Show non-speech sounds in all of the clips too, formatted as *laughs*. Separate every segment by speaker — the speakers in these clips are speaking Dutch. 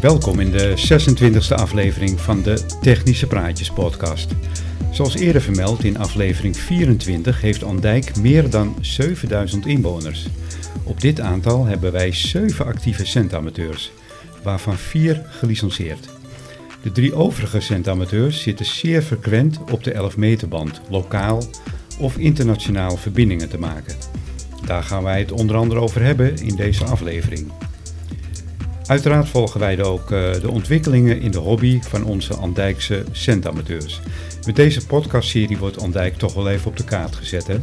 Speaker 1: Welkom in de 26e aflevering van de Technische Praatjes podcast. Zoals eerder vermeld in aflevering 24 heeft Andijk meer dan 7000 inwoners. Op dit aantal hebben wij 7 actieve centamateurs, waarvan 4 gelicenseerd. De drie overige centamateurs zitten zeer frequent op de 11 meter band, lokaal of internationaal verbindingen te maken. Daar gaan wij het onder andere over hebben in deze aflevering. Uiteraard volgen wij ook eh, de ontwikkelingen in de hobby van onze Andijkse centamateurs. Met deze podcastserie wordt Andijk toch wel even op de kaart gezet, hè?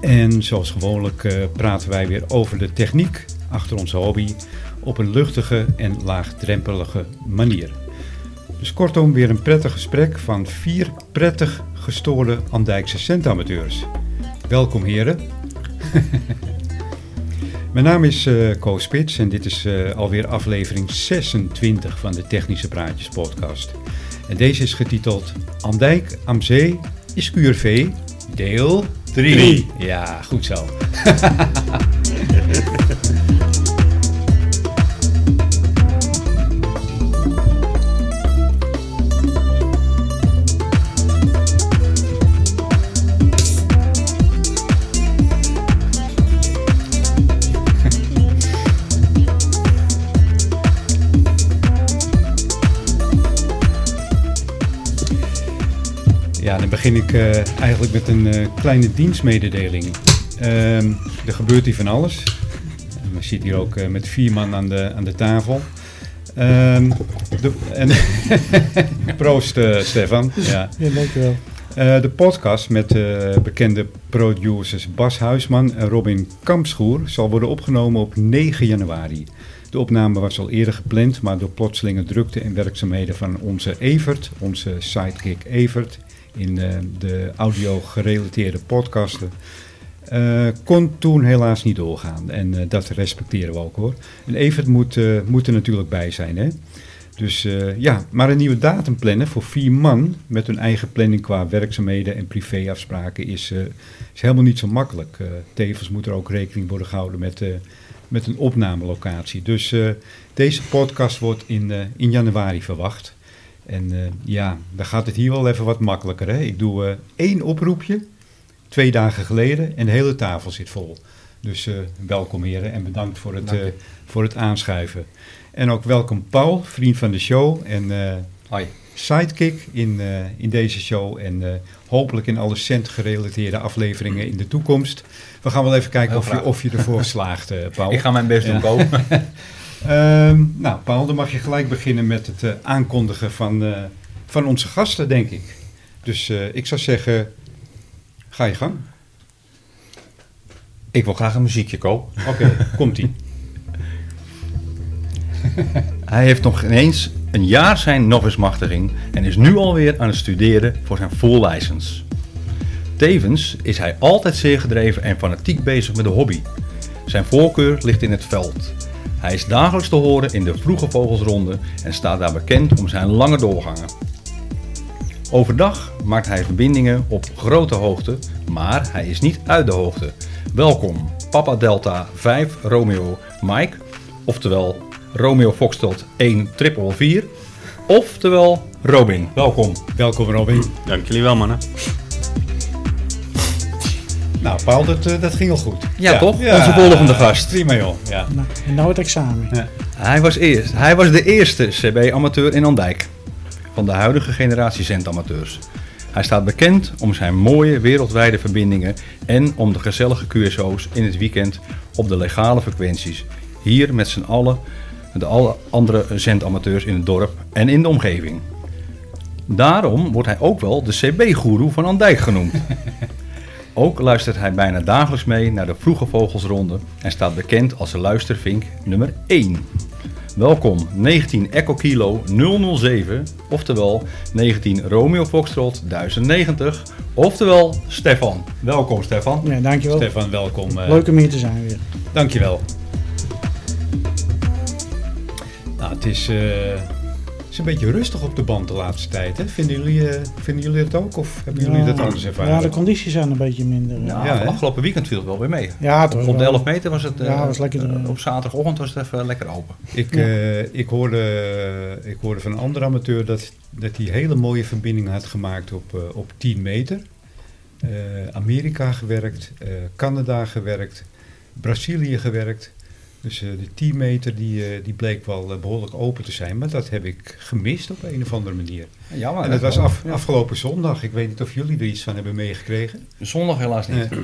Speaker 1: En zoals gewoonlijk eh, praten wij weer over de techniek achter onze hobby op een luchtige en laagdrempelige manier. Dus kortom, weer een prettig gesprek van vier prettig gestoorde Andijkse centamateurs. Welkom heren. *laughs* Mijn naam is eh Koos Spits en dit is eh, alweer aflevering 26 van de Technische Praatjes podcast. En deze is getiteld Andijk am Zee is QRV deel 3.
Speaker 2: Drie.
Speaker 1: Ja, goed zo. Ja, dan begin ik eh, eigenlijk met een eh, kleine dienstmededeling. Ehm, er gebeurt hier van alles. En We zitten hier ook eh, met vier man aan de, aan de tafel. Ehm, de, en *laughs* Proost, eh, Stefan. Ja.
Speaker 3: Ja, dankjewel.
Speaker 1: Eh, de podcast met eh, bekende producers Bas Huisman en Robin Kampschoer zal worden opgenomen op 9 januari. De opname was al eerder gepland, maar door plotselinge drukte en werkzaamheden van onze Evert, onze sidekick Evert, in eh, de audio-gerelateerde podcasten, eh, kon toen helaas niet doorgaan. En eh, dat respecteren we ook hoor. En Evert moet, eh, moet er natuurlijk bij zijn, hè? Dus eh, ja, maar een nieuwe datum plannen voor vier man met hun eigen planning qua werkzaamheden en privéafspraken is, eh, is helemaal niet zo makkelijk. Eh, tevens moet er ook rekening worden gehouden met, eh, met een opnamelocatie. Dus eh, deze podcast wordt in, eh, in januari verwacht. En eh, ja, dan gaat het hier wel even wat makkelijker. Hè? Ik doe eh, één oproepje, twee dagen geleden, en de hele tafel zit vol. Dus eh, welkom heren en bedankt voor het,
Speaker 3: Dank je.
Speaker 1: eh, voor het aanschuiven. En ook welkom Paul, vriend van de show en eh,
Speaker 2: Hoi.
Speaker 1: sidekick in, eh, in deze show. En eh, hopelijk in alle cent-gerelateerde afleveringen in de toekomst. We gaan wel even kijken
Speaker 2: Heel
Speaker 1: of je,
Speaker 2: graag.
Speaker 1: of je ervoor slaagt,
Speaker 2: *laughs*
Speaker 1: eh, Paul.
Speaker 2: Ik ga mijn best doen, Ko.
Speaker 1: Ehm, nou, Paul, dan mag je gelijk beginnen met het eh, aankondigen van, eh, van onze gasten, denk ik. Dus eh, ik zou zeggen, ga je
Speaker 2: *laughs*
Speaker 1: gang.
Speaker 2: *laughs* Ik wil graag een muziekje, Ko.
Speaker 1: Oké, komt-ie.
Speaker 2: Hij heeft nog ineens een jaar zijn novice-machtiging en is nu alweer aan het studeren voor zijn full license. Tevens is hij altijd zeer gedreven en fanatiek bezig met de hobby. Zijn voorkeur ligt in het veld. Hij is dagelijks te horen in de vroege vogelsronde en staat daar bekend om zijn lange doorgangen. Overdag maakt hij verbindingen op grote hoogte, maar hij is niet uit de hoogte. Welkom, Papa Delta 5 Romeo Mike, oftewel Romeo Foxtrot 1 triple 4, oftewel Robin. Welkom.
Speaker 1: Welkom, Robin.
Speaker 4: Dank jullie wel, mannen.
Speaker 1: Nou, Paul, dat, eh, dat ging al goed.
Speaker 2: Ja, toch? Onze volgende gast.
Speaker 1: Prima, joh. Ja.
Speaker 3: Nou, en nou het examen.
Speaker 2: Hij was, eerst, hij was de eerste CB-amateur in Andijk. Van de huidige generatie zendamateurs. Hij staat bekend om zijn mooie wereldwijde verbindingen en om de gezellige QSO's in het weekend op de legale frequenties. Hier met z'n allen, met alle andere zendamateurs in het dorp en in de omgeving. Daarom wordt hij ook wel de CB-goeroe van Andijk genoemd. *laughs* Ook luistert hij bijna dagelijks mee naar de Vroege Vogelsronde en staat bekend als de luistervink nummer 1. Welkom 19 Echo Kilo 007, oftewel 19 Romeo Foxtrot 1090, oftewel Stefan. Welkom Stefan.
Speaker 3: Ja, dankjewel.
Speaker 1: Stefan, welkom. eh,
Speaker 3: Leuk om hier te zijn weer.
Speaker 1: Dankjewel. Nou, het is eh, is een beetje rustig op de band de laatste tijd. Hè? Vinden, jullie, eh, vinden jullie dat ook? Of hebben jullie
Speaker 3: Ja.
Speaker 1: dat anders ervaren?
Speaker 3: Ja, de condities zijn een beetje minder.
Speaker 2: Ja,
Speaker 3: eh.
Speaker 1: Ja, Nou, hè?
Speaker 2: afgelopen weekend viel het wel weer mee.
Speaker 3: Ja, toch
Speaker 2: Op de
Speaker 3: wel.
Speaker 2: 11 meter was het, eh,
Speaker 3: Ja, was lekker,
Speaker 2: eh,
Speaker 3: eh,
Speaker 2: op zaterdagochtend was het even lekker open.
Speaker 1: Ik,
Speaker 3: Ja.
Speaker 1: eh, ik, hoorde, ik hoorde van een andere amateur dat dat hij hele mooie verbindingen had gemaakt op, eh, op 10 meter. Eh, Amerika gewerkt, eh, Canada gewerkt, Brazilië gewerkt. Dus eh, de 10 meter die, eh, die bleek wel eh, behoorlijk open te zijn, maar dat heb ik gemist op een of andere manier.
Speaker 2: Jammer.
Speaker 1: en dat was
Speaker 2: Oh, wel.
Speaker 1: af,
Speaker 2: Ja.
Speaker 1: afgelopen zondag. Ik weet niet of jullie er iets van hebben meegekregen.
Speaker 2: Zondag helaas niet.
Speaker 1: Nee.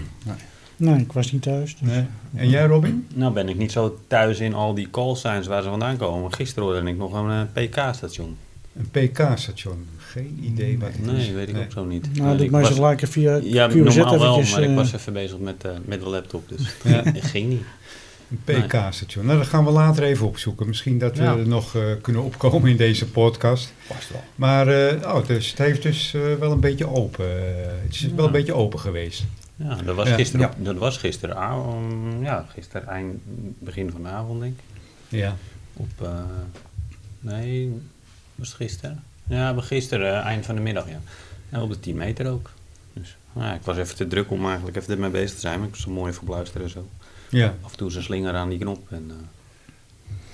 Speaker 3: Nee, ik was niet thuis. Dus.
Speaker 1: En jij Robin?
Speaker 4: Nou ben ik niet zo thuis in al die callsigns waar ze vandaan komen. Gisteren hoorde ik nog een eh, PK-station.
Speaker 1: Een PK-station. Geen idee wat het is.
Speaker 4: Nee, weet ik ook zo niet.
Speaker 3: Nou,
Speaker 4: Dus
Speaker 3: doe ik maar
Speaker 4: was-
Speaker 3: zo gelijk via
Speaker 4: ja,
Speaker 3: QZ
Speaker 4: normaal wel,
Speaker 3: eventjes,
Speaker 4: maar ik
Speaker 3: eh,
Speaker 4: was even bezig met, eh, met de laptop, *laughs* dus
Speaker 1: Ja.
Speaker 4: het ging niet.
Speaker 1: Een PK-station. Nou, dat gaan we later even opzoeken. Misschien dat
Speaker 2: Ja.
Speaker 1: we er nog eh, kunnen opkomen in deze podcast.
Speaker 2: Past wel.
Speaker 1: Maar eh, oh, dus het heeft dus eh, wel een beetje open. eh, het is wel een beetje open geweest.
Speaker 4: Ja, dat was
Speaker 1: Ja.
Speaker 4: gisteren, Dat was gisteren, ja, gisteren eind, begin van de avond denk ik.
Speaker 1: Ja.
Speaker 4: Op, eh, nee, was het gisteren? Ja, maar gisteren, eh, eind van de middag, ja. En op de 10 meter ook. Dus, nou ja, ik was even te druk om eigenlijk even ermee bezig te zijn, maar ik was er mooi voor bluisteren zo.
Speaker 1: Ja.
Speaker 4: Af en toe is een slinger aan die knop en... eh,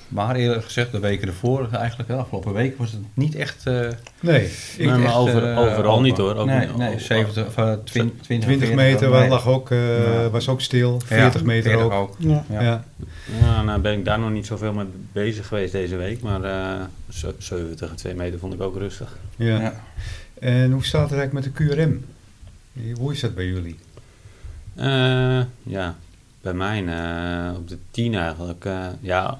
Speaker 2: Maar eerlijk gezegd, de weken ervoor, eigenlijk de afgelopen week, was het niet echt... eh,
Speaker 1: Nee. Ik,
Speaker 4: Nee, maar
Speaker 2: echt,
Speaker 4: over-
Speaker 2: eh,
Speaker 4: overal
Speaker 2: open.
Speaker 4: niet, hoor. Ook
Speaker 2: nee,
Speaker 4: niet.
Speaker 2: nee,
Speaker 4: Oh,
Speaker 2: 70, of, eh, 20,
Speaker 1: 20 meter
Speaker 2: nee.
Speaker 1: waar lag ook, eh,
Speaker 2: Ja.
Speaker 1: was ook stil.
Speaker 2: Ja,
Speaker 1: 40 meter
Speaker 2: 40
Speaker 1: ook.
Speaker 3: ja.
Speaker 1: Ja.
Speaker 2: Ja.
Speaker 4: Ja, nou ben ik daar nog niet zoveel mee bezig geweest deze week, maar eh, ze- 70 en 2 meter vond ik ook rustig.
Speaker 1: Ja.
Speaker 2: Ja.
Speaker 1: En hoe staat het eigenlijk met de QRM? Eh, Hoe is dat bij jullie?
Speaker 4: Eh, ja, bij mij eh, op de 10 eigenlijk. eh, ja,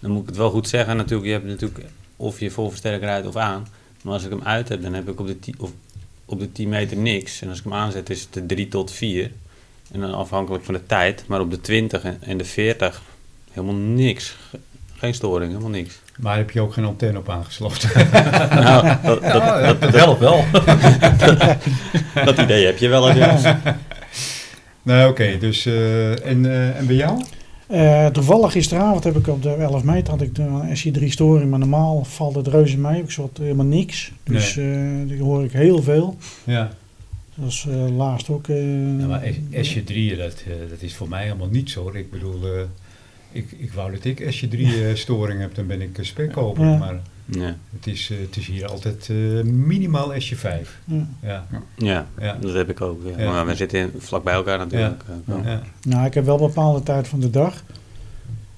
Speaker 4: dan moet ik het wel goed zeggen natuurlijk. Je hebt natuurlijk of je volversterker uit of aan. Maar als ik hem uit heb, dan heb ik op de 10, of op de 10 meter niks. En als ik hem aanzet, is het de 3 tot 4. En dan afhankelijk van de tijd. Maar op de 20 en- en de 40 helemaal niks. Ge- Geen storing, helemaal niks.
Speaker 1: Maar heb je ook geen antenne op aangesloten? *laughs*
Speaker 4: Nou, dat, dat,
Speaker 2: Ja, dat, helpt wel.
Speaker 4: *laughs* dat idee heb je wel eens. ja.
Speaker 1: nou, oké. dus, eh, en, eh, en bij jou?
Speaker 3: Eh, toevallig gisteravond heb ik op de 11 meter had ik de SC3 storing, maar normaal valt het reuze mee. Ik zat helemaal niks. Dus eh, die hoor ik heel veel.
Speaker 1: Ja.
Speaker 3: Dat was eh, laatst ook. eh,
Speaker 1: Ja, maar Esje 3, dat, eh, dat is voor mij helemaal niet zo. Ik bedoel, eh, ik, ik wou dat ik Esje 3 *laughs* eh, storing heb, dan ben ik eh, spekkoper.
Speaker 3: Ja.
Speaker 1: Maar
Speaker 4: Ja.
Speaker 1: het is, eh, het is hier altijd eh, minimaal Esje 5.
Speaker 3: ja.
Speaker 1: Ja.
Speaker 4: Ja,
Speaker 1: Ja.
Speaker 4: dat heb ik ook. Ja.
Speaker 1: Ja.
Speaker 4: Maar we zitten in- vlak bij elkaar natuurlijk. eh, Ja.
Speaker 1: Ja.
Speaker 3: Nou, ik heb wel bepaalde tijd van de dag.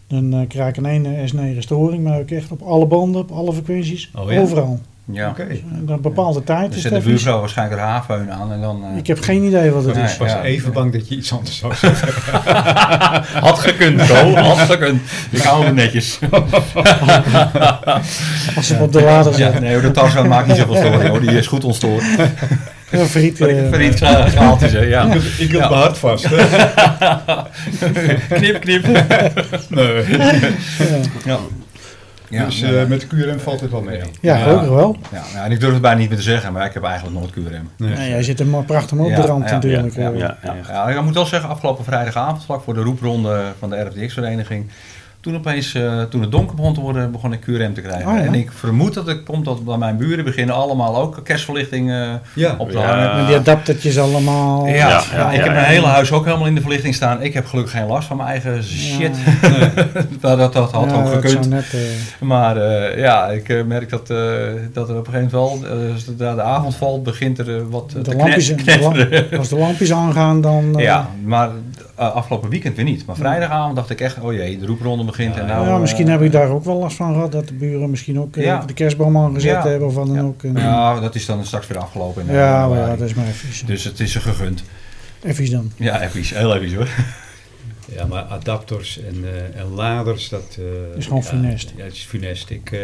Speaker 3: Dan eh, krijg ik een ene S9 storing, maar ook echt op alle banden, op alle frequenties,
Speaker 1: Oh ja?
Speaker 3: overal.
Speaker 2: Ja.
Speaker 1: Oké.
Speaker 3: En dan bepaalde tijd
Speaker 2: Dan
Speaker 3: is
Speaker 2: zet de
Speaker 3: het even-
Speaker 2: buurvrouw waarschijnlijk haar haarfeun aan en dan... eh,
Speaker 3: Ik heb geen idee wat het
Speaker 1: Ik
Speaker 2: Nee.
Speaker 3: is.
Speaker 1: was pas
Speaker 2: ja.
Speaker 1: even bang dat je iets anders zou *laughs* zeggen.
Speaker 2: Had gekund, *laughs* zo. Had gekund. Ik hou hem netjes.
Speaker 3: Als ze hem op de
Speaker 2: *laughs*
Speaker 3: lader
Speaker 2: Ja,
Speaker 3: zetten.
Speaker 2: nee, hoor, de Tarzan maakt niet zoveel storing, hoor. Die is goed ontstoord.
Speaker 3: Ja, friet, eh,
Speaker 2: Verriet gehaald is, hè. Ja.
Speaker 1: ik heb mijn hart vast. hè.
Speaker 2: Knip, knip.
Speaker 1: Nee.
Speaker 2: Ja. Ja,
Speaker 1: dus
Speaker 2: ja,
Speaker 1: eh,
Speaker 2: ja.
Speaker 1: met de QRM valt het wel mee.
Speaker 3: ja,
Speaker 2: Ja.
Speaker 3: gelukkig wel.
Speaker 2: Ja, nou, en ik durf het bijna niet meer te zeggen, maar ik heb eigenlijk nooit QRM.
Speaker 1: Nee.
Speaker 3: Nou, jij zit er maar prachtig mee op de
Speaker 2: Ja,
Speaker 3: rand
Speaker 2: ja,
Speaker 3: natuurlijk.
Speaker 4: ja,
Speaker 3: eh.
Speaker 4: ja.
Speaker 2: Ja,
Speaker 4: echt.
Speaker 2: ja, ik moet wel zeggen, afgelopen vrijdagavond, vlak voor de roepronde van de RFDX-vereniging, toen opeens, eh, toen het donker begon te worden, begon ik QRM te krijgen.
Speaker 3: Oh, ja.
Speaker 2: En ik vermoed dat het komt dat bij mijn buren beginnen allemaal ook kerstverlichting eh,
Speaker 1: Ja.
Speaker 2: op te
Speaker 4: Ja.
Speaker 2: hangen.
Speaker 3: Met die adaptertjes allemaal.
Speaker 2: Ja, ja,
Speaker 4: ja,
Speaker 2: ik
Speaker 4: ja,
Speaker 2: heb mijn
Speaker 4: ja.
Speaker 2: hele huis ook helemaal in de verlichting staan. Ik heb gelukkig geen last van mijn eigen shit. *laughs* dat, dat, dat had
Speaker 3: Ja,
Speaker 2: ook
Speaker 3: dat
Speaker 2: gekund.
Speaker 3: zou net, eh,
Speaker 2: Maar eh, ja, ik eh, merk dat, eh, dat er op een gegeven moment wel, eh, zodra de avond valt, begint er eh, wat eh,
Speaker 3: de
Speaker 2: te
Speaker 3: lampjes,
Speaker 2: knet-
Speaker 3: de lamp-
Speaker 2: knetteren.
Speaker 3: als de lampjes aangaan, dan... eh,
Speaker 2: *laughs* Ja, maar eh, afgelopen weekend weer niet. Maar vrijdagavond dacht ik echt, oh jee, de roepronde begint. en nou,
Speaker 3: ja, misschien
Speaker 2: eh,
Speaker 3: heb ik daar ook wel last van gehad. Dat de buren misschien ook eh,
Speaker 2: Ja.
Speaker 3: de kerstboom aangezet
Speaker 2: Ja.
Speaker 3: hebben of wat dan
Speaker 2: Ja.
Speaker 3: ook. En-
Speaker 2: Ja, dat is dan straks weer afgelopen. in, eh,
Speaker 3: ja, maar ja,
Speaker 2: januari.
Speaker 3: dat is maar effies.
Speaker 2: Dus het is ze gegund.
Speaker 3: Effies dan.
Speaker 2: Ja, episch. Heel episch hoor.
Speaker 1: Ja, maar adapters en, eh, en laders, dat... eh,
Speaker 3: Is gewoon
Speaker 1: ja,
Speaker 3: funest.
Speaker 1: Ja, het is funest. Ik, eh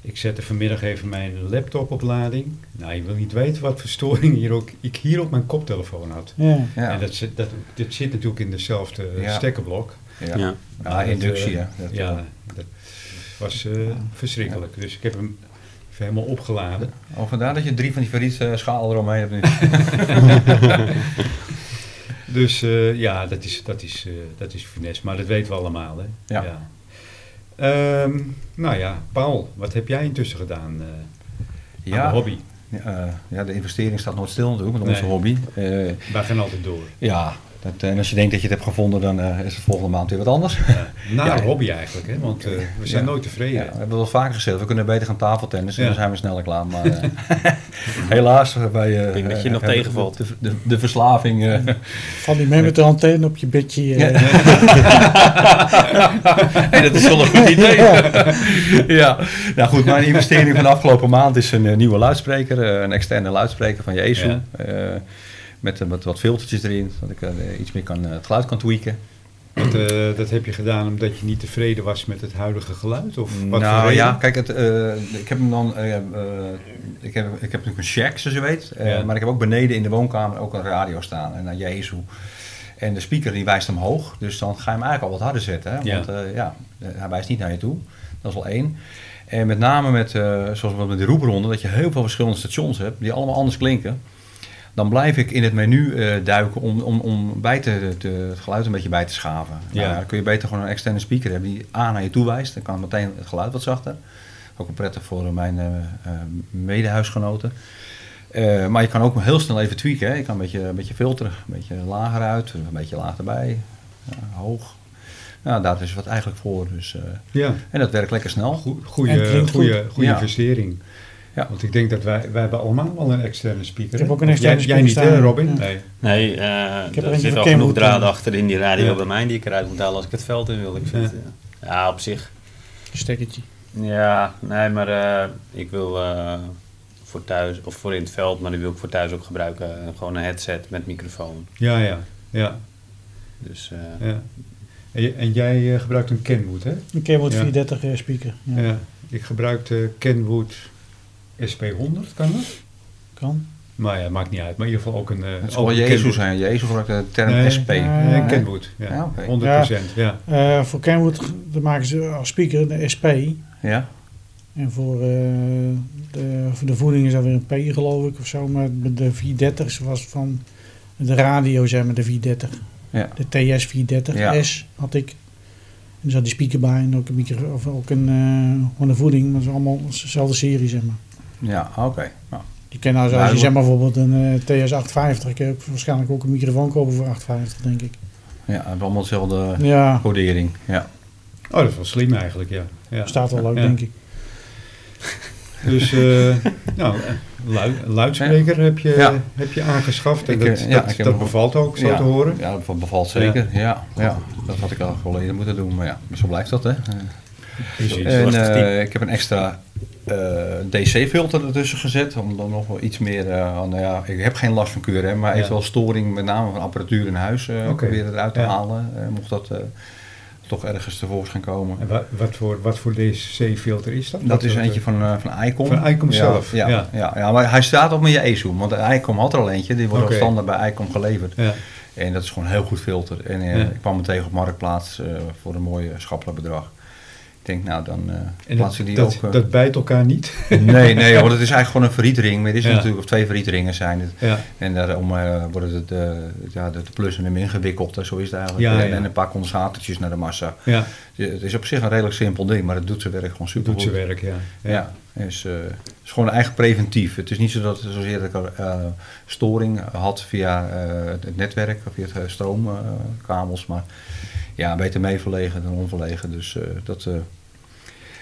Speaker 1: ik zette vanmiddag even mijn laptop op lading. Nou, je wil niet weten wat voor storing hier ook, ik hier op mijn koptelefoon had.
Speaker 3: Ja.
Speaker 2: Ja,
Speaker 1: En dat, zit- dat, dit zit natuurlijk in dezelfde eh,
Speaker 2: Ja.
Speaker 1: stekkerblok.
Speaker 2: ja.
Speaker 4: Ja.
Speaker 2: Ja, inductie,
Speaker 1: dat,
Speaker 2: hè.
Speaker 1: eh,
Speaker 2: Dat-
Speaker 1: ja, dat was eh, verschrikkelijk. Dus ik heb hem even helemaal opgeladen.
Speaker 2: Oh, vandaar dat je drie van die Ferritse schalen eromheen hebt nu.
Speaker 1: Dus eh, ja, dat is, dat, is, eh, dat is finesse. Maar dat weten we allemaal, hè?
Speaker 2: Ja.
Speaker 1: Ehm, nou ja, Paul, wat heb jij intussen gedaan eh aan de hobby?
Speaker 2: eh, ja, de investering staat nooit stil natuurlijk met onze
Speaker 1: Nee.
Speaker 2: hobby. Eh,
Speaker 1: Wij gaan altijd door.
Speaker 2: ja, dat, eh, en als je denkt dat je het hebt gevonden, dan eh, is het volgende maand weer wat anders.
Speaker 1: Ja. Naar
Speaker 2: Ja.
Speaker 1: hobby eigenlijk, hè? want eh, we zijn
Speaker 2: Ja.
Speaker 1: nooit tevreden.
Speaker 2: *laughs* Ja, we hebben wel vaker gezegd, we kunnen beter gaan tafeltennissen.
Speaker 1: Ja.
Speaker 2: Dan zijn we sneller klaar. Maar eh, helaas, eh, wij, eh,
Speaker 4: Ik denk dat je
Speaker 2: eh,
Speaker 4: nog
Speaker 2: hebben
Speaker 4: tegenvalt.
Speaker 2: De, de, de verslaving. eh,
Speaker 3: Van die mee met de antenne op je bedje. eh, *laughs*
Speaker 2: hey, dat is wel een goed idee. *laughs* ja, nou goed, mijn investering van de afgelopen maand is een eh, nieuwe luidspreker. eh, een externe luidspreker van Jezu.
Speaker 1: Ja.
Speaker 2: met, eh, met wat filtertjes erin, zodat ik eh, iets meer kan, eh, het geluid kan tweaken.
Speaker 1: Want, eh, dat heb je gedaan omdat je niet tevreden was met het huidige geluid? Of wat voor
Speaker 2: nou
Speaker 1: reden?
Speaker 2: ja, kijk, het, eh, ik heb hem dan. eh, eh, ik, heb, ik heb natuurlijk een shack, zoals je weet. eh,
Speaker 1: Ja.
Speaker 2: Maar ik heb ook beneden in de woonkamer ook een radio staan. En naar Jezus. En de speaker die wijst hem hoog. Dus dan ga je hem eigenlijk al wat harder zetten. Hè?
Speaker 1: Ja.
Speaker 2: Want eh, ja, eh, hij wijst niet naar je toe. Dat is al één. En met name met, eh, zoals met de roepronden, dat je heel veel verschillende stations hebt die allemaal anders klinken. Dan blijf ik in het menu eh, duiken om, om, om bij te, te- het geluid een beetje bij te schaven.
Speaker 1: Ja.
Speaker 2: Nou, dan kun je beter gewoon een externe speaker hebben die A naar je toe wijst. Dan kan meteen het geluid wat zachter. Ook wel prettig voor eh, mijn eh, eh, medehuisgenoten. Eh, maar je kan ook heel snel even tweaken. Hè. Je kan een beetje, een beetje filteren. Een beetje lager uit, een beetje lager bij, ja, hoog. Nou, daar is het eigenlijk voor. Dus, eh,
Speaker 1: ja.
Speaker 2: en dat werkt lekker snel. Goed.
Speaker 3: En het
Speaker 1: Goede,
Speaker 3: klinkt
Speaker 1: goede, goede
Speaker 2: Ja.
Speaker 1: investering.
Speaker 2: Ja.
Speaker 1: Want ik denk dat wij, wij hebben allemaal wel een externe speaker.
Speaker 3: Ik heb
Speaker 1: hè?
Speaker 3: ook een externe
Speaker 1: jij, Jij niet,
Speaker 3: speaker
Speaker 1: hè,
Speaker 3: staan,
Speaker 1: Robin?
Speaker 3: ja.
Speaker 1: Nee.
Speaker 4: Nee, eh
Speaker 3: Ik heb
Speaker 4: er
Speaker 3: er eentje
Speaker 4: zit
Speaker 3: van
Speaker 4: al
Speaker 3: Ken
Speaker 4: genoeg
Speaker 3: Wood,
Speaker 4: draad
Speaker 3: eh.
Speaker 4: achter in die radio
Speaker 1: Ja.
Speaker 4: bij mij die ik eruit moet halen als ik het veld in wil. Ik vind, eh, ja, op zich.
Speaker 3: Een stekkertje.
Speaker 4: Ja, nee, maar eh, ik wil eh, voor thuis, of voor in het veld, maar die wil ik voor thuis ook gebruiken. eh, Gewoon een headset met microfoon.
Speaker 1: Ja, ja, ja.
Speaker 4: Dus eh,
Speaker 1: ja. En, j- en jij eh, gebruikt een Kenwood, hè?
Speaker 3: Een Kenwood
Speaker 1: Ja.
Speaker 3: 430 eh, speaker. Ja,
Speaker 1: Ja. Ik gebruik de Kenwood SP100, kan dat?
Speaker 3: Kan.
Speaker 1: Maar ja, maakt niet uit. Maar in ieder geval ook een... eh,
Speaker 2: Het zal
Speaker 1: ook
Speaker 2: wel
Speaker 1: een
Speaker 2: Jezus
Speaker 1: Kenwood.
Speaker 2: zijn. Jezus gebruikt de term
Speaker 1: Nee.
Speaker 2: SP.
Speaker 1: Nee,
Speaker 3: Ja.
Speaker 1: een Kenwood, ja.
Speaker 2: Ja, oké.
Speaker 1: 100%, ja.
Speaker 3: Eh, voor Kenwood dan maken ze als speaker de SP.
Speaker 2: Ja.
Speaker 3: En voor, eh, de, voor de voeding is dat weer een P geloof ik of zo. Maar de 430 was van de radio zeg maar de 430.
Speaker 2: Ja.
Speaker 3: De TS 430
Speaker 2: Ja.
Speaker 3: S had ik. En er zat die speaker bij en ook een micro of ook een eh, gewoon een voeding. Maar het is allemaal dezelfde serie zeg maar.
Speaker 2: Ja, oké. Nou,
Speaker 3: Je kan nou, zo- als je
Speaker 2: Duidelijk.
Speaker 3: zeg maar bijvoorbeeld een eh, TS 850, kun je ook waarschijnlijk ook een microfoon kopen voor 850 denk ik.
Speaker 2: ja, we hebben allemaal dezelfde
Speaker 3: Ja,
Speaker 2: codering. Ja.
Speaker 1: Oh, dat is wel slim eigenlijk, ja. ja.
Speaker 3: staat wel leuk
Speaker 1: Ja.
Speaker 3: denk ik.
Speaker 1: Dus, eh,
Speaker 2: *laughs*
Speaker 1: nou, eh, lui, een luidspreker heb, je,
Speaker 2: Ja.
Speaker 1: heb je aangeschaft. En
Speaker 2: Ik, eh,
Speaker 1: dat,
Speaker 2: ja, ik
Speaker 1: dat,
Speaker 2: heb
Speaker 1: dat
Speaker 2: hem-
Speaker 1: bevalt ook, zo
Speaker 2: ja.
Speaker 1: te horen.
Speaker 2: Ja, dat bevalt zeker. Ja. Ja. Dat had ik al geleden moeten doen. Maar ja, zo blijft dat, hè.
Speaker 1: Precies.
Speaker 2: En,
Speaker 4: was het
Speaker 2: eh,
Speaker 4: team.
Speaker 2: ik heb een extra DC-filter ertussen gezet. Om dan nog wel iets meer... eh, aan- nou ja, ik heb geen last van keuren, maar
Speaker 1: Ja.
Speaker 2: eventueel storing met name van apparatuur in huis eh
Speaker 1: Oké.
Speaker 2: proberen eruit te
Speaker 1: Ja.
Speaker 2: halen. eh, mocht dat eh, toch ergens tevoorschijn komen.
Speaker 1: En wa- wat, voor, wat voor DCC-filter is dat?
Speaker 2: Dat
Speaker 1: Wat-
Speaker 2: is
Speaker 1: wat-
Speaker 2: eentje van, eh van Icom.
Speaker 1: Van Icom
Speaker 2: Ja,
Speaker 1: zelf,
Speaker 2: Ja,
Speaker 1: ja.
Speaker 2: ja. Ja, maar hij staat op met je ESOOM. Want Icom had er al eentje. Die wordt
Speaker 1: Oké.
Speaker 2: al standaard bij Icom geleverd.
Speaker 1: eh, Ja,
Speaker 2: En dat is gewoon een heel goed filter. En eh,
Speaker 1: Ja.
Speaker 2: ik kwam hem tegen op Marktplaats eh, voor een mooi eh, schappelijk bedrag. Ik denk, nou dan eh,
Speaker 1: en dat,
Speaker 2: plaatsen die
Speaker 1: dat,
Speaker 2: ook... eh,
Speaker 1: dat bijt elkaar niet.
Speaker 2: Nee, nee, want het is eigenlijk gewoon een verrietering. Maar er is
Speaker 1: Ja.
Speaker 2: natuurlijk of twee verrieteringen zijn het.
Speaker 1: Ja,
Speaker 2: En daarom eh, worden het, eh, ja, de, de plus en de min gewikkeld. hè. Zo is het eigenlijk.
Speaker 1: Ja,
Speaker 2: En-
Speaker 1: ja.
Speaker 2: En een paar condensatortjes naar de massa.
Speaker 1: *laughs* ja
Speaker 2: Ja, Het is op zich een redelijk simpel ding, maar het doet zijn werk gewoon super
Speaker 1: doet zijn werk, ja.
Speaker 2: ja, het is, eh, het is gewoon eigen preventief. Het is niet zo dat zozeer dat ik er, eh, storing had via eh, het netwerk of via het eh, stroomkabels, maar ja, beter mee verlegen dan onverlegen. Dus, eh, dat, eh,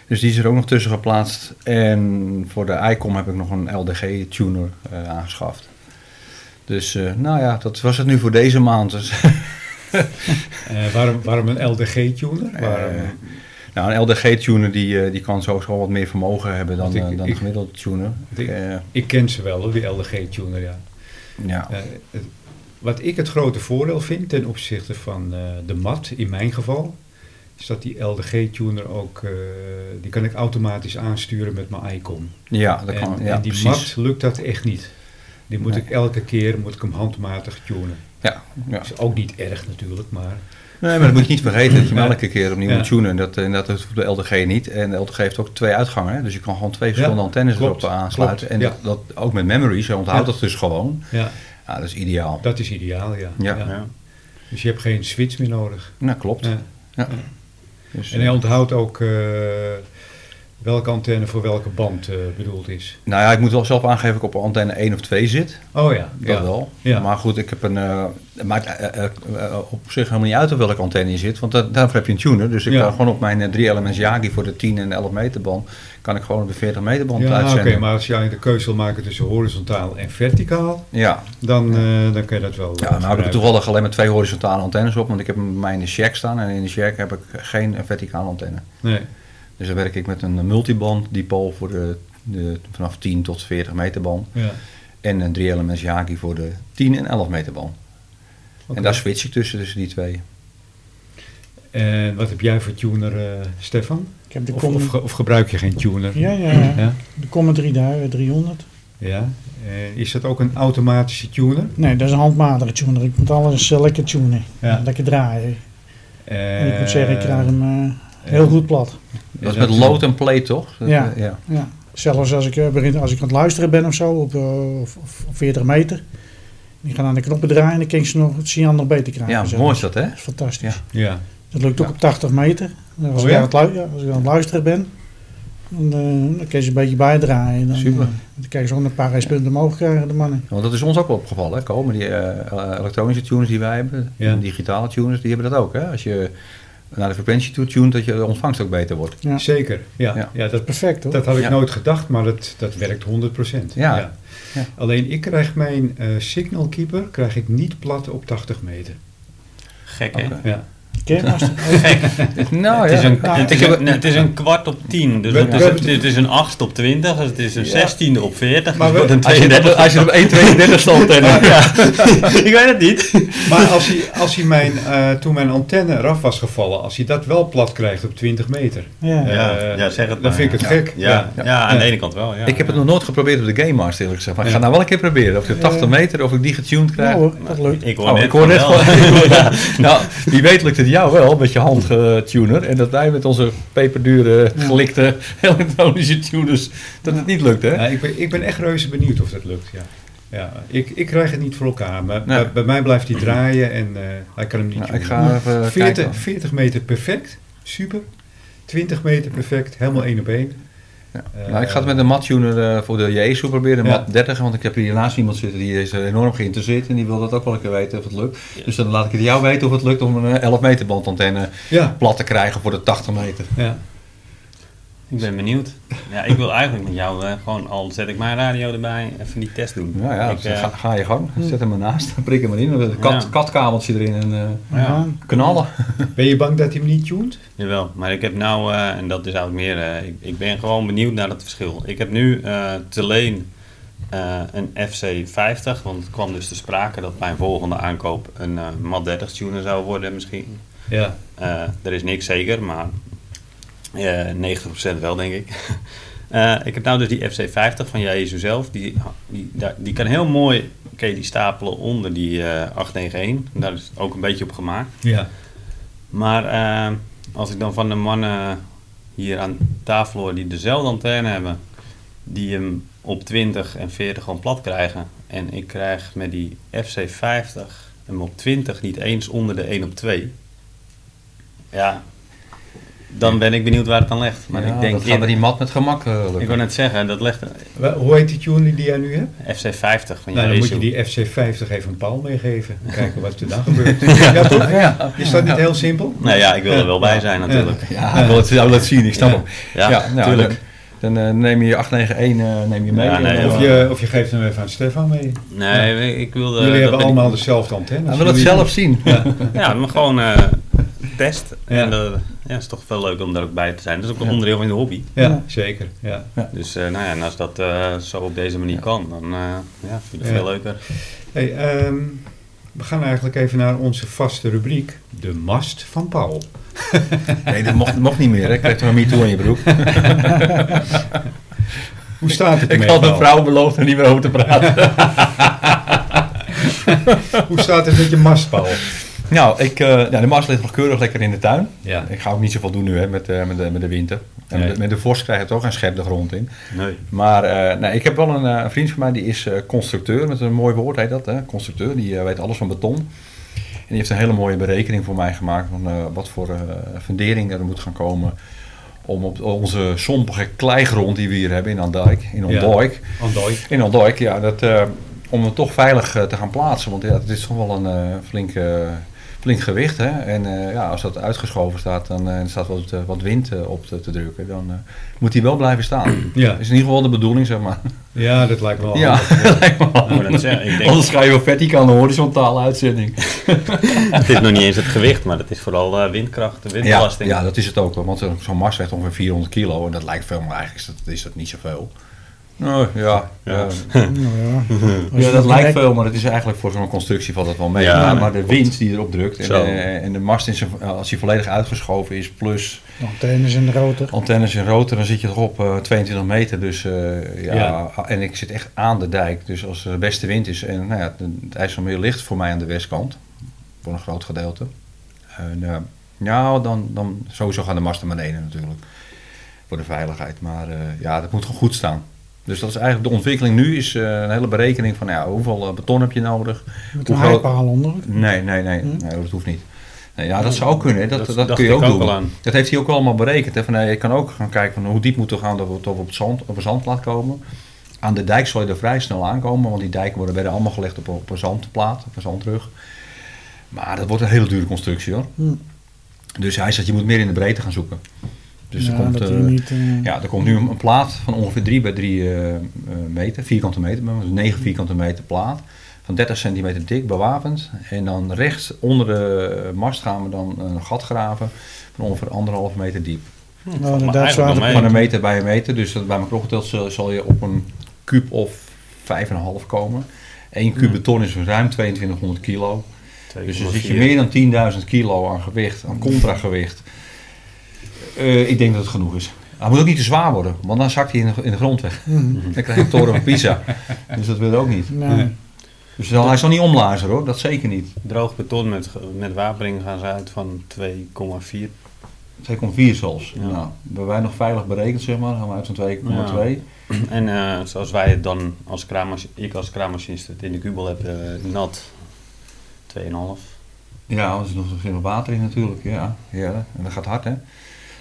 Speaker 2: dus die is er ook nog tussen geplaatst. En voor de ICOM heb ik nog een LDG-tuner eh, aangeschaft. Dus eh, nou ja, dat was het nu voor deze maand. Dus *laughs*
Speaker 1: Eh, waarom, waarom een LDG-tuner?
Speaker 2: Eh,
Speaker 1: Waarom?
Speaker 2: Nou, een LDG-tuner die, eh, die kan sowieso wat meer vermogen hebben dan,
Speaker 1: Want ik-
Speaker 2: eh, dan
Speaker 1: ik-
Speaker 2: een gemiddelde tuner.
Speaker 1: ik-
Speaker 2: Eh,
Speaker 1: ik ken ze wel, hoor, die LDG-tuner, ja.
Speaker 2: ja.
Speaker 1: Eh, het- wat ik het grote voordeel vind ten opzichte van eh, de mat, in mijn geval, is dat die LDG-tuner ook, eh, die kan ik automatisch aansturen met mijn ICOM.
Speaker 2: ja, dat kan.
Speaker 1: en,
Speaker 2: ja,
Speaker 1: en die
Speaker 2: precies.
Speaker 1: mat lukt dat echt niet. Die moet
Speaker 2: Nee.
Speaker 1: ik elke keer moet ik hem handmatig tunen.
Speaker 2: Ja, ja.
Speaker 1: Dat is ook niet erg natuurlijk, maar
Speaker 2: Nee, maar dat moet je niet vergeten
Speaker 1: *laughs*
Speaker 2: dat je hem
Speaker 1: Ja.
Speaker 2: elke keer opnieuw
Speaker 1: Ja.
Speaker 2: moet tunen. Dat, eh, en dat hoeft de LDG niet. En de LDG heeft ook twee uitgangen. Hè? Dus je kan gewoon twee verschillende antennes
Speaker 1: klopt,
Speaker 2: erop eh, aansluiten.
Speaker 1: klopt,
Speaker 2: en dat, dat ook met memories. Hij onthoudt
Speaker 1: Ja.
Speaker 2: dat dus gewoon.
Speaker 1: ja,
Speaker 2: Ja, dat is ideaal.
Speaker 1: dat is ideaal, ja.
Speaker 2: Ja.
Speaker 4: ja.
Speaker 1: Dus je hebt geen switch meer nodig.
Speaker 2: Nou, klopt.
Speaker 1: Ja.
Speaker 2: Ja. Dus,
Speaker 1: En hij onthoudt ook eh, welke antenne voor welke band eh, bedoeld is.
Speaker 2: nou ja, ik moet wel zelf aangeven dat ik op antenne 1 of 2 zit.
Speaker 1: Oh ja,
Speaker 2: Dat
Speaker 1: ja.
Speaker 2: wel.
Speaker 1: Ja.
Speaker 2: Maar goed, ik heb een. eh, het maakt eh, eh, eh, op zich helemaal niet uit op welke antenne je zit. Want dat, daarvoor heb je een tuner. Dus ik
Speaker 1: Ja.
Speaker 2: kan gewoon op mijn 3 elements Yagi voor de 10 en 11 meter band. Kan ik gewoon op de 40 meter band
Speaker 1: Ja, oké,
Speaker 2: uitzenden.
Speaker 1: maar als jij de keuze wil maken tussen horizontaal en verticaal,
Speaker 2: Ja,
Speaker 1: dan, eh, dan kun je dat wel. eh,
Speaker 2: ja nou heb ik
Speaker 1: gebruiken.
Speaker 2: toevallig alleen maar twee horizontale antennes op. Want ik heb mij in de shack staan. En in de shack heb ik geen eh, verticale antenne.
Speaker 1: Nee.
Speaker 2: Dus dan werk ik met een multiband dipole voor de, de vanaf 10 tot 40 meter band.
Speaker 1: Ja.
Speaker 2: En een 3 elements Yagi voor de 10 en 11 meter band.
Speaker 1: Oké.
Speaker 2: En daar switch ik tussen, tussen die twee.
Speaker 1: En wat heb jij voor tuner, eh, Stefan?
Speaker 3: Ik heb de
Speaker 1: Of,
Speaker 3: Com-
Speaker 1: of, ge- of gebruik je geen tuner?
Speaker 3: ja, ja, ja.
Speaker 1: Ja.
Speaker 3: de Comet 3000, 300.
Speaker 1: Ja. Eh, is dat ook een automatische tuner?
Speaker 3: Nee, dat is een handmatige tuner. Ik moet alles eh, lekker tunen. Lekker draaien.
Speaker 1: Eh,
Speaker 3: En ik moet zeggen, ik krijg hem eh, heel goed plat.
Speaker 2: Dat is met load and play, toch? Dat,
Speaker 3: Ja.
Speaker 2: eh, ja.
Speaker 3: Ja. Zelfs als ik, eh, begin, als ik aan het luisteren ben of zo, op, eh, of, of 40 meter. Die gaan aan de knoppen draaien en dan kan ik ze nog, het signaal nog beter krijgen.
Speaker 2: Ja,
Speaker 3: zeg
Speaker 2: mooi
Speaker 3: maar.
Speaker 2: is dat, hè?
Speaker 3: Dat is fantastisch.
Speaker 2: Ja.
Speaker 1: Ja.
Speaker 3: Dat lukt ook
Speaker 2: Ja.
Speaker 3: op 80 meter. En Als,
Speaker 1: Oh,
Speaker 3: ik
Speaker 1: ja?
Speaker 3: aan het lu- ja, als ik aan het luisteren ben, dan, eh, dan kun je ze een beetje bijdraaien. Dan,
Speaker 2: Super.
Speaker 3: eh, dan krijgen ze ook een paar reispunten omhoog krijgen, de mannen.
Speaker 2: Want dat is ons ook wel opgevallen, hè? Komen die eh, eh, elektronische tuners die wij hebben,
Speaker 1: Ja.
Speaker 2: en digitale tuners, die hebben dat ook, hè? Als je naar de frequentie toe tunt, dat je de ontvangst ook beter wordt.
Speaker 3: Ja.
Speaker 1: Zeker. Ja. Ja.
Speaker 2: Ja.
Speaker 1: dat,
Speaker 3: Perfect hoor.
Speaker 1: dat had ik
Speaker 2: Ja.
Speaker 1: nooit gedacht, maar dat, dat werkt 100%.
Speaker 2: Ja. Ja.
Speaker 1: Alleen ik krijg mijn eh signalkeeper krijg ik niet plat op 80 meter.
Speaker 4: Gek,
Speaker 1: *laughs*
Speaker 4: hè?
Speaker 2: Oké.
Speaker 1: Ja.
Speaker 3: Ken je
Speaker 2: *laughs*
Speaker 3: hem, Master?
Speaker 2: Nou
Speaker 4: Het is,
Speaker 2: ja,
Speaker 4: een,
Speaker 2: Nou,
Speaker 4: het,
Speaker 2: ik
Speaker 4: is
Speaker 2: heb-
Speaker 4: een, het is een kwart op tien. Dus
Speaker 1: We-
Speaker 4: het, is
Speaker 1: we-
Speaker 4: een, het is een achtste op twintig. Dus het is een
Speaker 1: Ja.
Speaker 4: zestiende op veertig.
Speaker 1: Maar
Speaker 4: Dus
Speaker 1: we-
Speaker 4: wordt een
Speaker 2: als je, dat-
Speaker 4: tweeëndertig.
Speaker 2: als je op 1, 32 stond en...
Speaker 4: Ja. *laughs* Ik weet het niet.
Speaker 1: Maar als hij, als hij mijn, eh, toen mijn antenne eraf was gevallen, als hij dat wel plat krijgt op 20 meter,
Speaker 3: Ja.
Speaker 4: Ja,
Speaker 1: eh,
Speaker 4: ja, zeg het
Speaker 1: dan
Speaker 4: maar,
Speaker 1: vind ik het
Speaker 4: ja.
Speaker 1: gek.
Speaker 4: Ja, ja, aan de ene kant wel. Ja.
Speaker 2: Ik heb het nog nooit geprobeerd op de Game Master, eerlijk gezegd. Maar ik
Speaker 1: Ja.
Speaker 2: ga nou wel een keer proberen. Of ik de 80 meter, of ik die getuned krijg.
Speaker 3: Ja Nou, hoor, dat lukt.
Speaker 4: Ik Nou, hoor
Speaker 2: Oh,
Speaker 4: net
Speaker 2: ik hoor net
Speaker 4: van wel.
Speaker 2: gewoon. *laughs* Nou, wie weet lukt het jou wel met je handtuner. En dat wij met onze peperdure, gelikte *laughs* elektronische tuners, dat het niet lukt, hè?
Speaker 1: Ja, ik, ben, ik ben echt reuze benieuwd of dat lukt. Ja. Ja, ik, ik krijg het niet voor elkaar. Maar
Speaker 2: Nee.
Speaker 1: bij, bij mij blijft hij draaien en eh, hij kan hem niet
Speaker 2: Nou, ik
Speaker 1: tunen.
Speaker 2: ga even
Speaker 1: 40,
Speaker 2: kijken.
Speaker 1: 40 meter perfect, super. 20 meter perfect, helemaal één op één.
Speaker 2: Ja.
Speaker 1: Eh,
Speaker 2: Nou, ik ga het met een mattuner eh, voor de JSU proberen, een
Speaker 1: Ja.
Speaker 2: mat 30. Want ik heb hier naast iemand zitten die is eh, enorm geïnteresseerd. En die wil dat ook wel een keer weten of het lukt. Dus dan laat ik het jou weten of het lukt om een eh, 11 meter bandantenne
Speaker 1: Ja,
Speaker 2: plat te krijgen voor de 80 meter.
Speaker 1: ja.
Speaker 4: *laughs* Ik ben benieuwd. Ja, ik wil eigenlijk met jou eh, gewoon, al zet ik mijn radio erbij, even die test doen.
Speaker 2: Nou ja,
Speaker 4: Ik,
Speaker 2: dus
Speaker 4: eh,
Speaker 2: ga, ga je gang. Zet hem ernaast, prik hem erin. Dan wil je Een kat,
Speaker 4: Ja.
Speaker 2: katkabeltje erin en eh,
Speaker 4: Ja.
Speaker 3: Ja.
Speaker 2: knallen.
Speaker 1: Ben je bang dat hij hem niet tunt?
Speaker 4: Jawel, maar ik heb nou, eh, en dat is eigenlijk meer, eh, ik, ik ben gewoon benieuwd naar het verschil. Ik heb nu eh te leen eh, een FC50, want het kwam dus te sprake dat mijn volgende aankoop een eh MAT 30 tuner zou worden misschien.
Speaker 1: Ja.
Speaker 4: Eh, er is niks zeker, maar eh 90% wel, denk ik. *laughs* Eh, ik heb nou dus die FC50 van Jezus zelf. Die, die, daar- die kan heel mooi, oké, die stapelen onder die eh 891. Daar is ook een beetje op gemaakt.
Speaker 1: Ja.
Speaker 4: Maar eh, als ik dan van de mannen hier aan tafel hoor die dezelfde antenne hebben, die hem op 20 en 40 gewoon plat krijgen. En ik krijg met die FC50 hem op 20 niet eens onder de 1 op 2. Ja, dan ben ik benieuwd waar het dan ligt. Maar
Speaker 2: ja,
Speaker 4: ik denk,
Speaker 2: dat gaat bij
Speaker 4: eerder-
Speaker 2: die mat met gemak eh, lukken.
Speaker 4: ik wil net zeggen, dat ligt
Speaker 1: Wa- Hoe heet die tuner die jij nu hebt?
Speaker 4: FC50 van
Speaker 1: Nou, dan moet je
Speaker 4: Jezus.
Speaker 1: die FC50 even een paal meegeven. Kijken wat
Speaker 2: *laughs*
Speaker 1: er dan gebeurt. Ja, toch?
Speaker 2: ja.
Speaker 1: Is dat niet heel simpel?
Speaker 4: Nou ja, ik wil er wel bij zijn
Speaker 1: Ja.
Speaker 4: natuurlijk.
Speaker 2: Ja, ik wil het jou laten zien, ik snap
Speaker 1: Ja.
Speaker 2: hem.
Speaker 4: Ja,
Speaker 2: nou,
Speaker 4: tuurlijk.
Speaker 2: Dan, dan, eh, neem je je 891 eh neem je mee.
Speaker 4: Ja,
Speaker 2: en
Speaker 4: nee,
Speaker 2: dan-
Speaker 1: Of je, of je geeft hem even aan Stefan
Speaker 2: Eh,
Speaker 1: mee.
Speaker 4: Nee, ik wilde...
Speaker 1: Jullie
Speaker 4: dat
Speaker 1: hebben
Speaker 4: ben ik-
Speaker 1: allemaal dezelfde antenne.
Speaker 2: Hij wil het zelf zien.
Speaker 4: Ja, maar gewoon eh, test.
Speaker 1: Ja.
Speaker 4: En eh, ja, het is toch veel leuk om daar ook bij te zijn. Dat is ook een
Speaker 2: Ja.
Speaker 4: onderdeel van de hobby.
Speaker 1: Ja, zeker. Ja.
Speaker 4: Dus eh, nou ja, en als dat eh, zo op deze manier kan, dan eh, ja, vind ik het
Speaker 1: Ja.
Speaker 4: veel leuker.
Speaker 1: Hey, ehm, we gaan eigenlijk even naar onze vaste rubriek. De mast van Paul.
Speaker 2: Nee, dat mocht, mocht niet meer. Hè. Ik kreeg er een MeToo in je broek.
Speaker 1: Hoe staat het
Speaker 2: Ik
Speaker 1: ermee,
Speaker 2: had een
Speaker 1: Paul?
Speaker 2: vrouw beloofd er niet meer over te praten.
Speaker 1: *laughs* Hoe staat het met je mast, Paul?
Speaker 2: nou, ik, eh, nou, de mars ligt nog keurig lekker in de tuin.
Speaker 1: Ja.
Speaker 2: Ik ga ook niet zoveel doen nu hè, met, eh, met, de, met de winter. En
Speaker 1: Nee.
Speaker 2: met, de, met de vorst krijg je het ook een scherp de grond in. *laughs*
Speaker 4: Nee.
Speaker 2: Maar eh, nee, ik heb wel een, eh, een vriend van mij die is eh, constructeur, met een mooi woord heet dat. Hè? Constructeur, die eh, weet alles van beton. En die heeft een hele mooie berekening voor mij gemaakt van eh, wat voor eh, fundering er moet gaan komen om op onze sompige kleigrond die we hier hebben in Andijk, in
Speaker 1: Ja.
Speaker 2: Andijk,
Speaker 1: Andoi.
Speaker 2: in Andijk, ja, dat, eh, om het toch veilig eh, te gaan plaatsen. Want ja, het is toch wel een eh, flink, eh, flink gewicht. Hè? En eh, ja, als dat uitgeschoven staat dan, eh, en er staat wat, eh, wat wind eh, op te, te drukken, dan eh, moet die wel blijven
Speaker 1: *clears throat*
Speaker 2: staan.
Speaker 1: Ja.
Speaker 2: Dat is in ieder geval de bedoeling, zeg maar.
Speaker 1: ja, dat lijkt me wel.
Speaker 2: ja, lijkt me wel.
Speaker 4: Ik wou net zeggen, ik denk-
Speaker 2: Anders ga je wel verticale horizontale uitzending.
Speaker 4: Het is nog niet eens het gewicht, maar het is vooral eh, windkracht, de
Speaker 2: Ja,
Speaker 4: windbelasting.
Speaker 2: ja, dat is het ook wel. Want eh, zo'n mars weegt ongeveer 400 kilo. En dat lijkt veel, maar eigenlijk is dat, is dat niet zoveel. Nou ja,
Speaker 4: Ja.
Speaker 2: eh,
Speaker 3: Nou ja, Als
Speaker 2: *laughs* Ja,
Speaker 3: je
Speaker 2: dat lijkt
Speaker 3: direct-
Speaker 2: veel, maar het is eigenlijk voor zo'n constructie valt dat wel mee.
Speaker 4: Ja,
Speaker 2: maar,
Speaker 4: nee,
Speaker 2: maar de
Speaker 4: klopt.
Speaker 2: wind die erop drukt en,
Speaker 4: Zo.
Speaker 2: de, en de mast in zijn, als die volledig uitgeschoven is, plus
Speaker 3: de Antennes in de rotor.
Speaker 2: antennes en rotor, dan zit je toch op eh, 22 meter. Dus eh, ja,
Speaker 1: Ja.
Speaker 2: en ik zit echt aan de dijk. Dus als er de beste wind is en nou ja, het, het IJsselmeer ligt voor mij aan de westkant, voor een groot gedeelte. En, eh, ja, dan, dan sowieso gaan de masten naar beneden natuurlijk. Voor de veiligheid. Maar eh, ja, dat moet gewoon goed staan. Dus dat is eigenlijk de ontwikkeling nu is eh, een hele berekening van ja, hoeveel eh, beton heb je nodig.
Speaker 3: Met een
Speaker 2: Hoe groot-
Speaker 3: heipaal onder.
Speaker 2: Nee, nee, nee,
Speaker 3: Hm?
Speaker 2: nee dat hoeft niet. Nee, ja, dat zou ook kunnen. hè. Dat,
Speaker 4: Dat
Speaker 2: dat,
Speaker 4: dacht
Speaker 2: kun je
Speaker 4: ik
Speaker 2: ook
Speaker 4: ook
Speaker 2: doen.
Speaker 4: al aan.
Speaker 2: Dat heeft hij ook allemaal berekend. Hè? Van, nee, je kan ook gaan kijken van hoe diep moet er gaan dat we tot op, het zand, op een zandplaat komen. Aan de dijk zal je er vrij snel aankomen, want die dijken worden bijna allemaal gelegd op, op een zandplaat, op een zandrug. Maar dat wordt een hele dure constructie hoor.
Speaker 3: Hm.
Speaker 2: Dus hij zegt, je moet meer in de breedte gaan zoeken. Dus
Speaker 3: ja,
Speaker 2: er, komt,
Speaker 3: dat
Speaker 2: eh,
Speaker 3: die niet, eh,
Speaker 2: ja, er komt nu een, een plaat van ongeveer 3 bij 3 meter, vierkante meter, dus 9 vierkante meter plaat. Van 30 centimeter dik, bewapend. En dan rechts onder de mast gaan we dan een gat graven van ongeveer anderhalve meter diep.
Speaker 3: nou,
Speaker 4: Maar
Speaker 3: inderdaad,
Speaker 4: eigenlijk
Speaker 3: zwaar-
Speaker 4: nog
Speaker 2: Van een meter bij een meter, dus dat bij mijn opgeteld zal, zal je op een kuub of 5,5 komen. 1 kuub beton is ruim 2200 kilo. Dus dan zit je meer dan 10.000 kilo aan gewicht, aan contragewicht. Eh, ik denk dat het genoeg is. Hij moet ook niet te zwaar worden, want dan zakt hij in de, in de grond weg.
Speaker 3: Hm.
Speaker 2: Dan krijg je een toren van Pisa. Dus dat wil je ook niet.
Speaker 3: Nou,
Speaker 1: Nee.
Speaker 2: Dus dan, hij zal niet omlazen hoor, dat zeker niet.
Speaker 4: Droog beton met, ge- met wapering gaan ze uit van 2,4.
Speaker 2: 2,4 zelfs.
Speaker 4: Ja.
Speaker 2: Nou, hebben wij nog veilig berekend zeg maar, dan gaan we uit van 2,2.
Speaker 4: *clears throat* En eh, zoals wij het dan als kraammach- ik als kraammachinist het in de kubel heb, eh, nat 2,5.
Speaker 2: Ja, want er is nog veel water in natuurlijk. Ja. ja, en dat gaat hard hè.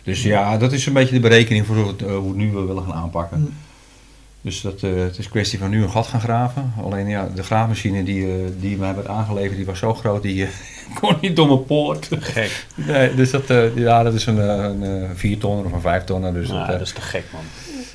Speaker 2: Dus ja, Mm. dat is een beetje de berekening voor hoe het, eh, hoe het nu we willen gaan aanpakken.
Speaker 3: Hm.
Speaker 2: Dus dat, eh, het is kwestie van nu een gat gaan graven. Alleen ja, de graafmachine die, eh, die mij werd aangeleverd, die was zo groot, die eh, *laughs* kon niet door mijn poort.
Speaker 4: Gek.
Speaker 2: Nee, dus dat, eh, ja, dat is een, eh, een eh, vier tonner of een vijf tonner. Dus
Speaker 4: Nou,
Speaker 2: dat, eh,
Speaker 4: dat is te gek, man.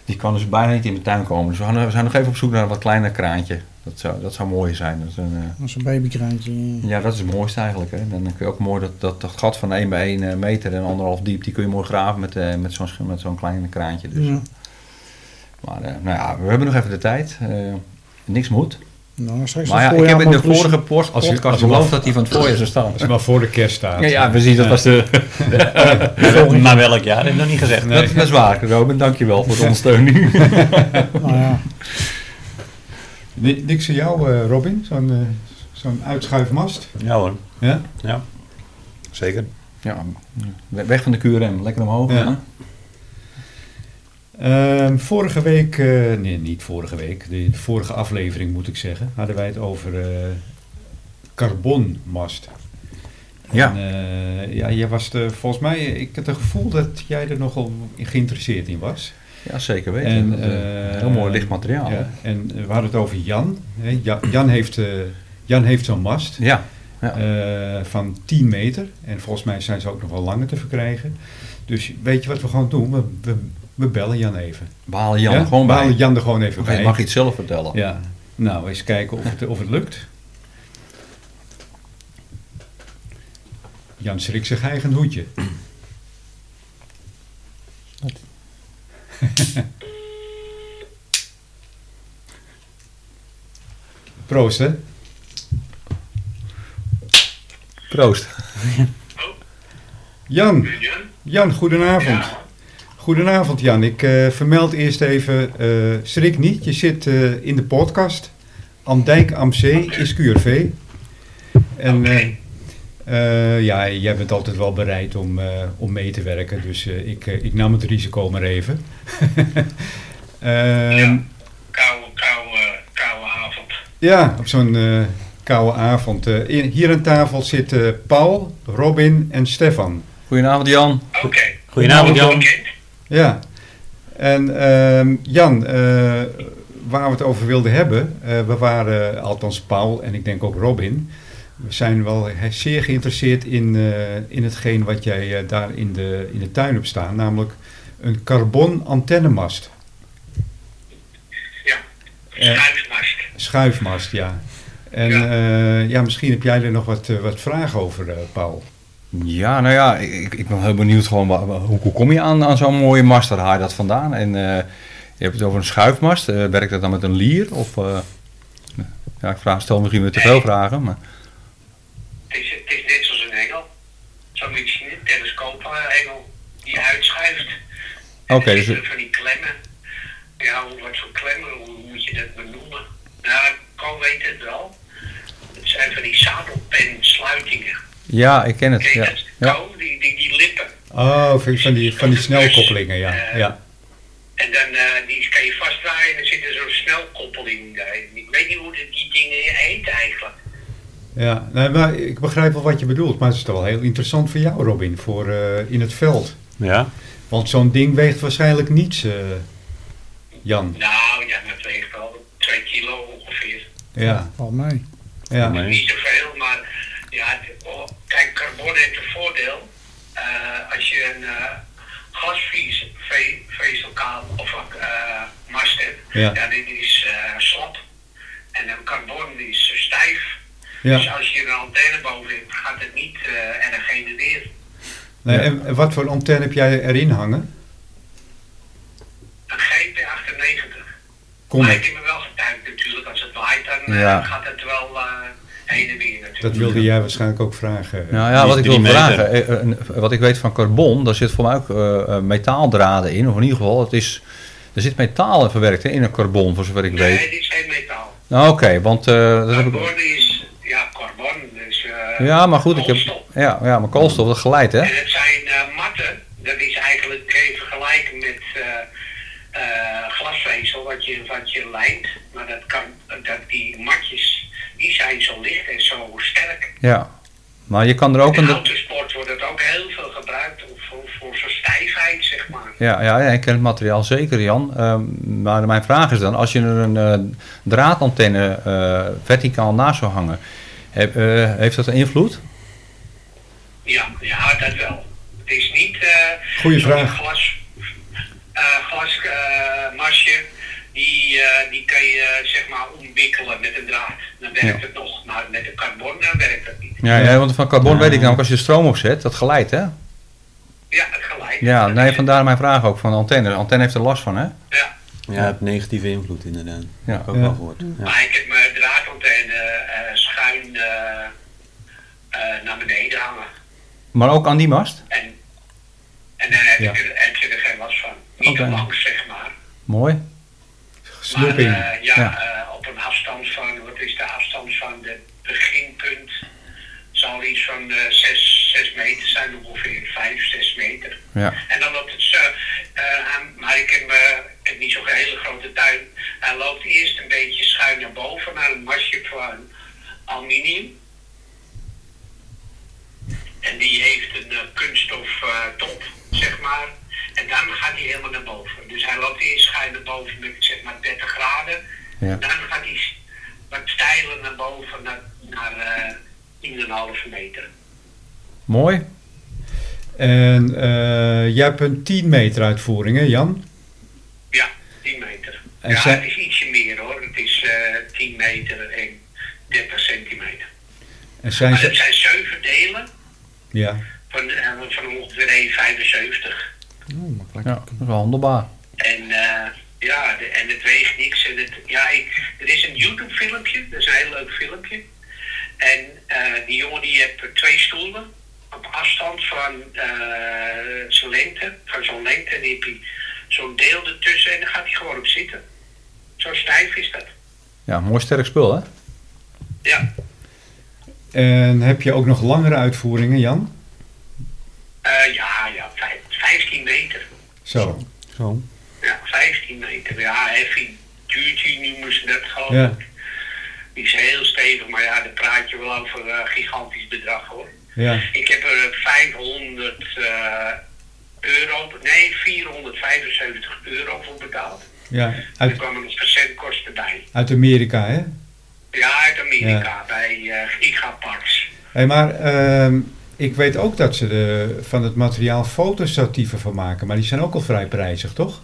Speaker 2: die kan dus bijna niet in mijn tuin komen. Dus we, gaan, we zijn nog even op zoek naar een wat kleiner kraantje. Dat zou, dat zou mooi zijn. Dat is een, eh,
Speaker 3: Dat is een babykraantje. eh.
Speaker 2: ja, dat is het mooiste eigenlijk. Hè. Dan kun je ook mooi dat, dat, dat gat van 1 bij 1 eh, meter en anderhalf diep, die kun je mooi graven met, eh, met zo'n sch- met zo'n klein kraantje. Dus.
Speaker 3: Ja.
Speaker 2: Maar eh, nou ja, we hebben nog even de tijd. Eh, niks moet.
Speaker 3: Nou, straks
Speaker 2: Maar ja,
Speaker 3: het
Speaker 2: ik
Speaker 3: voorjaar
Speaker 2: heb in de
Speaker 3: conclusie.
Speaker 2: vorige post,
Speaker 1: Als je-
Speaker 2: podcast
Speaker 1: als je
Speaker 2: beloofd
Speaker 1: mag.
Speaker 2: dat die van het voorjaar zou staan.
Speaker 1: Als je maar voor de kerst staat.
Speaker 2: Ja, ja, precies. Dat was de...
Speaker 4: Maar welk jaar? Dat heb ik nog niet gezegd.
Speaker 1: Nee.
Speaker 2: Dat, dat is waar, Robin. Dankjewel voor de ondersteuning.
Speaker 3: Nou ja,
Speaker 1: Ni- Niks aan jou, eh, Robin? Zo'n eh, zo'n uitschuifmast?
Speaker 4: Ja hoor.
Speaker 1: Ja?
Speaker 4: Ja. Zeker.
Speaker 2: ja, we- weg van de QRM. Lekker omhoog.
Speaker 1: Ja.
Speaker 2: hè?
Speaker 1: Ehm, vorige week, eh, nee niet vorige week, de vorige aflevering moet ik zeggen, hadden wij het over eh, carbonmast.
Speaker 2: Ja.
Speaker 1: En, eh, ja, jij was er, volgens mij, eh, ik had het gevoel dat jij er nogal geïnteresseerd in was.
Speaker 2: ja, zeker weten.
Speaker 1: En,
Speaker 2: Dat, eh,
Speaker 1: eh,
Speaker 2: heel mooi licht materiaal. hè?
Speaker 1: Ja, en eh, we hadden het over Jan. hè. Ja- Jan heeft, eh, Jan heeft zo'n mast.
Speaker 2: Ja. Ja.
Speaker 1: eh, van 10 meter. En volgens mij zijn ze ook nog wel langer te verkrijgen. Dus weet je wat we gewoon doen? We, we, we bellen Jan even.
Speaker 2: We halen Jan
Speaker 1: Ja?
Speaker 2: er gewoon
Speaker 1: we
Speaker 2: bij.
Speaker 1: halen Jan er gewoon even
Speaker 2: Oké,
Speaker 1: bij.
Speaker 2: je mag iets zelf vertellen.
Speaker 1: Ja. Nou, eens kijken of het, of het lukt. Jan schrikt zich eigen hoedje. *laughs* Proost, hè?
Speaker 2: Proost.
Speaker 1: Jan, Jan, goedenavond. Goedenavond Jan, ik eh, vermeld eerst even, eh, schrik niet, je zit eh, in de podcast. Andijk am Zee is QRV. En eh, eh, ja, jij bent altijd wel bereid om, eh, om mee te werken, dus eh, ik, eh, ik nam het risico maar even. *laughs* Ehm,
Speaker 5: koude, koude, koude avond.
Speaker 1: ja, op zo'n eh, koude avond. Eh, in- hier aan tafel zitten Paul, Robin en Stefan.
Speaker 2: Goedenavond Jan.
Speaker 5: Oké. Nou,
Speaker 4: Goedenavond, Jan.
Speaker 5: Oké.
Speaker 1: Ja, en ehm, Jan, eh, waar we het over wilden hebben, eh, we waren, althans Paul en ik denk ook Robin, we zijn wel he- zeer geïnteresseerd in, eh, in hetgeen wat jij eh, daar in de, in de tuin hebt staan, namelijk een carbon antennemast,
Speaker 5: Ja.
Speaker 1: Eh.
Speaker 5: Schuifmast.
Speaker 1: schuifmast, ja. En
Speaker 5: Ja.
Speaker 1: ja, ja misschien heb jij er nog wat, eh, wat vragen over, eh, Paul.
Speaker 2: Ja, nou ja, ik, ik ben heel benieuwd gewoon, wa- wa- hoe, hoe kom je aan, aan zo'n mooie mast? Daar haal je dat vandaan? En eh, je hebt het over een schuifmast. Eh, werkt dat dan met een lier? Of, eh, ja, ik vraag, stel misschien weer te veel vragen. Maar,
Speaker 5: Het is, het is net zoals een engel. Zo'n beetje een telescoop eh, engel die uitschuift.
Speaker 2: Oké,
Speaker 5: En er
Speaker 2: dus-
Speaker 5: zitten Van die klemmen. Ja, hoe- wat voor klemmen, hoe moet je dat benoemen? Nou, Ko weet het wel. Het zijn van die zadelpensluitingen.
Speaker 2: ja, ik ken het.
Speaker 5: Ken je
Speaker 2: Ja,
Speaker 5: dat?
Speaker 2: ja.
Speaker 5: Ko, die, die, die lippen.
Speaker 1: Oh, van van die, van die snelkoppelingen, ja. ja.
Speaker 5: En dan eh, die kan je vastdraaien en er zit er zo'n snelkoppeling in. Ik weet niet hoe die, die dingen heet eigenlijk.
Speaker 1: Ja, nee, maar ik begrijp wel wat je bedoelt, maar het is toch wel heel interessant voor jou, Robin, voor eh, in het veld.
Speaker 4: Ja,
Speaker 1: Want zo'n ding weegt waarschijnlijk niets, eh, Jan.
Speaker 5: Nou ja, dat weegt wel 2 kilo ongeveer.
Speaker 1: Ja,
Speaker 3: Valt mee.
Speaker 1: ja,
Speaker 4: Nee.
Speaker 5: Niet zoveel, maar ja, het- oh, kijk, carbon heeft een voordeel. Eh, als je een eh gasvezelkaal of eh mast hebt,
Speaker 1: Ja.
Speaker 5: ja. dit is eh, slap. En een carbon is stijf. Dus
Speaker 1: ja.
Speaker 5: als je een antenne boven hebt, gaat het niet eh, en dan genereert.
Speaker 1: Nee, en en wat voor antenne heb jij erin hangen?
Speaker 5: Een GP98.
Speaker 1: Kom
Speaker 5: maar ik
Speaker 1: het.
Speaker 5: heb me wel getuigd natuurlijk, als het waait dan eh,
Speaker 2: Ja.
Speaker 5: gaat het wel eh, heen en weer natuurlijk.
Speaker 1: Dat wilde jij waarschijnlijk ook vragen.
Speaker 2: Nou
Speaker 4: Die
Speaker 2: ja,
Speaker 4: is
Speaker 2: wat ik wil
Speaker 4: drie meter.
Speaker 2: vragen, eh, eh, een- wat ik weet van carbon, daar zit voor mij ook eh, eh, metaaldraden in. Of in ieder geval, het is, er zit metaal in verwerkt hè, in een carbon, voor zover ik
Speaker 5: nee,
Speaker 2: weet.
Speaker 5: dit is geen metaal.
Speaker 2: Nou, Oké, want eh, dat heb ik...
Speaker 5: Carbon is, ja, carbon is. eh,
Speaker 2: Ja, maar goed, ik heb,
Speaker 5: koolstof.
Speaker 2: ja, ja, maar koolstof, dat geleid, hè?
Speaker 5: En het zijn eh, matten, dat is eigenlijk geen vergelijking met eh, eh, glasvezel wat je, wat je lijnt. Maar dat kan, dat die matjes, die zijn zo licht en zo sterk.
Speaker 2: Ja. Maar je kan er ook
Speaker 5: In
Speaker 2: een...
Speaker 5: de autosport wordt het ook heel veel gebruikt voor, voor zijn stijfheid, zeg maar.
Speaker 2: Ja, ja, ja, ik ken het materiaal zeker, Jan. Ehm, maar mijn vraag is dan, als je er een eh, draadantenne eh, verticaal naast zou hangen, heb- eh, heeft dat een invloed?
Speaker 5: Ja, ja, dat wel. Het is niet eh
Speaker 1: Goeie
Speaker 5: zo'n
Speaker 1: vraag.
Speaker 5: glas, eh glasmasje. die, eh, die kan je eh, zeg maar omwikkelen met een draad. Dan werkt het nog. Maar met een carbon dan werkt dat niet.
Speaker 2: Ja, ja, want van carbon weet ik namelijk, als je de stroom opzet, dat glijdt, hè?
Speaker 5: Ja, gelijk.
Speaker 2: Ja,
Speaker 5: Dat
Speaker 2: nee,
Speaker 5: is-
Speaker 2: vandaar mijn vraag ook van de antenne. De antenne heeft er last van, hè?
Speaker 5: ja.
Speaker 4: ja, het negatieve invloed inderdaad.
Speaker 2: Ja.
Speaker 4: Heb ik ook
Speaker 1: Ja.
Speaker 4: wel gehoord. Ja.
Speaker 5: Maar ik heb mijn draadantenne eh, schuin eh, eh, naar beneden hangen.
Speaker 2: Maar ook aan die mast?
Speaker 5: En, en dan heb,
Speaker 1: Ja.
Speaker 5: ik er, heb je er geen last van. Niet
Speaker 2: Oké.
Speaker 5: langs, zeg maar.
Speaker 2: Mooi.
Speaker 5: Maar
Speaker 1: Snoeping.
Speaker 5: eh, ja,
Speaker 2: Ja.
Speaker 5: eh, op een afstand van, wat is de afstand van het beginpunt? Zal iets van eh, zes 6 meter zijn, ongeveer 5, 6 meter.
Speaker 2: Ja.
Speaker 5: En dan loopt het zo, eh, aan- maar ik heb, eh, ik heb niet zo'n hele grote tuin. Hij loopt eerst een beetje schuin naar boven, naar een masje van aluminium. En die heeft een eh, kunststof eh, top, zeg maar. En dan gaat hij helemaal naar boven. Dus hij loopt eerst schuin naar boven met zeg maar 30 graden.
Speaker 2: Ja.
Speaker 5: Dan gaat hij s- wat steiler naar boven, naar, naar eh 10,5 meter.
Speaker 2: Mooi.
Speaker 1: En eh, jij hebt een 10 meter uitvoering, hè, Jan?
Speaker 5: Ja, 10 meter.
Speaker 1: En
Speaker 5: ja,
Speaker 1: zij-
Speaker 5: het is ietsje meer hoor. Het is eh 10 meter en 30 centimeter.
Speaker 1: En zijn
Speaker 5: Maar het
Speaker 1: ze...
Speaker 5: zijn zeven delen
Speaker 1: Ja,
Speaker 5: van, eh, van ongeveer 1,75.
Speaker 3: Oh, makkelijk.
Speaker 2: Ja, dat is wel handelbaar.
Speaker 5: En eh, ja, de- en het weegt niks. En het, ja, ik, er is een YouTube filmpje, dat is een heel leuk filmpje. En eh, die jongen die heeft twee stoelen op afstand van eh, zijn lengte, van zo'n lengte. En die heeft hij zo'n deel ertussen en dan gaat hij gewoon op zitten. Zo stijf is dat.
Speaker 2: Ja, mooi sterk spul, *laughs* hè?
Speaker 5: Ja.
Speaker 1: en heb je ook nog langere uitvoeringen, Jan?
Speaker 5: Eh, ja, ja, vijf- 15 meter.
Speaker 1: Zo.
Speaker 4: Zo.
Speaker 5: Ja, 15 meter. Ja, heavy duty noemen ze dat gewoon.
Speaker 1: Ja.
Speaker 5: Die Die is heel stevig, maar ja, daar praat je wel over eh, gigantisch bedrag hoor.
Speaker 1: Ja.
Speaker 5: Ik heb er eh, 500 eh, euro, nee 475 euro voor betaald.
Speaker 1: ja.
Speaker 5: Er
Speaker 1: Uit,
Speaker 5: kwamen nog procentkosten bij.
Speaker 1: uit Amerika, hè?
Speaker 5: Ja, uit Amerika, bij eh Gigaparts.
Speaker 1: Hey, maar ehm, ik weet ook dat ze de, van het materiaal fotostatieven van maken, maar die zijn ook al vrij prijzig, toch?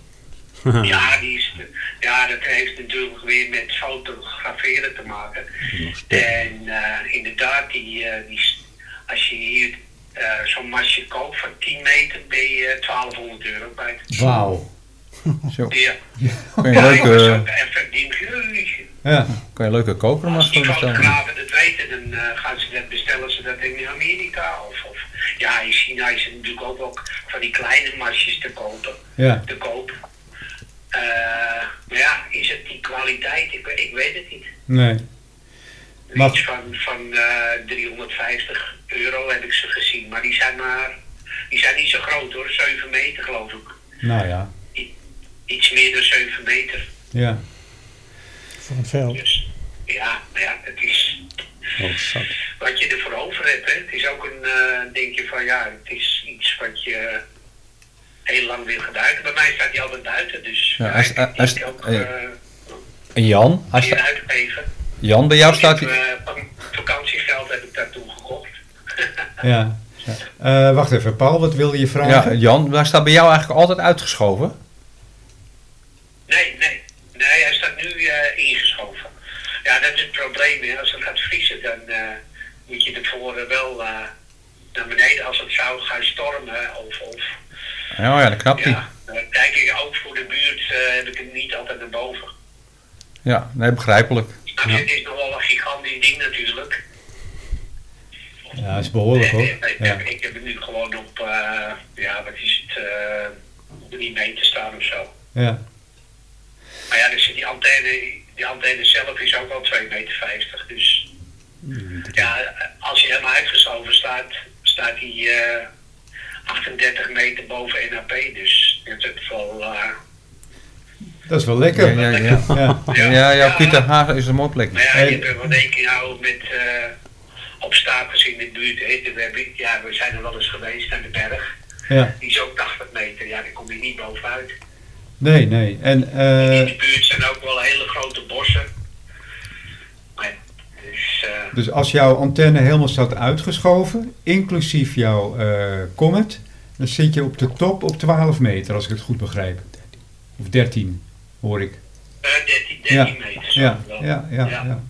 Speaker 5: Ja, die is, ja, dat heeft natuurlijk weer met fotograferen te maken.
Speaker 4: Nog steeds.
Speaker 5: En eh, inderdaad, die, eh, die, s- als je hier eh, zo'n masje koopt van 10 meter, ben je eh, 1200 euro bij.
Speaker 1: Wauw.
Speaker 2: Zo.
Speaker 5: Ja, eh.
Speaker 2: Kan je een
Speaker 5: ik was ook
Speaker 2: leuke,
Speaker 5: even die jeugdje.
Speaker 1: Ja,
Speaker 2: kan je een leuke koker
Speaker 5: Als
Speaker 2: maar
Speaker 5: die
Speaker 2: voor bestellen.
Speaker 5: fotografen dat weten, dan eh, gaan ze dat bestellen ze dat in Amerika. Of, of ja, in China is het natuurlijk ook, ook van die kleine masjes te kopen.
Speaker 1: ja.
Speaker 5: te koop. Eh, maar ja, is het die kwaliteit? Ik, weet- ik weet het niet.
Speaker 1: Nee. Maar-
Speaker 5: Iets van, van eh, 350 euro heb ik ze gezien, maar die zijn maar die zijn niet zo groot hoor, 7 meter geloof ik.
Speaker 1: Nou ja.
Speaker 5: Iets meer dan 7 meter.
Speaker 1: Ja.
Speaker 3: voor een veld.
Speaker 5: Dus ja, maar ja, het is
Speaker 4: Oh, zat.
Speaker 5: wat je ervoor over hebt. Hè. Het is ook een eh denkje van ja, het is iets wat je heel lang wil gebruiken. Bij mij staat die altijd buiten, dus
Speaker 2: Ja, als-
Speaker 5: ik heb
Speaker 2: als-
Speaker 5: die ook
Speaker 2: eh,
Speaker 5: eh,
Speaker 2: En Jan, als
Speaker 5: hier
Speaker 2: je,
Speaker 5: uitgegeven.
Speaker 2: Jan, bij jou staat
Speaker 5: Ik
Speaker 2: die...
Speaker 5: heb, eh, van vakantiegeld heb ik daartoe gekocht. *laughs*
Speaker 1: ja. Eh, wacht even, Paul, wat wilde je
Speaker 2: Ja,
Speaker 1: vragen?
Speaker 2: Jan, daar staat bij jou eigenlijk altijd uitgeschoven.
Speaker 5: Nee, nee. Nee, hij staat nu eh, ingeschoven. Ja, dat is het probleem. Hè. Als het gaat vriezen, dan eh, moet je tevoren wel eh, naar beneden. Als het zou gaan stormen of... of
Speaker 2: Ja, ja, dat knapt hij.
Speaker 5: ja, dan kijk ik ook voor de buurt, eh, heb ik hem niet altijd naar boven.
Speaker 2: Ja, nee, begrijpelijk.
Speaker 5: Maar het is nog wel een gigantisch ding natuurlijk.
Speaker 1: Ja, dat is behoorlijk hoor.
Speaker 5: Ik,
Speaker 1: Ja.
Speaker 5: heb, ik heb het nu gewoon op, eh, ja, wat is het, eh, drie meter staan of zo.
Speaker 1: Ja.
Speaker 5: Maar ja, dus die antenne, die antenne zelf is ook al 2,50 meter. dus
Speaker 2: Hmm,
Speaker 5: ja, als je helemaal uitgeschoven staat, staat hij eh, 38 meter boven NAP. Dus dat is wel. eh,
Speaker 1: Dat is wel lekker.
Speaker 2: Ja, ja, ja.
Speaker 1: Ja.
Speaker 2: Oh, Ja, ja, Pieter Haag is een mooi plekje.
Speaker 5: maar ja,
Speaker 1: Hey.
Speaker 5: je hebt er wel één keer nou met eh, obstakels in de buurt. Hè. Toen heb ik- Ja, we zijn er wel eens geweest naar de berg.
Speaker 1: Ja.
Speaker 5: Die is ook 80 meter. Ja, daar kom je niet bovenuit.
Speaker 1: Nee, nee. En eh,
Speaker 5: In de buurt zijn ook wel hele grote bossen. Maar, ja, dus, eh,
Speaker 1: Dus als jouw antenne helemaal staat uitgeschoven, inclusief jouw eh Comet, dan zit je op de top op 12 meter, als ik het goed begrijp. Of 13, hoor ik.
Speaker 5: eh, 13, 13 meter. zo
Speaker 1: Ja,
Speaker 5: wel.
Speaker 1: ja, ja.
Speaker 5: Ja.
Speaker 1: ja.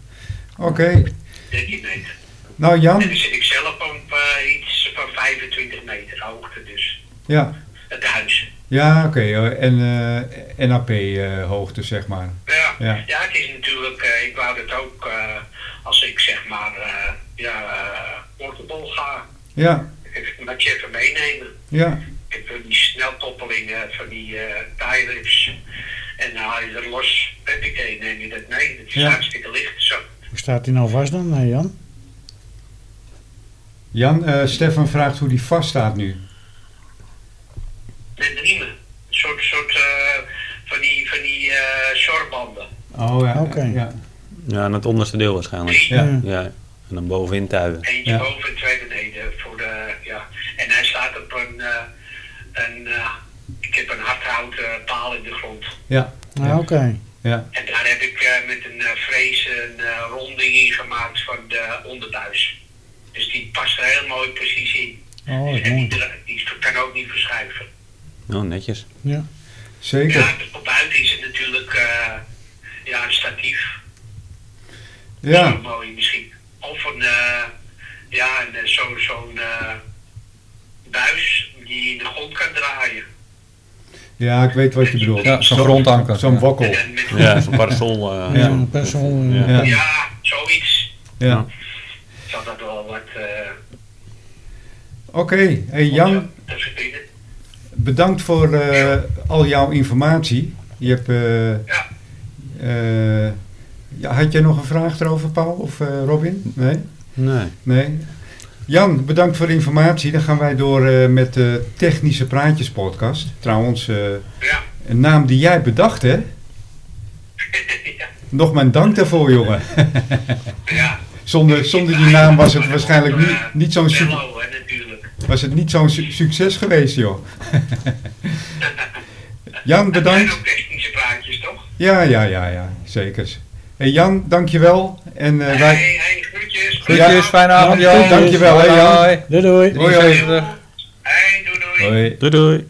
Speaker 1: Oké,
Speaker 5: 13 meter.
Speaker 1: nou Jan,
Speaker 5: En dan zit ik zelf op eh, iets van 25 meter hoogte, dus
Speaker 1: ja,
Speaker 5: het huis.
Speaker 1: ja oké, eh, en eh, NAP eh, hoogte zeg maar.
Speaker 5: Ja,
Speaker 1: Ja.
Speaker 5: ja. het is natuurlijk, eh, ik wou dat ook eh, als ik zeg maar, eh ja, eh, portable ga,
Speaker 1: Ja,
Speaker 5: even- dat je even meenemen.
Speaker 1: ja,
Speaker 5: Ik heb van die snelkoppelingen van die eh tie-lips en dan haal je er los, huppakee, neem je dat mee. Het is
Speaker 1: Ja.
Speaker 5: hartstikke licht zo.
Speaker 3: Hoe staat die nou vast dan, nee, Jan?
Speaker 1: Jan, eh, Stefan vraagt hoe die vaststaat nu.
Speaker 5: Met riemen, een soort, soort eh, van die, van die eh zorbanden.
Speaker 1: Oh ja,
Speaker 3: Oké.
Speaker 1: ja,
Speaker 4: Ja, aan het onderste deel waarschijnlijk.
Speaker 1: Ja.
Speaker 4: Ja, en dan bovenin tuigen.
Speaker 5: Eentje
Speaker 1: Ja.
Speaker 5: boven en twee beneden. Voor de, ja. En hij staat op een, eh, een eh, ik heb een hardhouten paal in de grond.
Speaker 1: ja,
Speaker 3: Nou,
Speaker 1: Ja.
Speaker 3: oké.
Speaker 1: ja.
Speaker 5: En daar heb ik eh, met een eh, vrees een eh, ronding in gemaakt van de onderbuis. Dus die past er heel mooi precies in.
Speaker 3: Oh, dat is
Speaker 5: en die,
Speaker 3: mooi.
Speaker 5: dra- die kan ook niet verschuiven.
Speaker 4: Oh, netjes.
Speaker 3: Ja.
Speaker 1: zeker.
Speaker 5: Ja,
Speaker 3: eh,
Speaker 5: op buiten is het natuurlijk eh, ja, een statief.
Speaker 1: Ja.
Speaker 5: Zo mooi misschien. Of een, eh, ja, een, eh, zo, zo'n eh, buis die je in de grond kan draaien.
Speaker 1: ja, ik weet wat je bedoelt.
Speaker 2: Ja, zo'n grondanker.
Speaker 1: Zo'n
Speaker 5: En
Speaker 1: wokkel.
Speaker 5: dan met, ja.
Speaker 4: Ja, zo'n parasol. eh,
Speaker 1: Ja.
Speaker 3: Ja, best wel, eh,
Speaker 4: Ja.
Speaker 1: Ja,
Speaker 5: zoiets.
Speaker 1: ja.
Speaker 5: Zal dat wel wat eh
Speaker 1: Oké, hey, Jan,
Speaker 5: te verdienen.
Speaker 1: Bedankt voor eh, al jouw informatie. Je hebt, eh,
Speaker 5: Ja.
Speaker 1: eh, ja, had jij nog een vraag erover, Paul of eh, Robin? Nee?
Speaker 4: Nee.
Speaker 1: Nee. Jan, bedankt voor de informatie. Dan gaan wij door eh, met de Technische Praatjes podcast. Trouwens, eh,
Speaker 5: Ja.
Speaker 1: een naam die jij bedacht, hè?
Speaker 5: ja.
Speaker 1: Nog mijn dank daarvoor, jongen. *laughs*
Speaker 5: Ja. Eh,
Speaker 1: Zonder, zonder die naam was het waarschijnlijk niet, niet zo'n suc-
Speaker 5: Bello, hè, natuurlijk.
Speaker 1: was het niet zo'n su- succes geweest, joh. *laughs* Jan,
Speaker 5: Dat
Speaker 1: bedankt.
Speaker 5: zijn ook technische praatjes, toch?
Speaker 1: Ja, ja, ja, ja, zeker. Hey Jan, dankjewel. En eh, wij...
Speaker 5: Hey, hey, groetjes.
Speaker 2: Groetjes, fijne avond
Speaker 3: Ja,
Speaker 2: Jan.
Speaker 1: dankjewel, hè, Jan.
Speaker 2: Hoi,
Speaker 3: Doei doei.
Speaker 1: Hoi,
Speaker 2: hoi.
Speaker 1: hoi.
Speaker 5: Hey, doei, doei.
Speaker 2: Hoi.
Speaker 4: Doei doei.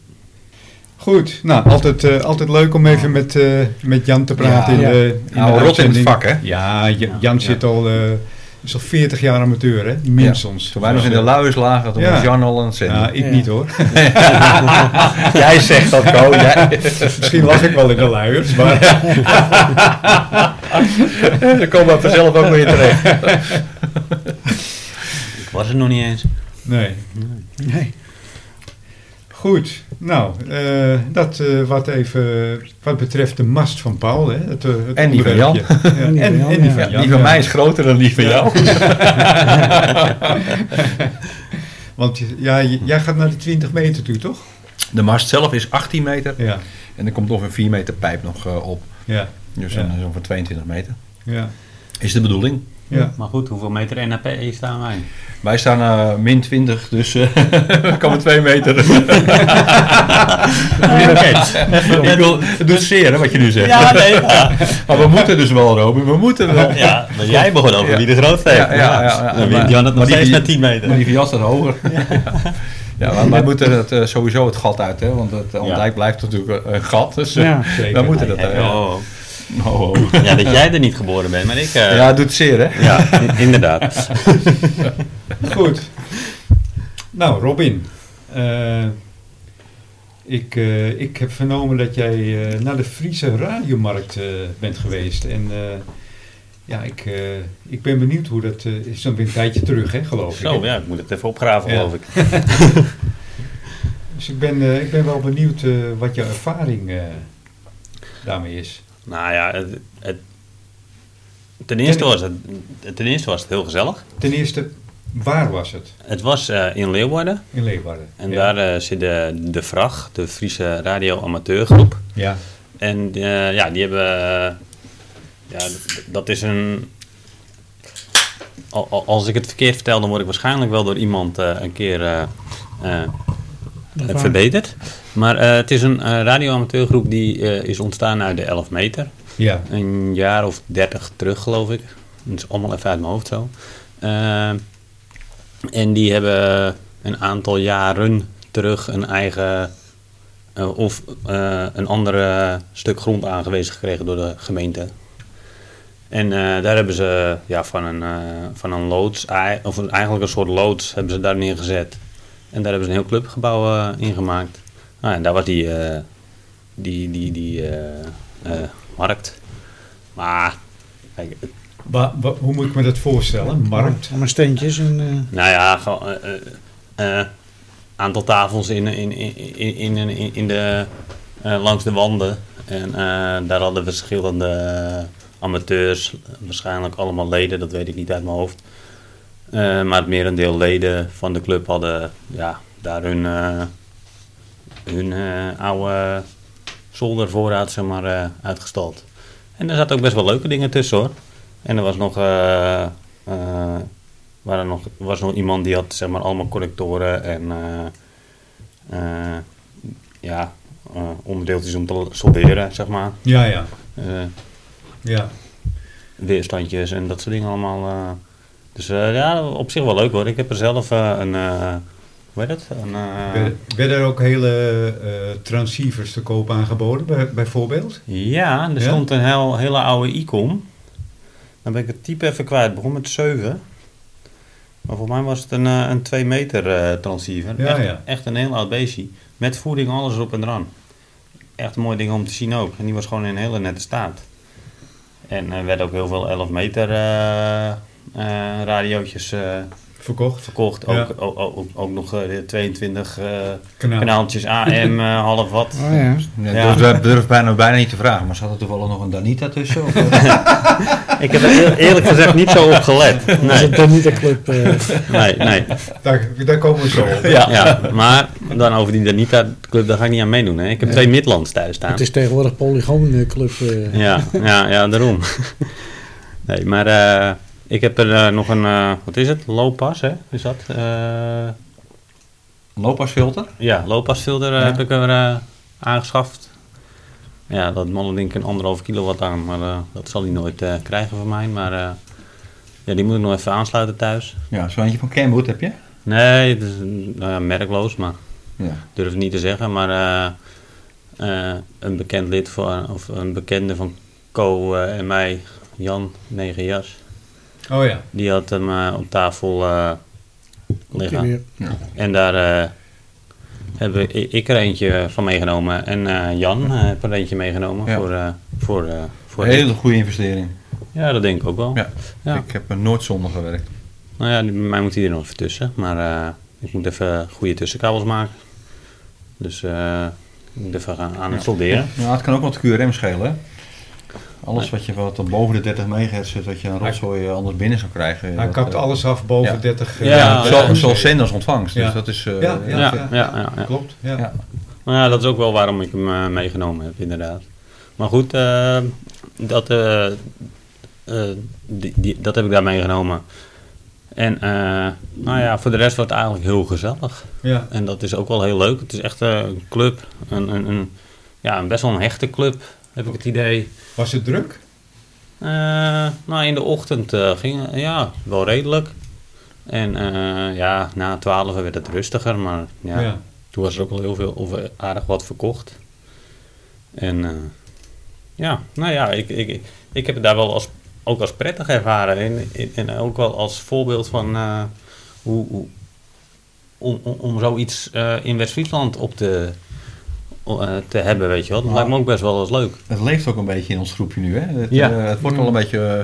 Speaker 1: Goed, nou, altijd, eh, altijd leuk om even met, eh, met Jan te praten.
Speaker 3: Ja,
Speaker 1: in
Speaker 3: ja.
Speaker 1: de, in de
Speaker 2: Nou, rot in het
Speaker 1: uitzending.
Speaker 2: vak, hè?
Speaker 1: Ja, J- Jan zit al, eh, is al 40 jaar amateur, hè? Minstens.
Speaker 2: Toen wij nog in de luiers lagen, toen
Speaker 1: Ja.
Speaker 2: was Jan al aan het
Speaker 1: Ja,
Speaker 2: zenden.
Speaker 1: ik
Speaker 3: Ja.
Speaker 1: niet hoor.
Speaker 2: *laughs*
Speaker 1: *laughs*
Speaker 2: Jij zegt dat, Ko. Jij...
Speaker 1: Misschien lag ik wel in de luiers, maar
Speaker 2: *laughs* Dan komen we vanzelf ook weer terecht.
Speaker 4: Ik was het nog niet eens.
Speaker 1: nee.
Speaker 3: Nee.
Speaker 1: Goed, nou, eh, dat eh, wat even wat betreft de mast van Paul, hè? Het, eh, het
Speaker 2: En die van Jan.
Speaker 1: onderwerpje. Ja, en, en die van Jan.
Speaker 2: die van
Speaker 1: ja.
Speaker 2: mij is groter dan die van jou.
Speaker 1: Want je- ja, j- jij gaat naar de 20 meter toe, toch?
Speaker 2: De mast zelf is 18 meter
Speaker 1: Ja,
Speaker 2: en er komt nog een 4 meter pijp nog eh, op.
Speaker 1: ja,
Speaker 2: Dus
Speaker 1: Ja.
Speaker 2: dan zo'n van 22 meter.
Speaker 1: ja.
Speaker 2: Is de bedoeling.
Speaker 1: ja.
Speaker 4: Maar goed, hoeveel meter NAP staan wij?
Speaker 2: Wij staan eh min 20, dus eh, *laughs* we komen 2 *laughs* meter. Ik wil, het doet zeer hè, wat je nu zegt.
Speaker 4: nee. Ja,
Speaker 2: *laughs* Maar we moeten dus wel, Robin. We moeten wel.
Speaker 4: maar jij begon over
Speaker 2: Ja.
Speaker 4: wie de grootste heeft.
Speaker 2: Ja, ja, ja, ja.
Speaker 4: Dan
Speaker 2: Maar-
Speaker 4: wint Jan het nog
Speaker 2: maar die-
Speaker 4: steeds naar 10 meter.
Speaker 2: Maar die jas staat hoger. *laughs* Ja, maar wij moeten het, eh, sowieso het gat uit, hè? want het eh, ontdijk blijft natuurlijk een gat. Dus eh,
Speaker 3: Ja,
Speaker 1: zeker.
Speaker 2: wij moeten dat
Speaker 4: Hey,
Speaker 2: uit.
Speaker 4: oh, oh.
Speaker 2: Oh, oh.
Speaker 4: Ja, dat jij er niet geboren bent, maar ik... eh,
Speaker 2: Ja, het doet zeer, hè?
Speaker 4: ja,
Speaker 1: *laughs*
Speaker 4: in- inderdaad.
Speaker 1: Goed. Nou, Robin. eh, ik, eh, ik heb vernomen dat jij eh, naar de Friese radiomarkt eh, bent geweest. En eh, ja, ik, eh, ik ben benieuwd hoe dat... eh, is dan weer een tijdje terug, hè, geloof ik.
Speaker 4: Zo,
Speaker 1: hè?
Speaker 4: ja, ik moet het even opgraven,
Speaker 1: Ja.
Speaker 4: geloof ik.
Speaker 1: Dus ik ben, eh, ik ben wel benieuwd eh, wat jouw ervaring eh, daarmee is.
Speaker 4: Nou ja, het, het- ten, eerste was het, ten eerste was het heel gezellig.
Speaker 1: Ten eerste, waar was het
Speaker 4: Het was eh, in Leeuwarden.
Speaker 1: in Leeuwarden?
Speaker 4: En
Speaker 1: ja.
Speaker 4: daar eh, zit de, de VRAG, de Friese Radio Amateurgroep.
Speaker 1: Ja,
Speaker 4: En eh, ja, die hebben. eh, ja, d- dat is een. al- al- Als ik het verkeerd vertel, dan word ik waarschijnlijk wel door iemand eh, een keer eh, eh,
Speaker 3: Dat
Speaker 4: eh,
Speaker 3: waar.
Speaker 4: verbeterd. Maar eh, het is een eh radioamateurgroep die eh, is ontstaan uit de 11 meter.
Speaker 1: ja,
Speaker 4: Een jaar of 30 terug, geloof ik. Dat is allemaal even uit mijn hoofd zo. Eh, en die hebben een aantal jaren terug een eigen eh, of eh, een ander stuk grond aangewezen gekregen door de gemeente. En eh, daar hebben ze ja, van, een, eh, van een loods, ei- of een- eigenlijk een soort loods, hebben ze daar neergezet. En daar hebben ze een heel clubgebouw eh, in gemaakt. Nou, en daar was die, eh, die, die, die eh, eh, markt. Maar, kijk, het-
Speaker 1: Wa- wa- hoe moet ik me dat voorstellen? Markt?
Speaker 3: Allemaal steentjes en... eh,
Speaker 4: nou ja, gewoon eh, eh, eh, aantal tafels in, in, in, in, in, in- in de, eh, langs de wanden. En eh, daar hadden verschillende amateurs, waarschijnlijk allemaal leden, dat weet ik niet uit mijn hoofd. Eh, maar het merendeel leden van de club hadden ja, daar hun, eh, hun eh, oude zoldervoorraad zeg maar, eh, uitgestald. En er zaten ook best wel leuke dingen tussen hoor. En er was nog, eh, eh, waren nog, was nog iemand die had zeg maar, allemaal connectoren en eh, eh, ja, eh, onderdeeltjes om te solderen, zeg maar.
Speaker 1: Ja, ja,
Speaker 4: Eh,
Speaker 1: ja.
Speaker 4: weerstandjes en dat soort dingen allemaal. eh. dus eh, ja, op zich wel leuk hoor. Ik heb er zelf eh, een, eh, hoe heet het? Een, eh,
Speaker 1: Werden-
Speaker 2: Ah.
Speaker 1: Werden er ook hele eh, transceivers te koop aangeboden, bij- bijvoorbeeld?
Speaker 4: ja, er
Speaker 1: Ja?
Speaker 4: stond een heel, hele oude Icom. Dan ben ik het type even kwijt. Het begon met 7. Maar voor mij was het een, eh, een 2 meter eh, transceiver.
Speaker 1: Ja,
Speaker 4: echt,
Speaker 1: ja.
Speaker 4: echt een heel oud beestje. Met voeding, alles erop en eraan. Echt een mooi ding om te zien ook. En die was gewoon in een hele nette staat. En er werden ook heel veel 11 meter eh eh radiootjes eh,
Speaker 1: verkocht.
Speaker 4: verkocht. Ook,
Speaker 1: Ja.
Speaker 4: ook, ook, ook- ook nog eh, 22 eh,
Speaker 1: Kanaal.
Speaker 4: kanaaltjes AM, eh, half
Speaker 1: *laughs*
Speaker 4: wat.
Speaker 3: Oh ja.
Speaker 2: Ja,
Speaker 4: Ja.
Speaker 2: durf- durf- durf bijna, bijna niet te vragen, maar zat er toevallig nog een Danita tussen? Of, *laughs* eh?
Speaker 4: Ik heb er eerlijk gezegd niet zo op gelet.
Speaker 3: Dat is
Speaker 4: Nee,
Speaker 3: het dan niet de club. eh.
Speaker 4: nee, nee.
Speaker 1: Daar, daar komen we zo op.
Speaker 4: Ja. maar dan over die Danita Club, daar ga ik niet aan meedoen. Hè. Ik heb twee Midlands thuis staan.
Speaker 3: het is tegenwoordig polygoon club. eh.
Speaker 4: Ja, ja, ja, daarom. Nee, maar eh, ik heb er eh, nog een, eh, wat is het? Looppas, hè? Is dat? Eh,
Speaker 2: Loopasfilter?
Speaker 4: ja, looppasfilter eh,
Speaker 2: Ja.
Speaker 4: heb ik er eh, aangeschaft. Ja, dat mannending een anderhalf kilowatt aan, maar eh, dat zal hij nooit eh, krijgen van mij. Maar eh, ja, die moet ik nog even aansluiten thuis.
Speaker 2: Ja, zo eentje van Kenwood heb je?
Speaker 4: Nee, het is mm, nou ja, merkloos, maar
Speaker 2: Ja.
Speaker 4: durf het niet te zeggen, maar eh, eh, een bekend lid van, of een bekende van Co eh, en mij, Jan Negenjas,
Speaker 1: Oh ja.
Speaker 4: die had hem eh, op tafel eh,
Speaker 3: Komt ie
Speaker 4: liggen.
Speaker 3: weer.
Speaker 4: En daar eh, heb ik, ik er eentje van meegenomen en eh, Jan eh, heeft er eentje meegenomen
Speaker 2: Ja.
Speaker 4: voor, eh, voor, eh, voor
Speaker 2: Een hele goede investering.
Speaker 4: Ja, dat denk ik ook wel.
Speaker 2: Ja.
Speaker 4: Ja.
Speaker 2: Ik heb er nooit zonder gewerkt.
Speaker 4: Nou ja, die- bij mij moet hij er nog even tussen, maar eh, ik moet even goede tussenkabels maken. Dus eh, ik moet even gaan, aan het solderen.
Speaker 2: Ja, het kan ook wat QRM schelen. hè. Alles wat je wat op boven de 30 megahertz zit, wat je aan rotzooi eh, anders binnen zou krijgen. eh,
Speaker 1: Hij
Speaker 2: dat,
Speaker 1: kapt
Speaker 2: eh,
Speaker 1: alles af boven
Speaker 2: ja.
Speaker 1: 30 eh,
Speaker 2: Ja,
Speaker 4: Ja, ja,
Speaker 2: zo-
Speaker 4: ja.
Speaker 2: zoals zenders ontvangst. Dus
Speaker 1: Ja.
Speaker 2: dat is... eh,
Speaker 1: Ja, ja.
Speaker 4: Ja, ja, ja, ja.
Speaker 1: Klopt, ja.
Speaker 2: Ja.
Speaker 4: Nou ja, dat is ook wel waarom ik hem eh, meegenomen heb, inderdaad. Maar goed, eh, dat, eh, eh, die, die- dat heb ik daar meegenomen. En eh, nou ja, voor de rest wordt het eigenlijk heel gezellig.
Speaker 1: Ja.
Speaker 4: En dat is ook wel heel leuk. Het is echt eh, een club, een, een, een, ja, een best wel een hechte club, heb ik het idee.
Speaker 1: Was het druk?
Speaker 4: Eh, nou, in de ochtend eh, ging ja, wel redelijk. En eh, ja, na twaalf werd het rustiger, maar
Speaker 1: Ja.
Speaker 4: ja. Toen was er ook al heel veel of eh, aardig wat verkocht. En eh, ja, nou ja, ik, ik, ik heb het daar wel als, ook als prettig ervaren. En, en- en ook wel als voorbeeld van eh, hoe, hoe, om, om, om zoiets eh, in West-Friesland op te, eh, te hebben, weet je wel. Dat lijkt me ook best wel eens leuk.
Speaker 2: Het leeft ook een beetje in ons groepje nu. Hè? Het,
Speaker 4: Ja.
Speaker 2: eh, het wordt al een beetje... eh,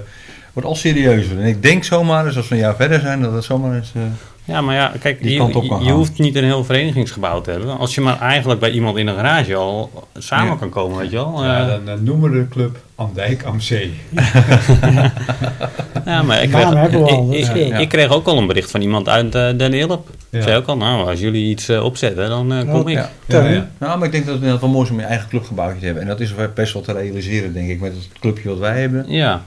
Speaker 2: wordt al serieuzer. En ik denk zomaar eens, als we een jaar verder zijn, dat het zomaar eens... eh,
Speaker 4: Ja, maar ja, kijk,
Speaker 2: Die
Speaker 4: je,
Speaker 2: kant op kan
Speaker 4: je
Speaker 2: gaan.
Speaker 4: hoeft niet een heel verenigingsgebouw te hebben. Als je maar eigenlijk bij iemand in een garage al samen
Speaker 2: Ja.
Speaker 4: kan komen, weet je wel.
Speaker 1: Ja,
Speaker 4: Eh,
Speaker 1: dan eh, noemen we de club Andijk am Zee.
Speaker 4: Ja, maar ik
Speaker 3: Ja,
Speaker 4: kreeg,
Speaker 3: maar hebben we al,
Speaker 4: ik,
Speaker 3: dat
Speaker 4: ik-
Speaker 3: is-
Speaker 2: ja.
Speaker 4: ik kreeg ook al een bericht van iemand uit eh Den Ilp.
Speaker 1: Ja.
Speaker 4: Zei ook al, nou, als jullie iets eh, opzetten, dan eh, kom
Speaker 3: Oh,
Speaker 4: ik.
Speaker 2: ja.
Speaker 1: Ja,
Speaker 3: Teun,
Speaker 1: ja.
Speaker 2: Nou, maar ik denk dat het inderdaad wel mooi is om je eigen clubgebouwtje te hebben. En dat is wel best wel te realiseren, denk ik, met het clubje wat wij hebben.
Speaker 4: Ja.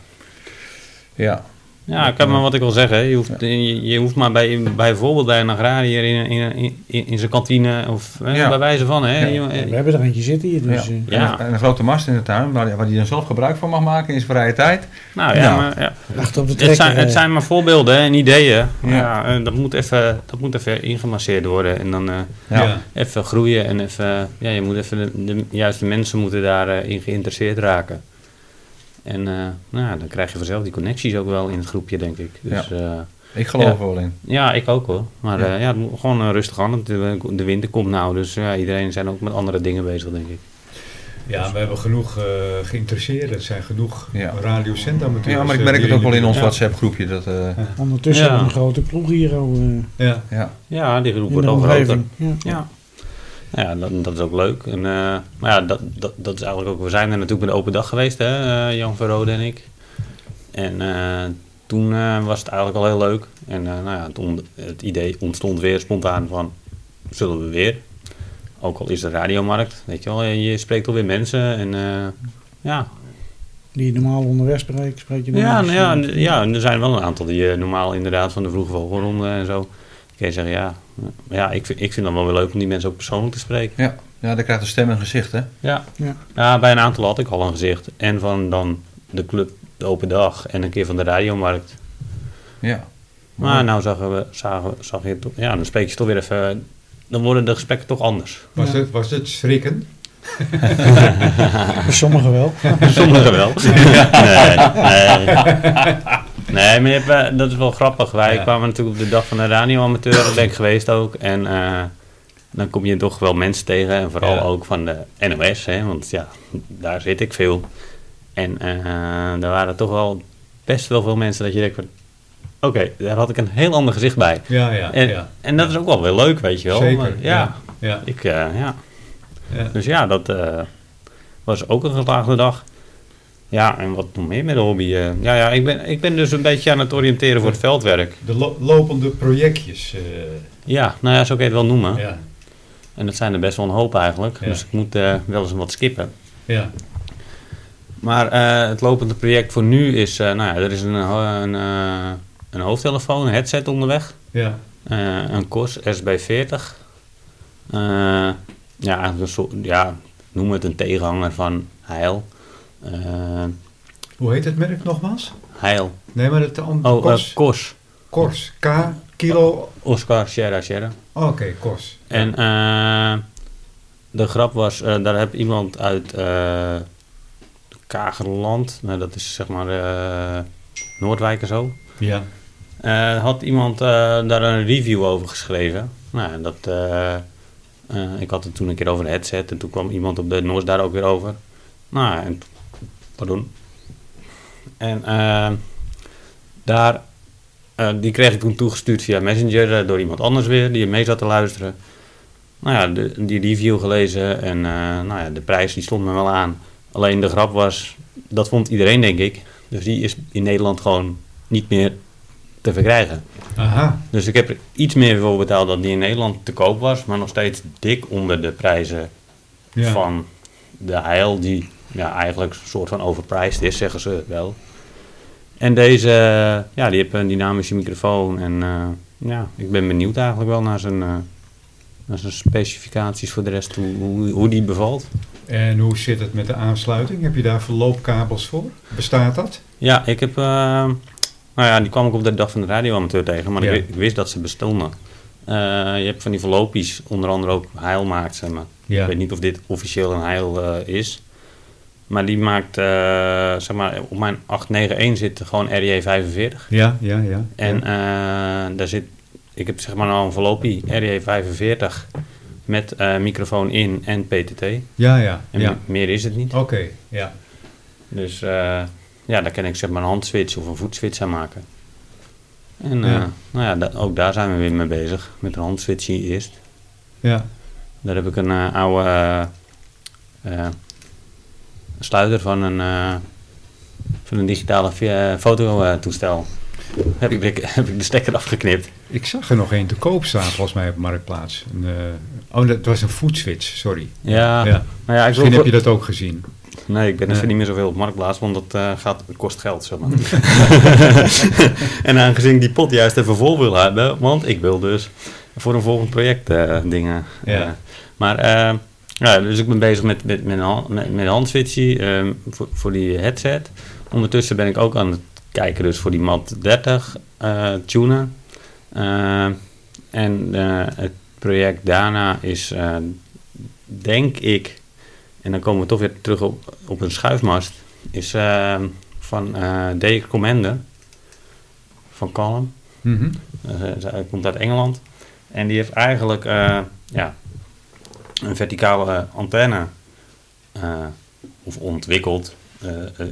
Speaker 2: Ja.
Speaker 4: Ja, ik heb maar wat ik wil zeggen. Je hoeft, je, je hoeft maar bij, bijvoorbeeld bij een agrariër in, in, in, in, in zijn kantine of eh,
Speaker 2: Ja.
Speaker 4: bij wijze van. Hè,
Speaker 2: Ja.
Speaker 4: Je- eh,
Speaker 3: We hebben er eentje zitten hier. Dus,
Speaker 2: ja.
Speaker 3: eh,
Speaker 4: Ja.
Speaker 2: En, een, en een grote mast in de tuin, waar, waar hij dan zelf gebruik van mag maken in zijn vrije tijd.
Speaker 4: nou ja,
Speaker 2: Ja.
Speaker 4: Maar, ja.
Speaker 3: wacht op de trekker.
Speaker 4: Het, zijn, het
Speaker 3: eh.
Speaker 4: zijn maar voorbeelden hè, en ideeën. Maar
Speaker 2: Ja.
Speaker 4: Ja. eh, dat, moet even, dat moet even ingemasseerd worden en dan eh,
Speaker 2: Ja.
Speaker 1: Ja.
Speaker 4: even groeien. En even, ja, je moet even de, de juiste mensen moeten daarin in geïnteresseerd raken. En eh, nou, ja, dan krijg je vanzelf die connecties ook wel in het groepje, denk ik. Dus ja,
Speaker 2: Ik geloof
Speaker 4: Ja.
Speaker 2: er wel in.
Speaker 4: ja ik ook hoor. Maar
Speaker 2: Ja.
Speaker 4: ja, ja het moet gewoon eh, rustig aan. want De, de winter komt nou, dus ja, iedereen zijn ook met andere dingen bezig, denk ik.
Speaker 1: Ja, we hebben genoeg eh, geïnteresseerden. Er zijn genoeg
Speaker 2: Ja.
Speaker 1: radiocendamateurs.
Speaker 2: Ja, maar ik
Speaker 1: eh,
Speaker 2: merk
Speaker 1: die
Speaker 2: het ook wel in ons
Speaker 4: Ja.
Speaker 2: WhatsApp groepje. Dat, eh,
Speaker 3: Ondertussen
Speaker 4: Ja.
Speaker 3: hebben we een grote ploeg hier al eh,
Speaker 1: Ja,
Speaker 2: ja.
Speaker 4: Ja, die groep
Speaker 3: in
Speaker 4: wordt
Speaker 3: de
Speaker 4: al groter.
Speaker 3: omgeving. Ja.
Speaker 4: Ja. Nou ja, dat, dat is ook leuk. En, eh, maar ja, dat, dat, dat is eigenlijk ook... We zijn er natuurlijk bij de open dag geweest, hè, eh, Jan Verrode en ik. En eh, toen eh, was het eigenlijk al heel leuk. En eh, nou ja, het, on- het idee ontstond weer spontaan van... Zullen we weer? Ook al is de radiomarkt, weet je wel. Je, je spreekt alweer mensen en... eh, ja,
Speaker 3: Die je normaal onderweg spreekt, spreek je
Speaker 4: ja,
Speaker 3: normaal.
Speaker 4: nou ja, en- ja, en er zijn wel een aantal die eh, normaal inderdaad van de vroege vogelronde en zo... Kun je zeggen, ja, ja ik, vind- ik vind het dan wel weer leuk om die mensen ook persoonlijk te spreken.
Speaker 2: Ja. ja, daar krijgt de stem een gezicht, hè?
Speaker 4: Ja.
Speaker 3: Ja.
Speaker 4: ja. bij een aantal had ik al een gezicht. En van dan de club, de open dag en een keer van de radiomarkt.
Speaker 2: Ja.
Speaker 4: Maar nou zagen we, zagen, we- zag je toch, ja, dan spreek je toch weer even, dan worden de gesprekken toch anders.
Speaker 1: was,
Speaker 3: Ja.
Speaker 1: Het, was het schrikken?
Speaker 3: Voor sommigen wel.
Speaker 4: *laughs* Sommigen wel. Nee, nee. Nee, maar je hebt, eh, dat is wel grappig. Wij
Speaker 1: Ja.
Speaker 4: kwamen natuurlijk op de dag van de radioamateur, ben ik geweest ook. En eh, dan kom je toch wel mensen tegen. En vooral
Speaker 1: Ja.
Speaker 4: ook van de NOS, hè, want ja, daar zit ik veel. En eh, er waren toch wel best wel veel mensen dat je denkt van... oké, daar had ik een heel ander gezicht bij.
Speaker 1: Ja, ja,
Speaker 4: En,
Speaker 1: ja.
Speaker 4: en dat is ook wel weer leuk, weet je wel.
Speaker 1: Zeker,
Speaker 4: Maar
Speaker 1: ja.
Speaker 4: ja,
Speaker 1: Ja.
Speaker 4: Ik, eh, ja.
Speaker 1: Ja.
Speaker 4: Dus ja, dat eh, was ook een geslaagde dag. Ja, en wat nog meer met de hobby? eh, ja, ja ik, ben, ik ben dus een beetje aan het oriënteren voor het veldwerk.
Speaker 1: De lo- lopende projectjes. eh,
Speaker 4: Ja, nou ja, zo kan je het wel noemen.
Speaker 1: ja.
Speaker 4: En dat zijn er best wel een hoop eigenlijk.
Speaker 1: Ja.
Speaker 4: Dus ik moet eh, wel eens wat skippen.
Speaker 1: Ja.
Speaker 4: Maar eh, het lopende project voor nu is... eh, nou ja, er is een, ho- een, eh, een hoofdtelefoon, een headset onderweg.
Speaker 1: Ja.
Speaker 4: Eh, een KOS SB40. Eh, ja, eigenlijk een soort, ja, noem het een tegenhanger van Heil. Eh,
Speaker 1: Hoe heet het merk nogmaals?
Speaker 4: Heil.
Speaker 1: Nee, maar het andere.
Speaker 4: Oh, eh,
Speaker 1: kors.
Speaker 4: KOS.
Speaker 1: Kors. K. Kilo. Oh,
Speaker 4: Oscar Sierra Sierra.
Speaker 1: Oké, kors.
Speaker 4: En eh, de grap was, eh, daar heb iemand uit eh Kagerland, nou, dat is zeg maar eh, Noordwijk en zo,
Speaker 1: Ja.
Speaker 4: Eh, had iemand eh, daar een review over geschreven. Nou, en dat, eh, eh, ik had het toen een keer over de headset en toen kwam iemand op de NOS daar ook weer over. Nou, en, pardon. En eh, daar, eh, die kreeg ik toen toegestuurd via Messenger eh, door iemand anders weer, die mee zat te luisteren. Nou ja, de- die review gelezen en eh, nou ja, de prijs die stond me wel aan. Alleen de grap was, dat vond iedereen denk ik. Dus die is in Nederland gewoon niet meer te verkrijgen.
Speaker 1: Aha.
Speaker 4: Dus ik heb er iets meer voor betaald dan die in Nederland te koop was, maar nog steeds dik onder de prijzen
Speaker 1: Ja.
Speaker 4: van de heil, die ja, eigenlijk een soort van overpriced is, zeggen ze wel. En deze, eh, ja, die heeft een dynamische microfoon en eh, ja, ik ben benieuwd eigenlijk wel naar zijn, eh, naar zijn specificaties voor de rest, hoe, hoe, hoe die bevalt.
Speaker 1: En hoe zit het met de aansluiting? Heb je daar verloopkabels voor? Bestaat dat?
Speaker 4: Ja, ik heb. eh, nou ja, die kwam ik op de dag van de radioamateur tegen, maar
Speaker 1: Ja.
Speaker 4: ik, wi- ik wist dat ze bestonden. Eh, je hebt van die verlopies, onder andere ook Heil maakt ze, maar
Speaker 1: Ja.
Speaker 4: ik weet niet of dit officieel een Heil eh, is. Maar die maakt, eh, zeg maar, op mijn 891 zit gewoon RJ45.
Speaker 1: Ja, ja, ja.
Speaker 4: En eh, daar zit, ik heb zeg maar nou een verlopie RJ45 met eh, microfoon in en PTT. En
Speaker 1: Ja, ja, ja.
Speaker 4: me- meer is het niet.
Speaker 1: Oké, ja.
Speaker 4: Dus eh, ja, daar kan ik zeg maar een handswitch of een voetswitch aan maken. En
Speaker 1: Ja.
Speaker 4: eh, nou ja, da- ook daar zijn we weer mee bezig. Met een handswitch hier eerst.
Speaker 1: Ja,
Speaker 4: Daar heb ik een eh, oude eh, eh, sluiter van een, eh, van een digitale eh, fototoestel. Heb ik, de, *laughs* heb ik de stekker afgeknipt.
Speaker 1: ik zag er nog één te koop staan volgens mij op Marktplaats. Een, eh, oh, dat was een foodswitch, sorry.
Speaker 4: Ja,
Speaker 1: Ja.
Speaker 4: nou ja, ik wil...
Speaker 1: Misschien heb je dat ook gezien.
Speaker 4: Nee, ik ben
Speaker 1: Nee.
Speaker 4: even niet meer zoveel op Marktplaats, want dat eh, gaat, het kost geld,
Speaker 1: *laughs*
Speaker 4: zeg maar. *laughs* en aangezien ik die pot juist even vol wil hebben, want ik wil dus voor een volgend project eh, dingen.
Speaker 1: Ja.
Speaker 4: eh, maar, eh, ja, dus ik ben bezig met, met, met, een hand- met, met een handswitchie ehm, voor, voor die headset. Ondertussen ben ik ook aan het kijken dus voor die mat 30 eh tuner. Eh, en eh, het project daarna is, eh, denk ik, en dan komen we toch weer terug op, op een schuifmast, is eh, van eh D. Commander van Calm.
Speaker 1: Mhm.
Speaker 4: Eh, Hij komt uit Engeland. En die heeft eigenlijk eh, ja, een verticale antenne eh, of ontwikkeld. Eh, eh, eh,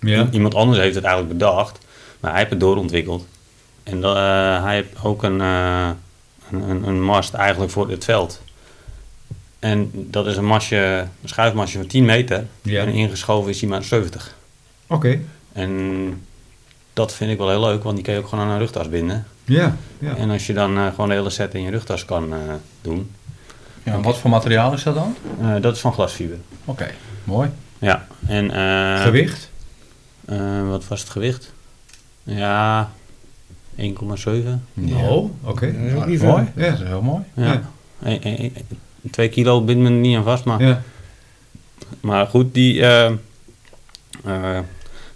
Speaker 1: Ja.
Speaker 4: Iemand anders heeft het eigenlijk bedacht, maar hij heeft het doorontwikkeld. En eh, hij heeft ook een, eh, een, een, een mast eigenlijk voor het veld. En dat is een, masje, een schuifmasje van 10 meter.
Speaker 1: Ja.
Speaker 4: En ingeschoven is hij maar 70.
Speaker 1: Oké,
Speaker 4: En dat vind ik wel heel leuk, want die kan je ook gewoon aan een rugtas binden.
Speaker 1: ja. ja.
Speaker 4: En als je dan eh, gewoon de hele set in je rugtas kan eh, doen,
Speaker 2: Ja, en wat voor materiaal is dat dan?
Speaker 4: eh, dat is van glasfiber.
Speaker 2: Oké, mooi.
Speaker 4: Ja, en... eh,
Speaker 1: Gewicht?
Speaker 4: eh, wat was het gewicht? Ja, 1,7.
Speaker 2: Ja.
Speaker 1: Oh, oké.
Speaker 3: Dat is ook
Speaker 2: Nou,
Speaker 3: niet
Speaker 2: mooi.
Speaker 3: veel.
Speaker 1: Ja.
Speaker 2: Dat is heel mooi.
Speaker 1: Ja.
Speaker 4: Ja. E- e- e- Twee kilo bindt me er niet aan vast, maar,
Speaker 1: Ja.
Speaker 4: maar goed, die. eh, eh,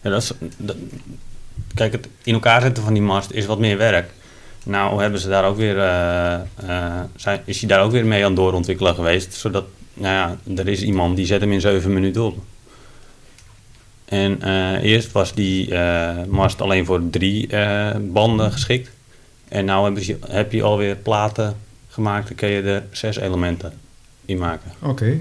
Speaker 4: ja, dat is, dat- kijk, het in elkaar zetten van die mast is wat meer werk. Nou, hebben ze daar ook weer. eh, eh, zijn, is hij daar ook weer mee aan het doorontwikkelen geweest? Zodat, nou ja, er is iemand die zet hem in zeven minuten op. En eh, eerst was die eh, mast alleen voor drie eh, banden geschikt. En nu hebben ze, heb je alweer platen gemaakt, dan kun je er zes elementen in maken.
Speaker 1: Oké.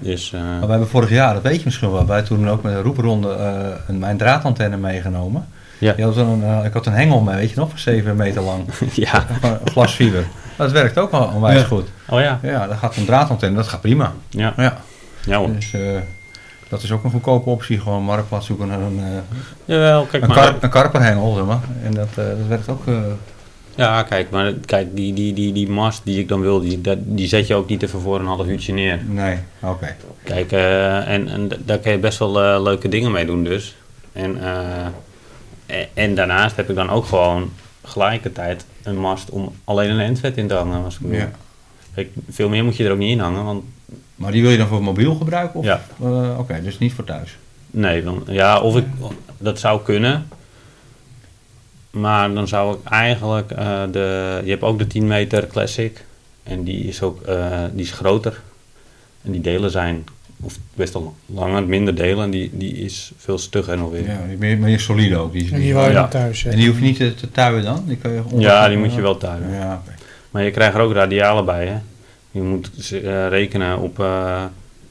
Speaker 4: Dus eh,
Speaker 2: *laughs* Maar we hebben vorig jaar, dat weet je misschien wel, wij toen ook met een roepronde eh, een mijn draadantenne meegenomen.
Speaker 4: Ja.
Speaker 2: Die had zo'n, eh, ik had een hengel mee, weet je nog, van 7 meter lang.
Speaker 4: *laughs* ja.
Speaker 2: Van Glasfiber. Dat werkt ook wel onwijs
Speaker 1: Ja.
Speaker 2: goed.
Speaker 4: Oh ja.
Speaker 2: Ja, daar gaat een draadantenne, dat gaat prima.
Speaker 4: Ja,
Speaker 2: Ja,
Speaker 4: ja hoor.
Speaker 2: dus eh, dat is ook een goedkope optie. Gewoon marktplaats zoeken naar een, eh,
Speaker 4: Jawel, kijk
Speaker 2: een,
Speaker 4: maar.
Speaker 2: kar, een karperhengel, zeg maar. En dat, eh, dat werkt ook... eh,
Speaker 4: Ja, kijk, maar kijk, die, die, die, die mast die ik dan wil, die, dat- die zet je ook niet even voor een half uurtje neer.
Speaker 2: nee, oké.
Speaker 4: Kijk, eh, en, en d- daar kun je best wel eh, leuke dingen mee doen dus. En, eh, en, en daarnaast heb ik dan ook gewoon gelijkertijd een mast om alleen een endvet in te hangen. Als ik bedoel.
Speaker 2: Ja.
Speaker 4: Kijk, veel meer moet je er ook niet in hangen, want
Speaker 2: Maar die wil je dan voor mobiel gebruiken? Of?
Speaker 4: Ja.
Speaker 2: Eh, Oké, dus niet voor thuis.
Speaker 4: nee, dan, ja, of ik, dat zou kunnen. Maar dan zou ik eigenlijk eh, de, je hebt ook de 10 meter classic en die is ook, eh, die is groter. En die delen zijn, of best wel langer, minder delen en die, die is veel stugger nog weer.
Speaker 2: Ja, die ben je, ben je solide ook. Die,
Speaker 3: En die wou je
Speaker 4: Ja.
Speaker 3: dan thuis
Speaker 2: en
Speaker 3: zetten.
Speaker 2: die hoef je niet te, te tuien dan? Die kan je onder-
Speaker 4: Ja, die moet je wel tuigen.
Speaker 2: Ja, oké.
Speaker 4: Maar je krijgt er ook radialen bij, hè? Je moet z- eh, rekenen op eh,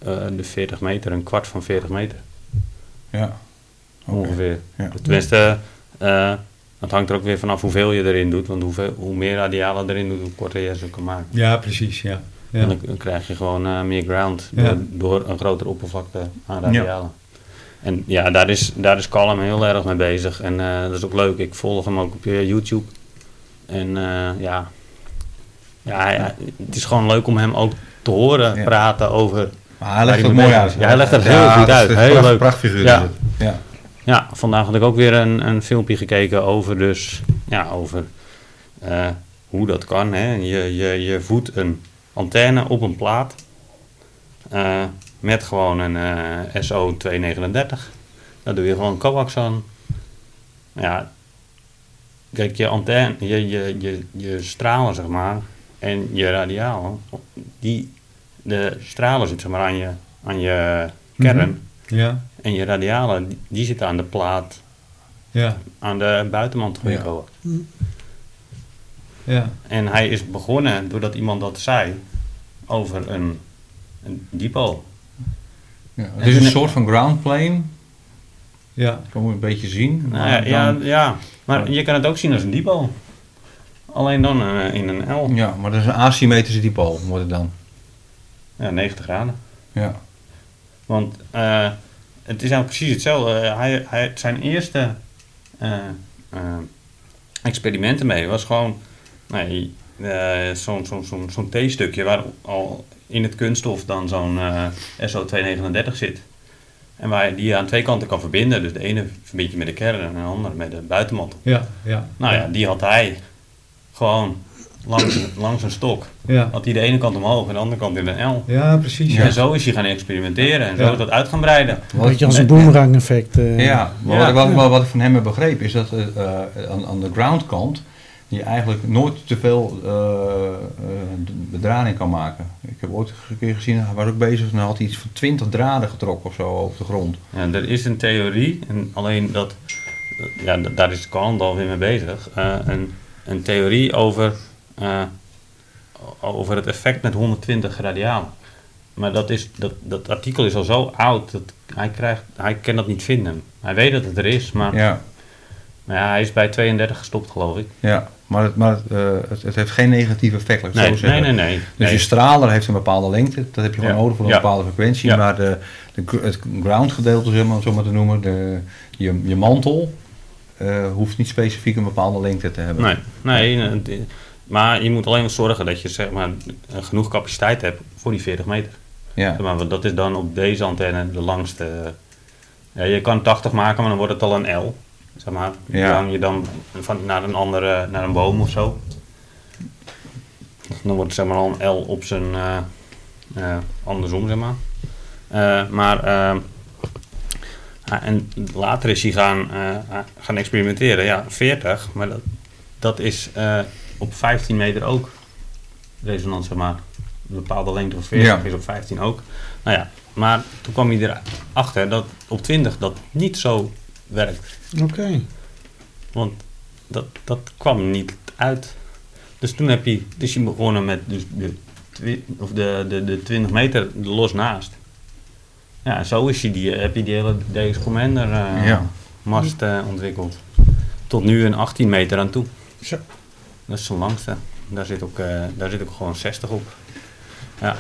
Speaker 4: eh, de 40 meter, een kwart van 40 meter
Speaker 2: ja. Oké.
Speaker 4: ongeveer.
Speaker 2: Ja.
Speaker 4: Tenminste, eh dat hangt er ook weer vanaf hoeveel je erin doet. Want hoeveel, hoe meer radialen erin doet, hoe korter je ze kan maken.
Speaker 1: Ja, precies, ja.
Speaker 4: En
Speaker 1: ja.
Speaker 4: dan, dan krijg je gewoon eh, meer ground
Speaker 1: Ja.
Speaker 4: door, door een grotere oppervlakte aan radialen. En ja, daar is, daar is Colin heel erg mee bezig. En eh, dat is ook leuk. Ik volg hem ook op eh, YouTube. En eh, ja, ja, hij- hij- het is gewoon leuk om hem ook te horen
Speaker 2: Ja.
Speaker 4: praten over...
Speaker 2: Maar hij legt
Speaker 4: die
Speaker 2: het
Speaker 4: mee
Speaker 2: mooi
Speaker 4: bezig
Speaker 2: uit.
Speaker 4: is. Ja, hij legt het heel goed
Speaker 2: dat is-
Speaker 4: uit.
Speaker 2: dat is
Speaker 4: Heel
Speaker 2: pracht-
Speaker 4: leuk.
Speaker 2: prachtfiguur is
Speaker 4: Ja.
Speaker 2: het. ja.
Speaker 4: Ja, vandaag had ik ook weer een, een filmpje gekeken over dus... Ja, over eh, hoe dat kan. Hè. Je, je, je voedt een antenne op een plaat. eh, met gewoon een eh, SO239. Daar doe je gewoon coax aan. Ja, kijk, je antenne, je, je, je, je stralen zeg maar. En je radialen. Die, de stralen zitten zeg maar aan je, aan je kern.
Speaker 1: Ja,
Speaker 4: En je radialen, die- die zitten aan de plaat,
Speaker 1: ja,
Speaker 4: aan de buitenmand van je
Speaker 2: Ja.
Speaker 4: coax.
Speaker 1: ja.
Speaker 4: En hij is begonnen doordat iemand dat zei over een, een diepo.
Speaker 2: Ja, Het is
Speaker 4: En-
Speaker 2: een soort van ground plane.
Speaker 1: ja.
Speaker 2: Dat kan je een beetje zien.
Speaker 4: Nou ja,
Speaker 2: Maar
Speaker 4: ja,
Speaker 2: Ah, dan-
Speaker 4: ja, maar je kan het ook zien als een diepo. Alleen dan eh, in een L.
Speaker 2: ja, maar dat is een asymmetrische diepool, wordt het dan.
Speaker 4: Ja, 90 graden.
Speaker 2: Ja.
Speaker 4: Want eh, het is eigenlijk precies hetzelfde. Eh, hij, hij, zijn eerste eh, eh, experimenten mee was gewoon nee, eh, zo'n zo'n zo'n zo'n theestukje waar al in het kunststof dan zo'n eh, SO239 zit. En waar je die aan twee kanten kan verbinden. Dus de ene verbind je met de kern en de andere met de buitenmantel.
Speaker 1: Ja, ja.
Speaker 4: Nou ja, die had hij gewoon langs, langs een stok.
Speaker 1: Ja,
Speaker 4: Had hij de ene kant omhoog en de andere kant in een L.
Speaker 1: ja precies. Ja.
Speaker 4: En zo is hij gaan experimenteren en zo
Speaker 1: Ja.
Speaker 4: is dat uit gaan breiden.
Speaker 3: Een beetje
Speaker 2: Wat-
Speaker 3: als een boomerang effect. eh.
Speaker 2: Ja, maar
Speaker 4: Ja.
Speaker 2: wat ik wel- wel- wat ik van hem heb begrepen is dat eh, eh, aan, aan de ground kant je eigenlijk nooit te veel eh, eh, d- bedrading kan maken. Ik heb ooit een keer gezien, hij was ook bezig en had hij iets van 20 draden getrokken of zo over de grond.
Speaker 4: Ja, er is een theorie, en alleen dat, ja, d- daar is Kant alweer mee bezig, eh, een, een theorie over, eh, o- over het effect met 120 radiaal. Maar dat, is, dat, dat artikel is al zo oud, dat hij, krijgt, hij kan dat niet vinden. Hij weet dat het er is, maar,
Speaker 2: Ja,
Speaker 4: maar ja, hij is bij 32 gestopt, geloof ik.
Speaker 2: ja. maar, het, maar het, eh, het, het heeft geen negatief effect, laat ik het
Speaker 4: Nee,
Speaker 2: zo zeggen.
Speaker 4: nee, nee, nee.
Speaker 2: Dus
Speaker 4: nee.
Speaker 2: je straler heeft een bepaalde lengte, dat heb je gewoon
Speaker 4: Ja.
Speaker 2: nodig voor een
Speaker 4: Ja.
Speaker 2: bepaalde frequentie.
Speaker 4: Ja.
Speaker 2: Maar de, de, gr- het ground gedeelte, zeg maar, om het zo maar te noemen, de, je, je mantel, eh, hoeft niet specifiek een bepaalde lengte te hebben.
Speaker 4: Nee, nee, nee, het- maar je moet alleen wel zorgen dat je zeg maar, eh, genoeg capaciteit hebt voor die 40 meter.
Speaker 2: Ja.
Speaker 4: Ja, maar want dat is dan op deze antenne de langste. eh, Ja, je kan 80 maken, maar dan wordt het al een L. Zeg maar.
Speaker 2: Ja.
Speaker 4: Dan je dan van, naar een andere, naar een boom of zo. Dan wordt het zeg maar al een L op zijn eh, eh, andersom, zeg maar. Eh, maar eh, ja, Ah, en later is hij gaan, eh, gaan experimenteren. Ja, 40, maar dat, dat is eh, op 15 meter ook resonant, zeg maar. Een bepaalde lengte van 40
Speaker 2: Ja.
Speaker 4: is op 15 ook. Nou ja, maar toen kwam hij erachter dat op 20 dat niet zo werkt.
Speaker 3: Oké.
Speaker 4: Want dat, dat kwam niet uit. Dus toen heb hij, dus hij begonnen met dus de, twi- of de, de, de 20 meter los naast. Ja, zo is hij die, heb je die hele Deus Commander eh,
Speaker 2: Ja.
Speaker 4: mast eh, ontwikkeld. tot nu een 18 meter aan toe.
Speaker 3: Zo.
Speaker 4: Dat is zijn langste. Daar zit ook, eh, daar zit ook gewoon 60 op. Ja.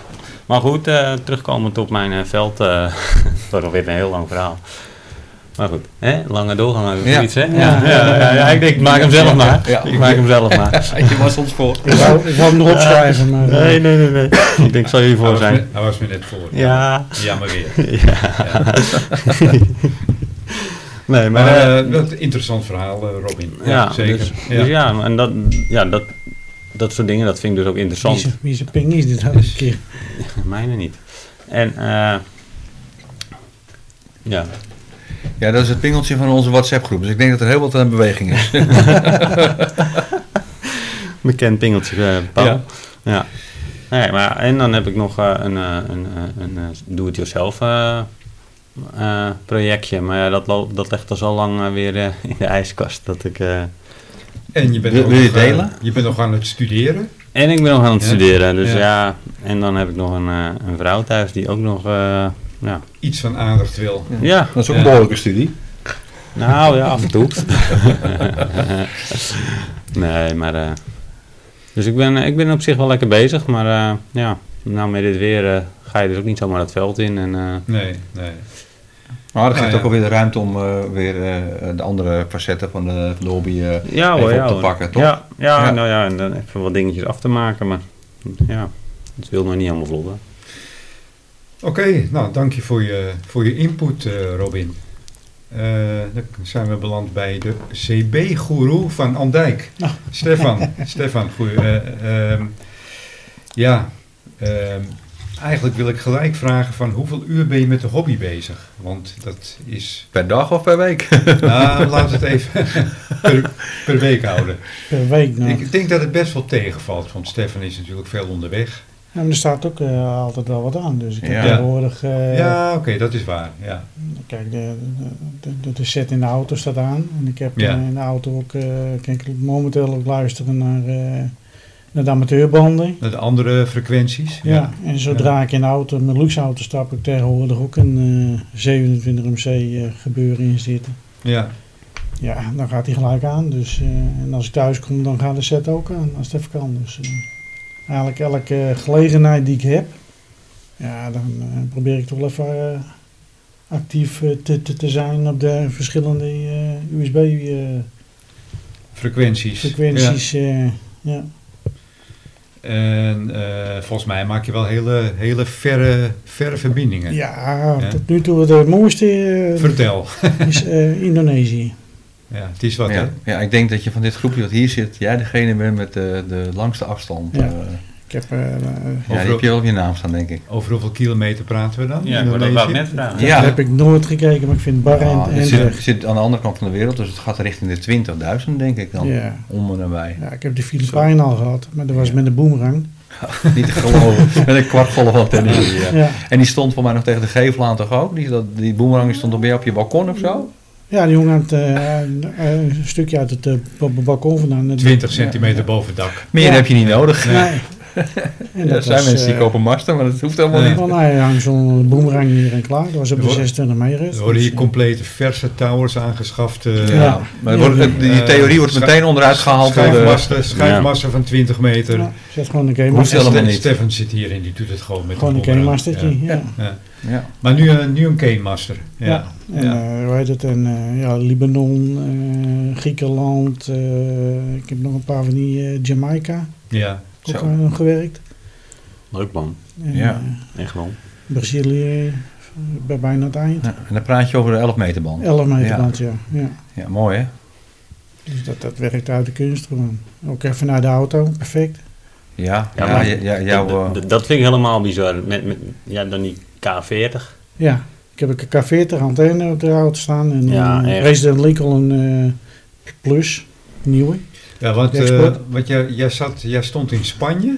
Speaker 4: Maar goed, eh, terugkomend op mijn eh, veld. eh *laughs* het wordt alweer een heel lang verhaal. Maar goed, hè? lange doorgang of
Speaker 2: Ja.
Speaker 4: iets, hè? Ja, ja, ja, ja, ik denk, ik maak hem zelf maar.
Speaker 2: Ja.
Speaker 4: Ik maak hem zelf maar.
Speaker 2: Je was ons voor.
Speaker 3: Ik wou, ik wou hem erop schrijven, maar...
Speaker 4: *laughs*
Speaker 3: eh,
Speaker 4: Nee, nee, nee, nee. Ik denk, zal jullie
Speaker 1: Hij
Speaker 4: voor
Speaker 1: was me-
Speaker 4: zijn.
Speaker 1: Hij was me net voor.
Speaker 4: Ja.
Speaker 1: Ja, maar weer.
Speaker 4: Nee,
Speaker 1: Maar
Speaker 4: maar...
Speaker 1: eh, dat is een interessant verhaal, eh, Robin. Ja,
Speaker 4: Ja,
Speaker 1: zeker.
Speaker 4: Dus,
Speaker 1: ja.
Speaker 4: dus ja, en dat, ja, dat, dat soort dingen, dat vind ik dus ook
Speaker 3: Wie
Speaker 4: interessant.
Speaker 3: zijn- Wie zijn ping is dit nou een keer?
Speaker 4: Mijne niet. En, eh, ja.
Speaker 2: Ja, dat is het pingeltje van onze WhatsApp groep. Dus ik denk dat er heel wat aan beweging is.
Speaker 4: Bekend pingeltje, eh, Paul.
Speaker 2: Ja.
Speaker 4: Ja. Nee, maar, en dan heb ik nog eh, een, eh, een, eh, een, eh, do-it-yourself eh, eh, projectje. Maar ja, dat, lo- dat ligt al zo lang eh, weer eh, in de ijskast. Dat ik, eh,
Speaker 1: En je bent,
Speaker 2: Wil-
Speaker 1: ook
Speaker 2: wil je
Speaker 1: nog, eh,
Speaker 2: delen?
Speaker 1: je bent nog aan het studeren.
Speaker 4: en ik ben nog aan het
Speaker 1: Ja.
Speaker 4: studeren. Dus
Speaker 1: Ja.
Speaker 4: ja. en dan heb ik nog een, eh, een vrouw thuis die ook nog... eh, ja.
Speaker 1: Iets van aandacht wil.
Speaker 4: ja,
Speaker 2: Dat is ook
Speaker 1: Ja.
Speaker 2: een behoorlijke studie.
Speaker 4: Nou ja, af en toe. *laughs* nee, maar. eh, dus ik ben, ik ben op zich wel lekker bezig, maar eh, ja, nou met dit weer eh, ga je dus ook niet zomaar het veld in. En, eh,
Speaker 1: Nee, nee.
Speaker 2: Maar er
Speaker 1: Nou
Speaker 2: geeft
Speaker 1: ja.
Speaker 2: ook alweer de ruimte om eh, weer eh, de andere facetten van de, van de hobby eh,
Speaker 4: ja hoor,
Speaker 2: even
Speaker 4: ja
Speaker 2: op te
Speaker 4: hoor.
Speaker 2: pakken, toch?
Speaker 4: Ja, ja,
Speaker 2: Ja.
Speaker 4: nou ja, en dan even wat dingetjes af te maken, maar ja, het wil nog niet helemaal vlodden.
Speaker 1: Oké, nou dank je voor je, voor je input, eh, Robin. Eh, dan zijn we beland bij de CB-goeroe van
Speaker 3: *laughs*
Speaker 1: Andijk.
Speaker 3: Oh.
Speaker 1: Stefan, Stefan, goeie. eh, ehm, ja, ehm, eigenlijk wil ik gelijk vragen van hoeveel uur ben je met de hobby bezig? Want dat
Speaker 3: *laughs*
Speaker 1: is,
Speaker 2: Per dag of per week?
Speaker 1: nou laat het even *laughs* per, per week houden.
Speaker 3: Per week nou.
Speaker 1: Ik denk dat het best wel tegenvalt, want Stefan is natuurlijk veel onderweg.
Speaker 3: En er staat ook eh, altijd wel wat aan. Dus ik heb
Speaker 2: Ja.
Speaker 3: tegenwoordig... eh,
Speaker 1: ja, oké, dat is waar. Ja.
Speaker 3: Kijk, de, de, de, de set in de auto staat aan. En ik heb
Speaker 1: Ja.
Speaker 3: eh, in de auto ook... eh, kan ik momenteel ook luisteren naar, eh, naar de amateurbanden.
Speaker 1: De andere frequenties.
Speaker 3: Ja. En zodra ik in de auto, mijn luxe auto stap, ik tegenwoordig ook een eh, 27 MC eh, gebeuren in zitten.
Speaker 1: ja.
Speaker 3: Ja, dan gaat hij gelijk aan. Dus, eh, en als ik thuis kom, dan gaat de set ook aan, als het even kan. Dus eh, eigenlijk elke eh, gelegenheid die ik heb, ja, dan eh, probeer ik toch wel even eh, actief eh, te, te, te zijn op de verschillende eh, USB-frequenties.
Speaker 1: frequenties.
Speaker 3: ja. ja.
Speaker 1: Ja. En eh, volgens mij maak je wel hele, hele verre, verre verbindingen.
Speaker 3: Ja,
Speaker 1: Ja.
Speaker 3: tot nu toe het mooiste eh,
Speaker 1: Vertel.
Speaker 3: is eh, Indonesië.
Speaker 1: Ja, het is wat, hè?
Speaker 2: Ja. ja, ik denk dat je van dit groepje wat hier zit, jij degene bent met de, de langste afstand.
Speaker 3: Ja.
Speaker 2: eh.
Speaker 3: Ik heb eh, eh,
Speaker 2: ja, die heb je wel op je naam staan, denk ik.
Speaker 1: Over hoeveel kilometer praten we dan?
Speaker 4: Ja, ik word ook wel
Speaker 1: Indonesië?
Speaker 4: net vragen.
Speaker 2: Ja.
Speaker 3: Daar heb ik nooit gekeken, maar ik vind Bar
Speaker 2: Ah,
Speaker 3: en
Speaker 2: het
Speaker 3: en
Speaker 2: zit,
Speaker 3: weg.
Speaker 2: zit aan de andere kant van de wereld, dus het gaat richting de 20.000, denk ik dan.
Speaker 3: Ja.
Speaker 2: Om en nabij.
Speaker 3: Ja, ik heb de Filipijnen al gehad, maar dat was met een boomerang.
Speaker 2: Niet te *laughs* geloven. Met een kwartvolle van tennis.
Speaker 3: Ja.
Speaker 2: Ja.
Speaker 3: Ja.
Speaker 2: En die stond voor mij nog tegen de gevel aan toch ook? Die, dat, die boemerang die stond op, bij jou op je balkon of zo?
Speaker 3: die jongen aan het, eh, eh, een stukje uit het eh, ba- ba- balkon vandaan. Het-
Speaker 1: 20 centimeter boven het dak.
Speaker 2: Meer
Speaker 3: Ja.
Speaker 2: heb je niet nodig.
Speaker 3: Nee. En
Speaker 2: Ja, *laughs* er
Speaker 3: dat
Speaker 2: zijn
Speaker 3: was,
Speaker 2: mensen die
Speaker 3: eh,
Speaker 2: kopen masten, maar dat hoeft helemaal
Speaker 1: Nee.
Speaker 2: niet.
Speaker 3: Van, nou, ja, hang zo'n boomerang hier en klaar. Dat was op de
Speaker 1: Hoor-
Speaker 3: 26 mei.
Speaker 1: Er worden hier complete verse towers aangeschaft. eh,
Speaker 2: Ja.
Speaker 3: Ja.
Speaker 2: Maar het wordt- het- die theorie wordt
Speaker 1: Eh,
Speaker 2: meteen onderuit gehaald door de...
Speaker 1: Schijfmassen, schijfmassen van 20 meter.
Speaker 3: Ja, zet gewoon een game
Speaker 2: Hoeft
Speaker 1: En
Speaker 2: helemaal
Speaker 1: Ste-
Speaker 2: niet.
Speaker 1: Stefan zit hier en die doet het gewoon met
Speaker 3: Gewoon een
Speaker 1: de boemerang.
Speaker 3: gamemastertje.
Speaker 1: Ja.
Speaker 3: Ja. Ja.
Speaker 2: Ja.
Speaker 1: Maar nu, een- nu een Cane Master. Ja.
Speaker 3: Ja. En
Speaker 1: Ja.
Speaker 3: eh, hoe heet het? En eh, ja, Libanon, eh, Griekenland. eh, ik heb nog een paar van die eh, Jamaica.
Speaker 1: Ja.
Speaker 3: Ook
Speaker 2: Zo.
Speaker 3: aan gewerkt.
Speaker 4: Leuk man,
Speaker 3: En,
Speaker 2: Ja.
Speaker 3: eh,
Speaker 4: echt wel.
Speaker 3: Brazilië, eh, bij bijna het eind.
Speaker 2: Ja, En dan praat je over de 11 meter band.
Speaker 3: 11 meter
Speaker 2: Ja.
Speaker 3: ja. ja. ja.
Speaker 2: Ja, mooi hè?
Speaker 3: Dus dat, dat werkt uit de kunst gewoon. Ook even naar de auto, perfect.
Speaker 2: Ja, ja,
Speaker 4: Ja,
Speaker 2: ja,
Speaker 4: maar-
Speaker 2: ja, jouw,
Speaker 4: dat,
Speaker 2: eh,
Speaker 4: dat- dat vind ik helemaal bizar. Met, met, ja, dan die K40.
Speaker 3: Ja, ik heb een K40 antenne op de auto staan. En
Speaker 4: Ja,
Speaker 3: een
Speaker 4: echt.
Speaker 3: Resident Lincoln eh, Plus, nieuwe.
Speaker 1: Ja, want,
Speaker 3: De export.
Speaker 1: eh, want jij, jij, zat, jij stond in Spanje.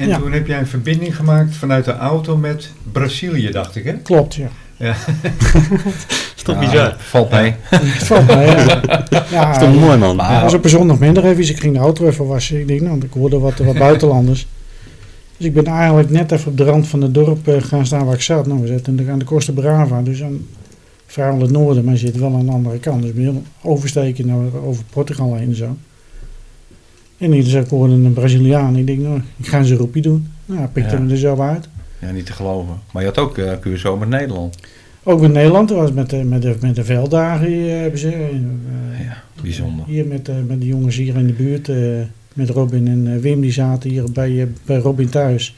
Speaker 1: En
Speaker 3: Ja.
Speaker 1: toen heb jij een verbinding gemaakt vanuit de auto met Brazilië, dacht ik, hè?
Speaker 3: Klopt,
Speaker 4: *laughs*
Speaker 3: ja.
Speaker 4: Dat is toch
Speaker 2: nou,
Speaker 4: bizar?
Speaker 2: Valt mee.
Speaker 3: Het valt mij, ja. ja
Speaker 4: Dat is toch mooi man.
Speaker 3: Het was op een zondagmiddag even. Ik ging de auto even wassen. Ik denk, nou, ik hoorde wat, wat buitenlanders. Dus ik ben eigenlijk net even op de rand van het dorp eh, gaan staan waar ik zat. Nou, we zetten aan de Costa Brava. Dus dan vrijwel het noorden, maar je zit wel aan de andere kant. Dus ben oversteken naar, over Portugal heen en zo. En hier zei ik hoorde een Braziliaan. Ik denk, nou, ik ga eens een roepje doen. Nou, pikte
Speaker 2: Ja.
Speaker 3: hem er zo uit.
Speaker 2: Ja, niet te geloven. Maar je had ook eh Curaçao met Nederland.
Speaker 3: Ook in Nederland, dat was met, de- met, de, met de velddagen hier, hebben ze. eh,
Speaker 2: Ja, bijzonder.
Speaker 3: Hier met, eh, met de jongens hier in de buurt, eh, met Robin en eh, Wim, die zaten hier bij, eh, bij Robin thuis.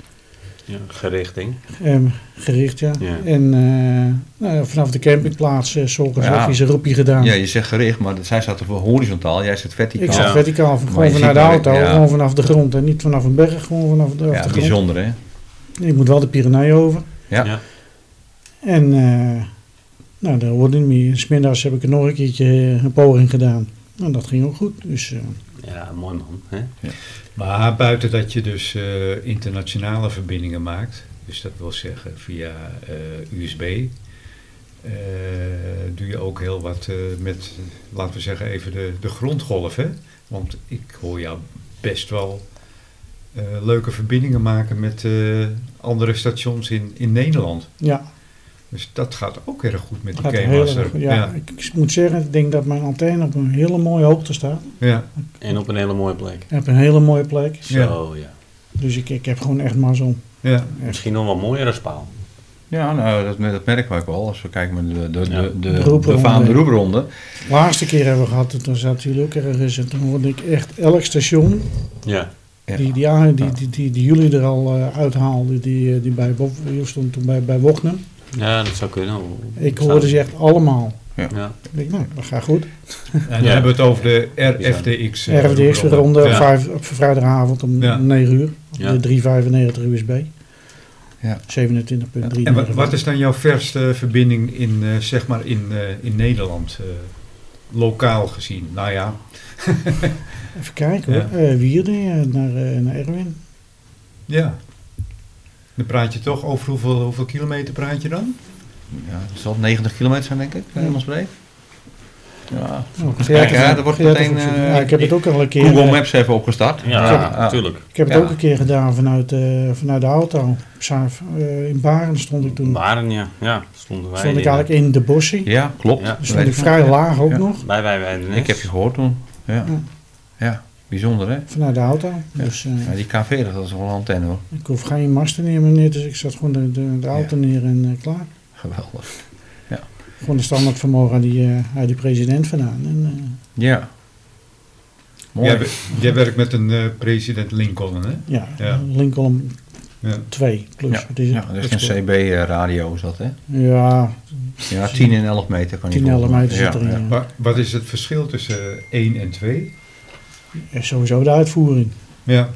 Speaker 4: Ja, gerichting.
Speaker 3: Ehm, gericht, ja.
Speaker 4: Ja.
Speaker 3: En eh, nou ja, vanaf de campingplaats, uh, zorgens,
Speaker 2: Ja.
Speaker 3: ja. hij zijn roepje gedaan.
Speaker 2: Ja, je zegt gericht, maar dat- zij staat voor horizontaal, jij zit
Speaker 3: Ik
Speaker 2: verticaal.
Speaker 3: zat
Speaker 4: Ja.
Speaker 3: verticaal,
Speaker 2: Maar je
Speaker 3: gewoon
Speaker 2: ziet
Speaker 3: vanuit de
Speaker 2: maar-
Speaker 3: auto,
Speaker 2: ja.
Speaker 3: gewoon vanaf de grond en niet vanaf een berg, gewoon vanaf de,
Speaker 2: Ja,
Speaker 3: de grond.
Speaker 2: bijzonder hè.
Speaker 3: Ik moet wel de Pyrenee over.
Speaker 2: Ja.
Speaker 4: Ja.
Speaker 3: En eh nou, daar hoorde ik meer. Smiddags heb ik er nog een keertje eh, een poging gedaan. En dat ging ook goed. Dus eh,
Speaker 4: Ja, mooi man. Hè?
Speaker 1: Maar buiten dat je dus eh, internationale verbindingen maakt, dus dat wil zeggen via eh, USB, eh, doe je ook heel wat eh, met, laten we zeggen, even de, de grondgolf. Hè? Want ik hoor jou best wel eh, leuke verbindingen maken met eh, andere stations in, in Nederland.
Speaker 3: ja,
Speaker 1: Dus dat gaat ook erg goed met die
Speaker 3: gaat heel erg
Speaker 1: K-Master.
Speaker 3: goed. Ja,
Speaker 1: Ja,
Speaker 3: Ik, ik moet zeggen, ik denk dat mijn antenne op een hele mooie hoogte staat.
Speaker 1: ja.
Speaker 4: En op een hele mooie plek.
Speaker 3: Ik heb een hele mooie plek.
Speaker 4: Zo, ja.
Speaker 3: Dus ik, ik heb gewoon echt mazzel.
Speaker 1: ja.
Speaker 4: Misschien nog wel mooiere spaal.
Speaker 2: Ja, nou, dat, dat merken we ook wel. Als we kijken naar de, de,
Speaker 4: Ja.
Speaker 2: de, de,
Speaker 3: De roepronde.
Speaker 2: befaamde roepronde.
Speaker 3: De laatste keer hebben we gehad, toen zat jullie ook ergens. En toen hoorde ik echt elk station,
Speaker 4: Ja.
Speaker 2: Ja.
Speaker 3: die, die, aan- die, die, die, die jullie er al eh, uithaalden, die, eh, die bij Bob, jullie stond toen bij, bij Wochnum.
Speaker 4: ja, dat zou kunnen.
Speaker 3: Ik hoorde ze echt allemaal.
Speaker 4: Ja.
Speaker 3: Ik denk, nou, dat gaat goed.
Speaker 1: En dan
Speaker 4: Ja.
Speaker 1: hebben we het over de RFDX. eh,
Speaker 3: RFDX weer ronde op,
Speaker 1: Ja.
Speaker 3: vijf, op vrijdagavond om
Speaker 1: Ja.
Speaker 3: 9 uur. Op
Speaker 4: Ja.
Speaker 3: De 395 USB.
Speaker 2: Ja.
Speaker 3: 27.3.
Speaker 1: En wat, wat is dan jouw verste verbinding in, eh, zeg maar in, eh, in Nederland, eh, lokaal gezien? Nou ja,
Speaker 3: Even kijken hoor. Eh, Wierde eh, naar, eh, naar Erwin.
Speaker 1: ja. Dan praat je toch over hoeveel, hoeveel kilometer praat je dan?
Speaker 2: Ja, het zal 90 kilometer zijn, denk ik, bij ons breed. Ja.
Speaker 3: Oh,
Speaker 2: Kijk, ja, dat wordt
Speaker 3: Gert-
Speaker 2: meteen, eh,
Speaker 3: ja, ik heb het ook al een keer.
Speaker 2: Google
Speaker 3: eh,
Speaker 2: Maps even opgestart.
Speaker 4: Ja,
Speaker 2: Ah, ah.
Speaker 4: natuurlijk.
Speaker 3: ik heb het
Speaker 2: ja.
Speaker 3: ook een keer gedaan vanuit, eh, vanuit de auto. Op Zuif- eh, in Baren stond ik toen.
Speaker 4: Waren, ja. Ja, stonden wij.
Speaker 3: Stond ik
Speaker 4: in.
Speaker 3: eigenlijk in de bossie.
Speaker 2: Ja, klopt.
Speaker 4: Ja.
Speaker 3: Dus
Speaker 2: Weet
Speaker 3: stond ik
Speaker 2: je.
Speaker 3: vrij laag ook
Speaker 2: Ja.
Speaker 3: nog.
Speaker 4: Bij wij bij de Nes.
Speaker 2: Ik heb je gehoord toen. Ja,
Speaker 3: Ja.
Speaker 2: ja. bijzonder hè.
Speaker 3: Vanuit de auto. Dus eh,
Speaker 2: Ja, die K40, dat is wel een antenne hoor.
Speaker 3: ik hoef geen master neer meneer. Dus ik zat gewoon de, de, de auto neer en eh, klaar.
Speaker 2: Geweldig.
Speaker 3: Gewoon de standaardvermogen uit die, eh, uit die president vandaan. En, eh,
Speaker 2: Ja. Mooi.
Speaker 1: Jij, wer- jij werkt met een eh, president Lincoln, hè?
Speaker 3: ja,
Speaker 1: Ja.
Speaker 3: Lincoln
Speaker 1: Ja.
Speaker 3: 2 plus.
Speaker 2: Ja,
Speaker 3: wat is het?
Speaker 2: ja, dat is een CB-radio eh, is dat hè.
Speaker 3: Ja,
Speaker 2: Ja, 10 en 11 meter kan je
Speaker 3: 10, 11
Speaker 2: volgen.
Speaker 3: meter zit
Speaker 2: Ja,
Speaker 3: erin.
Speaker 2: ja.
Speaker 3: ja.
Speaker 1: Wa- wat is het verschil tussen 1 en 2?
Speaker 3: Eh, Sowieso de uitvoering.
Speaker 1: Ja,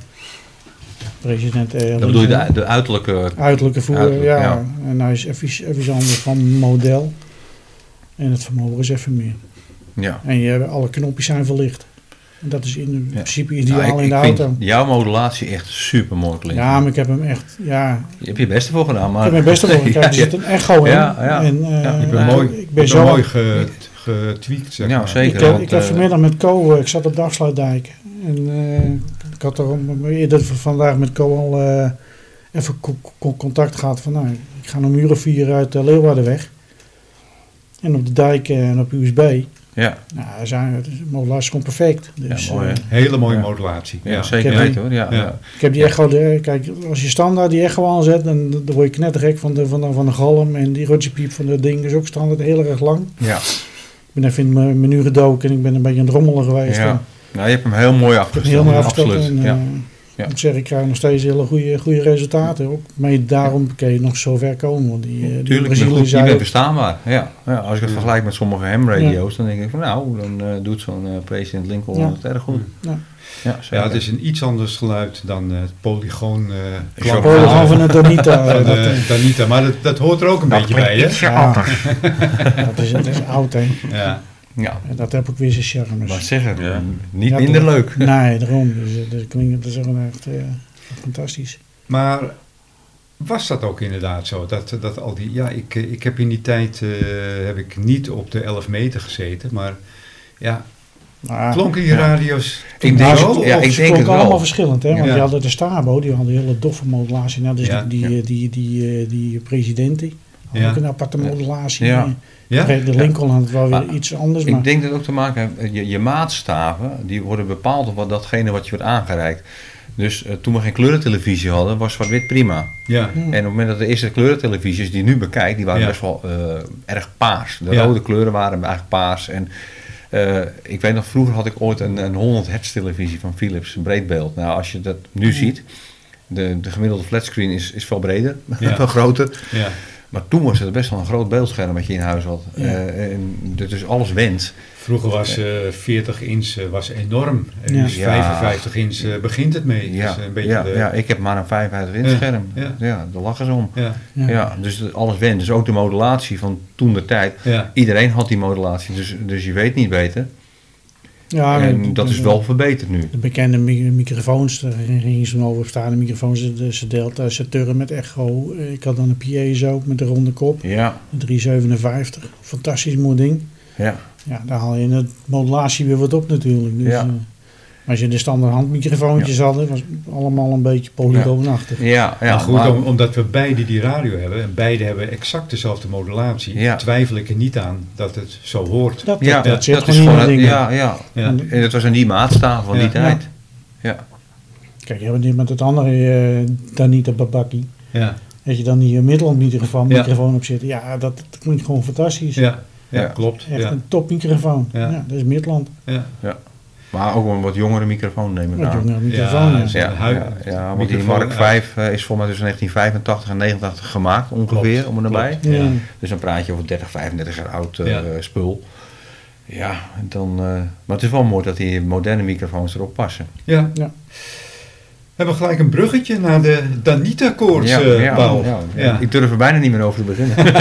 Speaker 3: President eh,
Speaker 2: Dan bedoel je
Speaker 3: Lincoln.
Speaker 2: de, de uiterlijke...
Speaker 3: Uiterlijke voer,
Speaker 2: Uiterlijk,
Speaker 3: ja.
Speaker 2: ja.
Speaker 3: En hij is even, even anders van model. En het vermogen is even meer.
Speaker 2: Ja.
Speaker 3: En je, hebt- alle knopjes zijn verlicht. En dat is in, in principe ideaal
Speaker 2: Nou, ik-
Speaker 3: in de
Speaker 2: ik
Speaker 3: auto.
Speaker 2: vind jouw modulatie echt super mooi klinken.
Speaker 3: Ja, maar ik heb hem echt... Ja, ik
Speaker 2: Je hebt je best ervoor gedaan, maar...
Speaker 3: heb mijn
Speaker 2: *laughs*
Speaker 3: best ervoor
Speaker 2: Ah. Ja,
Speaker 3: gedaan. Er zit
Speaker 2: ja.
Speaker 3: een echo in.
Speaker 2: Ja, ja.
Speaker 3: En, eh,
Speaker 2: Ja,
Speaker 1: ik ben
Speaker 3: ik-
Speaker 1: mooi,
Speaker 3: Ik
Speaker 1: ik
Speaker 3: ben
Speaker 1: ben
Speaker 3: zo
Speaker 1: mooi ge- getweakt, zeg
Speaker 2: Ja,
Speaker 1: maar.
Speaker 2: zeker.
Speaker 3: Ik, heb-
Speaker 2: want,
Speaker 3: ik heb
Speaker 2: eh,
Speaker 3: vanmiddag met Co, eh, ik zat op de afsluitdijk. En eh, ik had er om- eerder v- vandaag met Co al eh, even co- co- contact gehad. Van nou, ik ga om uur of vier uit de Leeuwarden weg. En op de dijk eh, en op USB.
Speaker 2: Ja,
Speaker 3: Nou, zijn, de modulatie komt perfect.
Speaker 2: ja,
Speaker 3: Dus,
Speaker 2: mooi hè.
Speaker 3: eh,
Speaker 1: Hele mooie
Speaker 2: Ja.
Speaker 1: modulatie.
Speaker 2: Ja, zeker
Speaker 3: Ik heb
Speaker 2: weten hoor. Ja,
Speaker 1: Ja.
Speaker 2: ja.
Speaker 3: ik heb die echo, de, kijk, als je standaard die echo aanzet, dan, dan word je knettergek van de, van de, van de galm. En die rotjepiep van dat ding is ook standaard heel erg lang.
Speaker 2: Ja.
Speaker 3: Ik ben even in mijn menu gedoken en ik ben een beetje aan het rommelen geweest.
Speaker 2: Ja.
Speaker 3: En-
Speaker 2: Nou, je hebt hem heel mooi
Speaker 3: Ik
Speaker 2: afgesteld.
Speaker 3: heb heel mooi afgesteld.
Speaker 2: absoluut.
Speaker 3: En, eh,
Speaker 2: ja. Ja.
Speaker 3: Ik moet zeggen, ik krijg nog steeds hele goede, goede resultaten. Ook mede daarom kun je nog zo ver komen. Want die, eh, die
Speaker 2: Tuurlijk, maar
Speaker 3: Brazilië
Speaker 2: goed, je
Speaker 3: zei
Speaker 2: bent
Speaker 3: ook-
Speaker 2: bestaanbaar. Ja. Ja, als ik het vergelijk met sommige hamradio's, dan denk ik van nou, dan eh, doet zo'n eh, president Lincoln
Speaker 3: Ja.
Speaker 2: het erg goed.
Speaker 3: Ja.
Speaker 2: Ja,
Speaker 1: Ja, het
Speaker 2: zeker.
Speaker 1: is een iets anders geluid dan eh, het polygoon eh
Speaker 2: ook-
Speaker 1: klank
Speaker 3: Oh, dat gaan
Speaker 1: van
Speaker 3: we naar
Speaker 2: *laughs*
Speaker 3: Donita.
Speaker 1: eh,
Speaker 3: eh, dat, eh,
Speaker 1: Danita. Maar dat, dat hoort er ook een beetje bij, hè?
Speaker 3: ja. *laughs* dat, is, dat is oud, hè.
Speaker 1: Ja.
Speaker 2: ja.
Speaker 3: En Dat heb ook weer zijn charme.
Speaker 2: Maar zeggen,
Speaker 4: Ja.
Speaker 2: niet
Speaker 3: Ja,
Speaker 2: minder
Speaker 3: toch?
Speaker 2: leuk.
Speaker 3: *laughs* Nee, daarom. Dus, eh, dat klinkt dat is ook echt eh, fantastisch.
Speaker 1: Maar was dat ook inderdaad zo? Dat, dat al die, ja, ik, eh, ik heb in die tijd eh, heb ik niet op de 11 meter gezeten, maar ja,
Speaker 3: Maar,
Speaker 1: klonken die radio's?
Speaker 2: Ik
Speaker 3: maar
Speaker 2: denk,
Speaker 3: ze-
Speaker 1: zo?
Speaker 2: ja, ik denk
Speaker 3: ze
Speaker 2: het
Speaker 3: klonken allemaal
Speaker 2: wel.
Speaker 3: verschillend, hè? Want
Speaker 1: Ja.
Speaker 3: die hadden de Stabo, die hadden hele doffe modulatie. Nou, dus
Speaker 1: Ja,
Speaker 3: die, die, eh, die, die, eh, die presidenten
Speaker 1: Ja.
Speaker 3: Ook een aparte modulatie.
Speaker 2: Ja.
Speaker 1: Ja?
Speaker 3: Oké, de Lincoln had wel weer
Speaker 2: Maar
Speaker 3: iets anders. Maar
Speaker 2: Ik denk dat het ook te maken heeft, eh, je, je maatstaven, die worden bepaald door wat datgene wat je wordt aangereikt. Dus eh, toen we geen kleurentelevisie hadden, was zwart-wit prima.
Speaker 1: Ja,
Speaker 3: Ja.
Speaker 2: En op het moment dat de eerste kleurentelevisies die je nu bekijkt, die waren
Speaker 1: Hmm. Ja.
Speaker 2: best wel eh, erg paars. De
Speaker 1: Ja.
Speaker 2: rode kleuren waren eigenlijk paars. En eh, ik weet nog, vroeger had ik ooit een, een 100 hertz televisie van Philips, een breedbeeld. Nou, als je dat nu
Speaker 1: Hmm.
Speaker 2: ziet, de, de gemiddelde flatscreen is, is veel breder, *laughs*
Speaker 1: Ja.
Speaker 2: veel groter.
Speaker 1: ja.
Speaker 2: Maar toen was het best wel een groot beeldscherm wat je in huis had.
Speaker 3: Ja.
Speaker 2: Eh, en dat is alles wens.
Speaker 1: Vroeger was eh 40 inch eh, was enorm. En nu
Speaker 3: Ja.
Speaker 1: is
Speaker 2: Ja.
Speaker 1: 55 inch eh, begint het mee.
Speaker 2: Ja,
Speaker 1: Dus een beetje
Speaker 2: ja,
Speaker 1: de-
Speaker 2: ja, ik heb maar een 55 inch
Speaker 1: Ja,
Speaker 2: scherm.
Speaker 1: ja.
Speaker 2: Ja. daar lachen ze om.
Speaker 1: ja,
Speaker 3: ja.
Speaker 2: Ja. dus alles wens. Dus ook de modulatie van toen de tijd.
Speaker 1: ja.
Speaker 2: Iedereen had die modulatie, dus, dus je weet niet beter.
Speaker 3: Ja,
Speaker 2: en
Speaker 3: de-
Speaker 2: dat
Speaker 3: de-
Speaker 2: is wel verbeterd nu.
Speaker 3: De bekende mi- microfoons, daar gingen ze dan over staan. De microfoons, de- ze deelt eh, Saturn met echo. Eh, Ik had dan een piezo met een ronde kop,
Speaker 2: Ja,
Speaker 3: een 357. Fantastisch mooi ding.
Speaker 2: ja.
Speaker 3: Ja, daar haal je in de modulatie weer wat op natuurlijk. Dus,
Speaker 2: Ja.
Speaker 3: eh, als je de standaard handmicrofoontjes had, het was allemaal een beetje polygoonachtig.
Speaker 2: ja, ja
Speaker 1: maar Nou, goed,
Speaker 2: maar-
Speaker 1: om- omdat we beide die radio hebben en beide hebben exact dezelfde modulatie,
Speaker 2: Ja.
Speaker 1: twijfel ik er niet aan dat het zo hoort.
Speaker 3: Dat,
Speaker 2: ja,
Speaker 3: dat, zit
Speaker 2: is
Speaker 3: gewoon in de
Speaker 2: het-
Speaker 3: dingen.
Speaker 2: Ja, ja.
Speaker 1: Ja.
Speaker 3: En-
Speaker 2: En dat was aan die maatstaaf van
Speaker 1: Ja.
Speaker 2: die tijd.
Speaker 3: Kijk, hebben we dit met het andere eh, Danita Babaki.
Speaker 1: Ja,
Speaker 3: Dat je dan hier middelmicrofoon
Speaker 1: Ja.
Speaker 3: microfoon op zit. Ja, dat, dat klinkt gewoon fantastisch.
Speaker 1: ja, ja,
Speaker 2: Ja.
Speaker 1: klopt.
Speaker 3: Echt
Speaker 1: Ja,
Speaker 3: een topmicrofoon.
Speaker 1: Ja.
Speaker 3: Ja. dat is Midland. Oh,
Speaker 1: ja.
Speaker 2: Maar ook een wat jongere microfoon nemen
Speaker 3: Wat jongere microfoon.
Speaker 1: Ja,
Speaker 3: Ja,
Speaker 1: zeker.
Speaker 2: Ja,
Speaker 1: Een hui-
Speaker 2: ja, ja, want die
Speaker 1: microfoon,
Speaker 2: Mark
Speaker 1: ja.
Speaker 2: 5 eh, is volgens mij tussen 1985 en 89 gemaakt ongeveer,
Speaker 1: Klopt,
Speaker 2: om en nabij.
Speaker 1: klopt. Ja.
Speaker 3: Ja.
Speaker 2: Dus dan praat je over 30, 35 jaar oud eh,
Speaker 1: Ja.
Speaker 2: spul. Ja, en dan, eh, maar het is wel mooi dat die moderne microfoons erop passen.
Speaker 1: Ja.
Speaker 3: Ja.
Speaker 1: Hebben we gelijk een bruggetje naar de Danita-koorts,
Speaker 2: ja,
Speaker 1: eh,
Speaker 2: ja,
Speaker 1: Paul.
Speaker 2: ja.
Speaker 1: Ja.
Speaker 2: Ik durf er bijna niet meer over te
Speaker 3: *laughs*
Speaker 2: beginnen.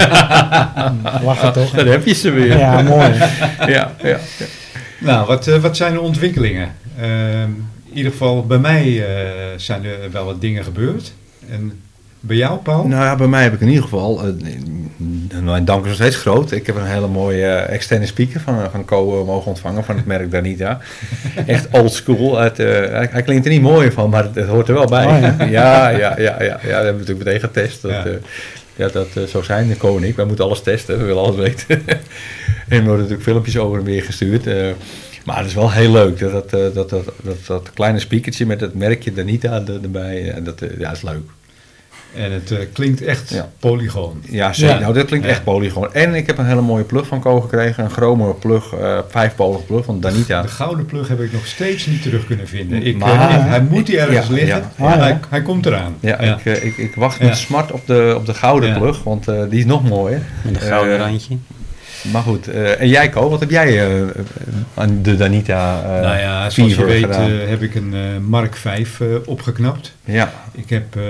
Speaker 3: Lachen toch?
Speaker 2: Daar heb je ze weer.
Speaker 3: Ja, mooi.
Speaker 2: ja, ja.
Speaker 1: Nou, wat, eh, wat zijn de ontwikkelingen? Ehm, in ieder geval, bij mij eh, zijn er wel wat dingen gebeurd. En bij jou, Paul?
Speaker 2: Nou ja, bij mij heb ik in ieder geval, eh, mijn dank is nog steeds groot. Ik heb een hele mooie eh, externe speaker van, eh, van Co eh, mogen ontvangen van het merk Danita. Echt old school. Het, eh, hij, hij klinkt er niet mooier van, maar het, het hoort er wel bij.
Speaker 3: Oh
Speaker 2: ja. *laughs* ja, ja, ja, ja, We hebben natuurlijk meteen getest. Dat,
Speaker 1: Ja.
Speaker 2: ja. ja, dat eh, zo zijn de Co en ik. Wij moeten alles testen, we willen alles weten. *laughs* en we worden natuurlijk filmpjes over en weer gestuurd. eh. maar het is wel heel leuk dat dat, eh, dat, dat, dat, dat kleine speakertje met het merkje Danita er- erbij. eh, dat, eh, ja, is leuk.
Speaker 1: En het eh, klinkt echt
Speaker 2: Ja.
Speaker 1: polygoon.
Speaker 2: Ja, zeker.
Speaker 3: Ja.
Speaker 2: Nou, dat klinkt
Speaker 1: Ja.
Speaker 2: echt polygoon. En ik heb een hele mooie plug van Co gekregen. Een chrome plug, eh vijfpolig plug van Danita.
Speaker 1: De gouden plug heb ik nog steeds niet terug kunnen vinden. Ik,
Speaker 2: Maar-
Speaker 1: eh, ik- hij moet hier ergens
Speaker 2: Ja,
Speaker 1: liggen.
Speaker 2: ja.
Speaker 3: Ah, ja.
Speaker 1: Hij, hij komt eraan.
Speaker 2: Ja, Ik, eh, ik, ik wacht
Speaker 1: Ja.
Speaker 2: met smart op de, op de gouden
Speaker 1: Ja.
Speaker 2: plug, want eh, die is nog mooier.
Speaker 4: Met een gouden
Speaker 2: Eh,
Speaker 4: randje.
Speaker 2: Maar goed, eh, en jij Co, wat heb jij eh, aan de Danita eh
Speaker 1: nou ja, zoals je
Speaker 2: Fever
Speaker 1: weet
Speaker 2: gedaan?
Speaker 1: eh, heb ik een eh, Mark 5 opgeknapt.
Speaker 2: ja,
Speaker 1: Ik heb eh,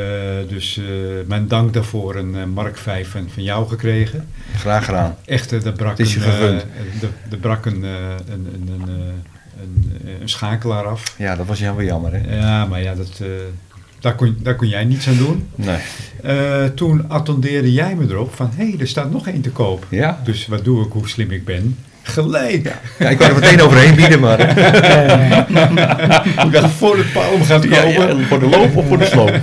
Speaker 1: dus eh, mijn dank daarvoor een eh, Mark 5 van, van jou gekregen.
Speaker 2: graag gedaan.
Speaker 1: Echt, eh, daar brak,
Speaker 2: Het is
Speaker 1: een,
Speaker 2: je
Speaker 1: eh,
Speaker 2: gegund.
Speaker 1: eh, daar- daar brak een, eh, een, een, een, eh, een, eh, een schakelaar af.
Speaker 2: Ja, dat was heel wel jammer, hè?
Speaker 1: Ja, maar ja, dat, eh, daar, kon, daar kon jij niets aan doen.
Speaker 2: Nee.
Speaker 1: Eh, toen attendeerde jij me erop van, hé, hey, er staat nog één te koop.
Speaker 2: Ja?
Speaker 1: Dus wat doe ik, hoe slim ik ben? Gelijk!
Speaker 2: ja, ik kan er meteen overheen bieden, maar... eh,
Speaker 3: Eh,
Speaker 1: *laughs* Ik dacht, voor het paal om gaat
Speaker 2: ja,
Speaker 1: komen.
Speaker 2: ja, voor de loop of voor de sloop?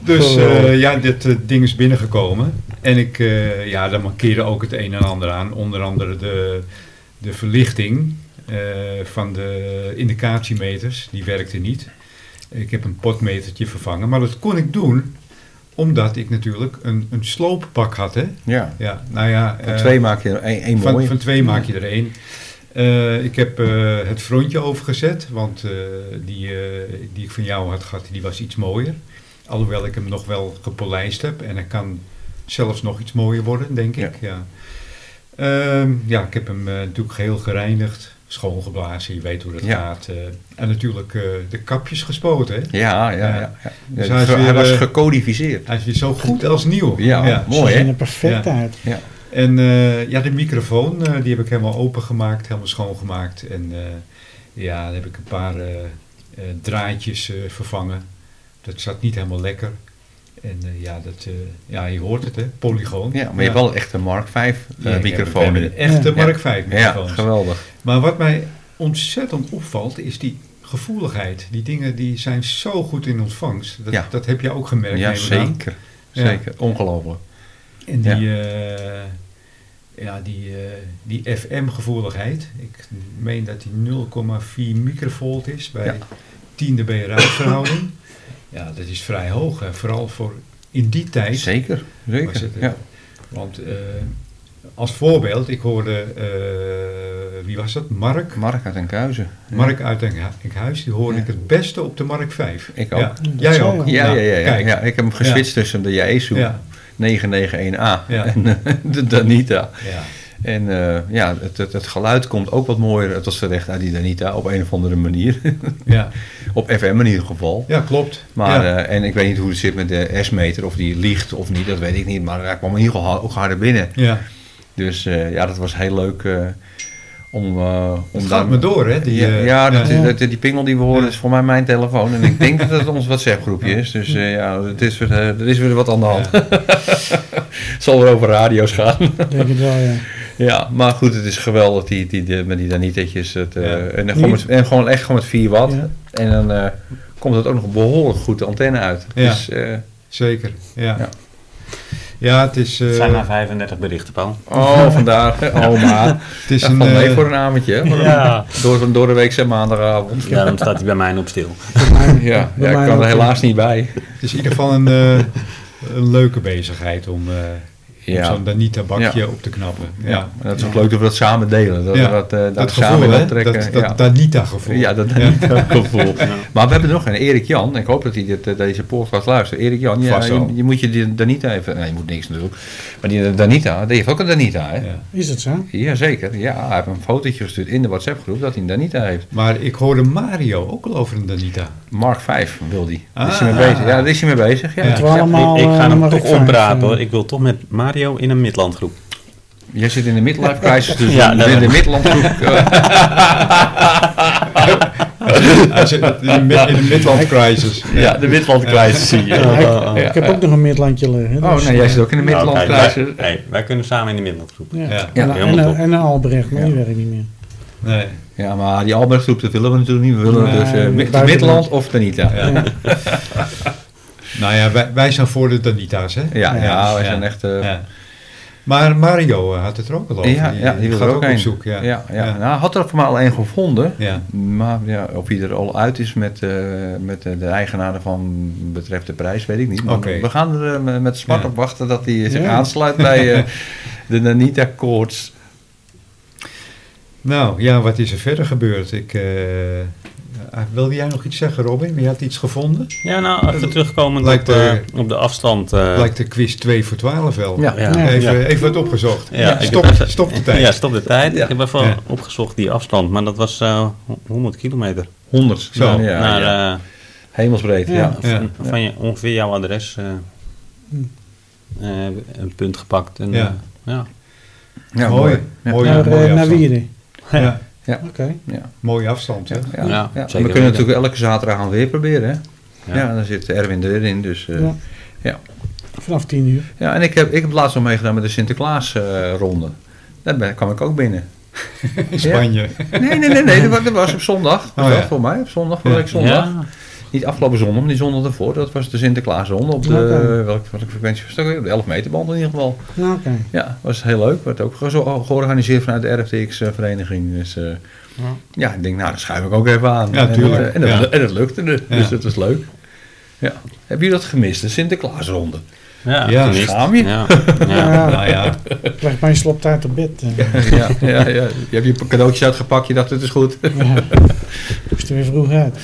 Speaker 1: Dus
Speaker 2: Geweldig.
Speaker 1: eh, ja, dit eh, ding is binnengekomen. En ik, eh, ja, daar markeerde ook het een en ander aan. Onder andere de, de verlichting eh, van de indicatiemeters. Die werkte niet. Ik heb een potmetertje vervangen. Maar dat kon ik doen omdat ik natuurlijk een, een slooppak had. Hè?
Speaker 2: Ja.
Speaker 1: Ja, nou ja,
Speaker 2: Van
Speaker 1: eh,
Speaker 2: twee maak je er één één
Speaker 1: van,
Speaker 2: mooie.
Speaker 1: van twee maak je er één. Eh, ik heb eh, het frontje overgezet, want eh, die, eh, die ik van jou had gehad, die was iets mooier. Alhoewel ik hem nog wel gepolijst heb en hij kan zelfs nog iets mooier worden, denk ik. Ja, Ehm, ja ik heb hem eh, natuurlijk geheel gereinigd, schoongeblazen, je weet hoe dat
Speaker 2: Ja.
Speaker 1: gaat. eh, en natuurlijk eh, de kapjes gespoten. Hè?
Speaker 2: Ja, ja, ja.
Speaker 1: Ja.
Speaker 2: ja.
Speaker 1: Dus
Speaker 2: Ja,
Speaker 1: hij is
Speaker 2: ge- hij
Speaker 1: weer,
Speaker 2: was
Speaker 1: eh,
Speaker 2: gecodificeerd.
Speaker 1: Hij is weer zo goed als nieuw.
Speaker 2: Ja,
Speaker 3: Ze
Speaker 2: mooi
Speaker 3: zien
Speaker 2: hè?
Speaker 3: er perfect
Speaker 1: Ja.
Speaker 3: uit.
Speaker 1: En eh, ja, de microfoon, eh, die heb ik helemaal opengemaakt, helemaal schoongemaakt. En eh, ja, daar heb ik een paar eh, eh, draadjes eh, vervangen. Dat zat niet helemaal lekker. En eh, ja, dat, eh, ja, je hoort het hè, polygoon.
Speaker 2: Ja, maar je hebt wel echt een Mark 5
Speaker 1: Ja, ik heb-
Speaker 2: microfoon.
Speaker 1: we
Speaker 2: nu.
Speaker 1: hebben Een echte
Speaker 2: Ja.
Speaker 1: Mark 5
Speaker 2: Ja,
Speaker 1: microfoons.
Speaker 2: geweldig.
Speaker 1: Maar wat mij ontzettend opvalt, is die gevoeligheid. Die dingen die zijn zo goed in ontvangst. Dat,
Speaker 2: Ja.
Speaker 1: dat heb je ook gemerkt.
Speaker 2: Ja,
Speaker 1: neem ik aan.
Speaker 2: zeker.
Speaker 1: Ja.
Speaker 2: Zeker, ongelooflijk.
Speaker 1: En die, eh, ja, die, eh, die FM-gevoeligheid. Ik meen dat die 0,4 microvolt is bij
Speaker 2: Ja.
Speaker 1: 10 dB
Speaker 2: *laughs*
Speaker 1: ruisverhouding. ja, dat is vrij hoog. En vooral voor in die tijd.
Speaker 2: Zeker, zeker.
Speaker 1: Was het, eh,
Speaker 2: ja.
Speaker 1: Want eh, als voorbeeld, ik hoorde, eh, wie was dat? Mark.
Speaker 2: Mark uit Enkhuizen. Ja.
Speaker 1: Mark uit Enkhuis, die hoorde
Speaker 2: Ja.
Speaker 1: ik het beste op de Mark 5.
Speaker 2: Ik
Speaker 1: Ja.
Speaker 2: ook.
Speaker 3: Dat
Speaker 1: Jij
Speaker 3: zei
Speaker 1: ook?
Speaker 3: je.
Speaker 2: Ja,
Speaker 1: Nou,
Speaker 2: ja, ja, ja,
Speaker 1: kijk.
Speaker 2: ja. Ik heb hem geswitcht tussen de Yaesu
Speaker 1: Ja.
Speaker 2: 991A
Speaker 1: Ja.
Speaker 2: *laughs* en eh, de Danita.
Speaker 1: Ja.
Speaker 2: En eh, ja, het, het, het geluid komt ook wat mooier tot z'n recht uit die Danita op een of andere manier. *laughs*
Speaker 1: Ja.
Speaker 2: op FM in ieder geval.
Speaker 1: ja, klopt.
Speaker 2: Maar,
Speaker 1: ja.
Speaker 2: eh, en ik weet niet hoe het zit met de S-meter, of die liegt of niet, dat weet ik niet. Maar hij kwam in ieder geval ha- ook harder binnen.
Speaker 1: ja.
Speaker 2: Dus eh, ja, dat was heel leuk eh, om, eh om
Speaker 1: Het gaat me door, hè? Die,
Speaker 2: ja,
Speaker 1: eh,
Speaker 2: ja, dat,
Speaker 1: ja.
Speaker 2: dat- die pingel die we horen is voor mij mijn telefoon. En
Speaker 1: *laughs*
Speaker 2: ik denk dat het ons WhatsApp-groepje is. Dus eh, ja, het is, weer, eh, er is weer wat aan de hand. *laughs* Zal weer over radio's gaan.
Speaker 3: Ik denk het wel, ja.
Speaker 2: ja, maar goed, het is geweldig die, die, die, met die Danitetjes. Het, eh,
Speaker 1: Ja.
Speaker 2: en, gewoon met, en gewoon echt gewoon met 4 watt.
Speaker 3: Ja.
Speaker 2: En dan eh, komt het ook nog behoorlijk goed de antenne uit.
Speaker 1: Ja.
Speaker 2: Dus, eh,
Speaker 1: Zeker, ja.
Speaker 2: Ja. nou-
Speaker 1: Ja, het is, eh,
Speaker 4: Het zijn maar 35 berichten, Paul.
Speaker 2: oh, vandaag.
Speaker 1: *laughs*
Speaker 2: Oh, maar.
Speaker 1: het is
Speaker 2: Ja,
Speaker 1: een...
Speaker 2: valt mee
Speaker 1: eh,
Speaker 2: voor een avondje. hè, voor een-
Speaker 4: Ja.
Speaker 2: Door, door de weekse maandagavond.
Speaker 4: *laughs* Daarom staat hij bij mij op stil.
Speaker 2: Ja,
Speaker 3: Bij
Speaker 2: ja,
Speaker 3: mij
Speaker 2: ik kan
Speaker 3: ook,
Speaker 2: er
Speaker 3: ja.
Speaker 2: helaas niet bij.
Speaker 1: Het is in ieder geval een, eh,
Speaker 2: *laughs*
Speaker 1: een leuke bezigheid om, eh, om
Speaker 2: Ja.
Speaker 1: zo'n Danita-bakje
Speaker 2: Ja.
Speaker 1: op te knappen. Ja.
Speaker 2: Ja, en dat is ook leuk dat we dat samen delen. Dat
Speaker 1: Ja,
Speaker 2: we dat, eh,
Speaker 1: Dat
Speaker 2: daar
Speaker 1: gevoel,
Speaker 2: samen
Speaker 1: hè?
Speaker 2: op trekken.
Speaker 1: Dat, dat
Speaker 2: ja.
Speaker 1: Danita-gevoel.
Speaker 2: ja, dat *laughs* dat gevoel. Maar we hebben nog een Erik Jan. Ik hoop dat hij dit, eh, deze podcast luistert. Erik Jan, ja,
Speaker 1: Vast wel.
Speaker 2: je, je moet je die Danita even... Nee, je moet niks natuurlijk. Maar die Danita, die heeft ook een Danita, hè?
Speaker 1: Ja.
Speaker 3: Is het zo?
Speaker 2: Jazeker. Ja, hij heeft een fotootje gestuurd in de WhatsApp-groep dat hij een Danita heeft.
Speaker 1: Maar ik hoorde Mario ook al over een Danita.
Speaker 2: Mark 5 wil die. Daar is hij
Speaker 1: Ah.
Speaker 2: mee bezig. Ja, daar is hij mee bezig. Ja,
Speaker 1: Ja.
Speaker 2: ja.
Speaker 3: Het waren allemaal,
Speaker 4: ik, ik
Speaker 3: eh,
Speaker 4: ga hem
Speaker 3: nummer
Speaker 4: toch
Speaker 3: vijf,
Speaker 4: oppraten
Speaker 3: eh.
Speaker 4: hoor. Ik wil toch met Mario in een midlandgroep.
Speaker 2: Jij zit in de midlife crisis, dus *laughs*
Speaker 4: Ja,
Speaker 2: ja,
Speaker 4: dat-
Speaker 2: in de *laughs* midlandgroep. eh,
Speaker 1: Hij zit in de mid- in de Midland Crisis.
Speaker 2: ja, de midland crisis zie je.
Speaker 3: Ja, ik,
Speaker 2: ja,
Speaker 3: ik heb
Speaker 2: ja.
Speaker 3: ook nog een midlandje liggen.
Speaker 2: Oh,
Speaker 3: dus,
Speaker 2: nee, jij
Speaker 3: eh,
Speaker 2: zit ook in de
Speaker 4: Nou,
Speaker 2: midland
Speaker 4: kijk,
Speaker 2: crisis.
Speaker 4: wij, nee, wij kunnen samen in de midlandgroep.
Speaker 3: Ja.
Speaker 1: Ja.
Speaker 3: En,
Speaker 4: Ja,
Speaker 3: en, eh,
Speaker 4: helemaal
Speaker 3: en,
Speaker 4: top.
Speaker 3: een Albrecht, maar die
Speaker 2: Ja.
Speaker 3: werkt niet meer.
Speaker 1: Nee.
Speaker 2: Ja, maar die Albertgroep, dat willen we natuurlijk niet. We willen
Speaker 3: Nee,
Speaker 2: dus eh, Mi-
Speaker 3: buitenland.
Speaker 2: Midland of Tanita. Ja,
Speaker 1: Ja. Nou ja, wij, wij zijn voor de Danita's, hè?
Speaker 2: ja,
Speaker 1: Ja.
Speaker 2: wij
Speaker 1: Ja.
Speaker 2: zijn echt... eh, ja.
Speaker 1: Ja. Maar Mario eh, had het er ook al over.
Speaker 2: Ja, die wil
Speaker 1: gaat
Speaker 2: er ook
Speaker 1: op
Speaker 2: een.
Speaker 1: zoek. Ja.
Speaker 2: ja,
Speaker 1: Ja.
Speaker 2: ja. Nou, hij had er voor mij al één gevonden.
Speaker 1: Ja.
Speaker 2: Maar ja, of hij er al uit is met, eh, met eh, de eigenaren van betreft de prijs, weet ik niet. Maar
Speaker 1: Oké.
Speaker 2: we gaan er eh, met smart
Speaker 1: Ja.
Speaker 2: op wachten dat hij eh, zich
Speaker 3: Ja.
Speaker 2: aansluit bij *laughs* eh, de Nanita Koorts.
Speaker 1: Nou ja, wat is er verder gebeurd? Ik, eh, eh, wilde jij nog iets zeggen, Robin? Je had iets gevonden?
Speaker 4: Ja, nou, even terugkomend
Speaker 1: Lijkt,
Speaker 4: op, eh,
Speaker 1: eh,
Speaker 4: op de afstand. eh,
Speaker 1: Lijkt de quiz 2 voor 12 wel.
Speaker 2: Ja.
Speaker 4: ja.
Speaker 3: Ja.
Speaker 1: Even, even wat opgezocht.
Speaker 4: Ja, ik
Speaker 1: stop,
Speaker 4: heb-
Speaker 1: stop de tijd.
Speaker 4: Ja, stop de tijd.
Speaker 2: Ja.
Speaker 4: Ik heb even
Speaker 1: Ja.
Speaker 4: opgezocht die afstand, maar dat was eh, ho- 100 kilometer.
Speaker 2: 100.
Speaker 1: Zo,
Speaker 2: Nou, ja,
Speaker 4: naar,
Speaker 2: ja.
Speaker 4: eh,
Speaker 2: Hemelsbreed, ja.
Speaker 3: Ja.
Speaker 4: van,
Speaker 1: Ja.
Speaker 4: van je, ongeveer jouw adres eh,
Speaker 3: Hm.
Speaker 4: eh, een punt gepakt. En,
Speaker 1: Ja.
Speaker 4: eh, ja.
Speaker 2: Ja,
Speaker 1: mooi.
Speaker 2: Ja.
Speaker 1: Oh, Mooi,
Speaker 3: naar,
Speaker 1: mooie
Speaker 3: eh, naar
Speaker 1: afstand.
Speaker 3: Wierde.
Speaker 1: Ja,
Speaker 3: Oké.
Speaker 2: Ja.
Speaker 1: mooie afstand. hè?
Speaker 2: Ja, ja.
Speaker 4: Ja,
Speaker 2: ja.
Speaker 4: zeker
Speaker 2: we
Speaker 4: weten.
Speaker 2: kunnen natuurlijk elke zaterdag gaan weer proberen. Hè? Ja.
Speaker 4: Ja.
Speaker 2: dan zit Erwin er weer in. Dus, eh,
Speaker 3: Ja.
Speaker 2: ja. ja.
Speaker 3: Vanaf 10 uur.
Speaker 2: en ik heb, ik heb laatst nog meegedaan met de Sinterklaas-ronde. Daar ben, kwam ik ook binnen.
Speaker 1: In Spanje.
Speaker 2: Nee, nee, nee, nee dat, was, dat was op zondag.
Speaker 1: Oh,
Speaker 2: Dat was
Speaker 1: ja.
Speaker 2: voor mij, op zondag, vorige week zondag.
Speaker 4: Ja.
Speaker 2: Niet afgelopen zondag, maar die zondag ervoor. Dat was de Sinterklaasronde op de,
Speaker 3: Oké.
Speaker 2: welke, welke frequentie was het ook weer? Op de 11 meter band in ieder geval.
Speaker 3: Ja, Nou, Oké.
Speaker 2: Ja, was heel leuk. Werd ook gezo- oh, georganiseerd vanuit de RFTX-vereniging. Dus eh, ja. ik denk, nou, dat schuif ik ook even aan.
Speaker 1: Ja,
Speaker 2: en,
Speaker 1: tuurlijk.
Speaker 2: eh, En, dat,
Speaker 1: Ja.
Speaker 2: en dat lukte er.
Speaker 1: Ja.
Speaker 2: Dus dat was leuk. Ja. Heb je dat gemist, de Sinterklaasronde?
Speaker 4: Ja,
Speaker 1: Ja,
Speaker 4: gemist.
Speaker 2: schaam je?
Speaker 4: Ja.
Speaker 3: Ja.
Speaker 4: Ja.
Speaker 1: *laughs* Nou ja,
Speaker 3: Ik leg mijn sloptaart op bed. eh.
Speaker 2: *laughs* ja, ja, ja. Je hebt je cadeautjes uitgepakt, je dacht, het is goed.
Speaker 3: Ja. Moest er weer vroeg uit.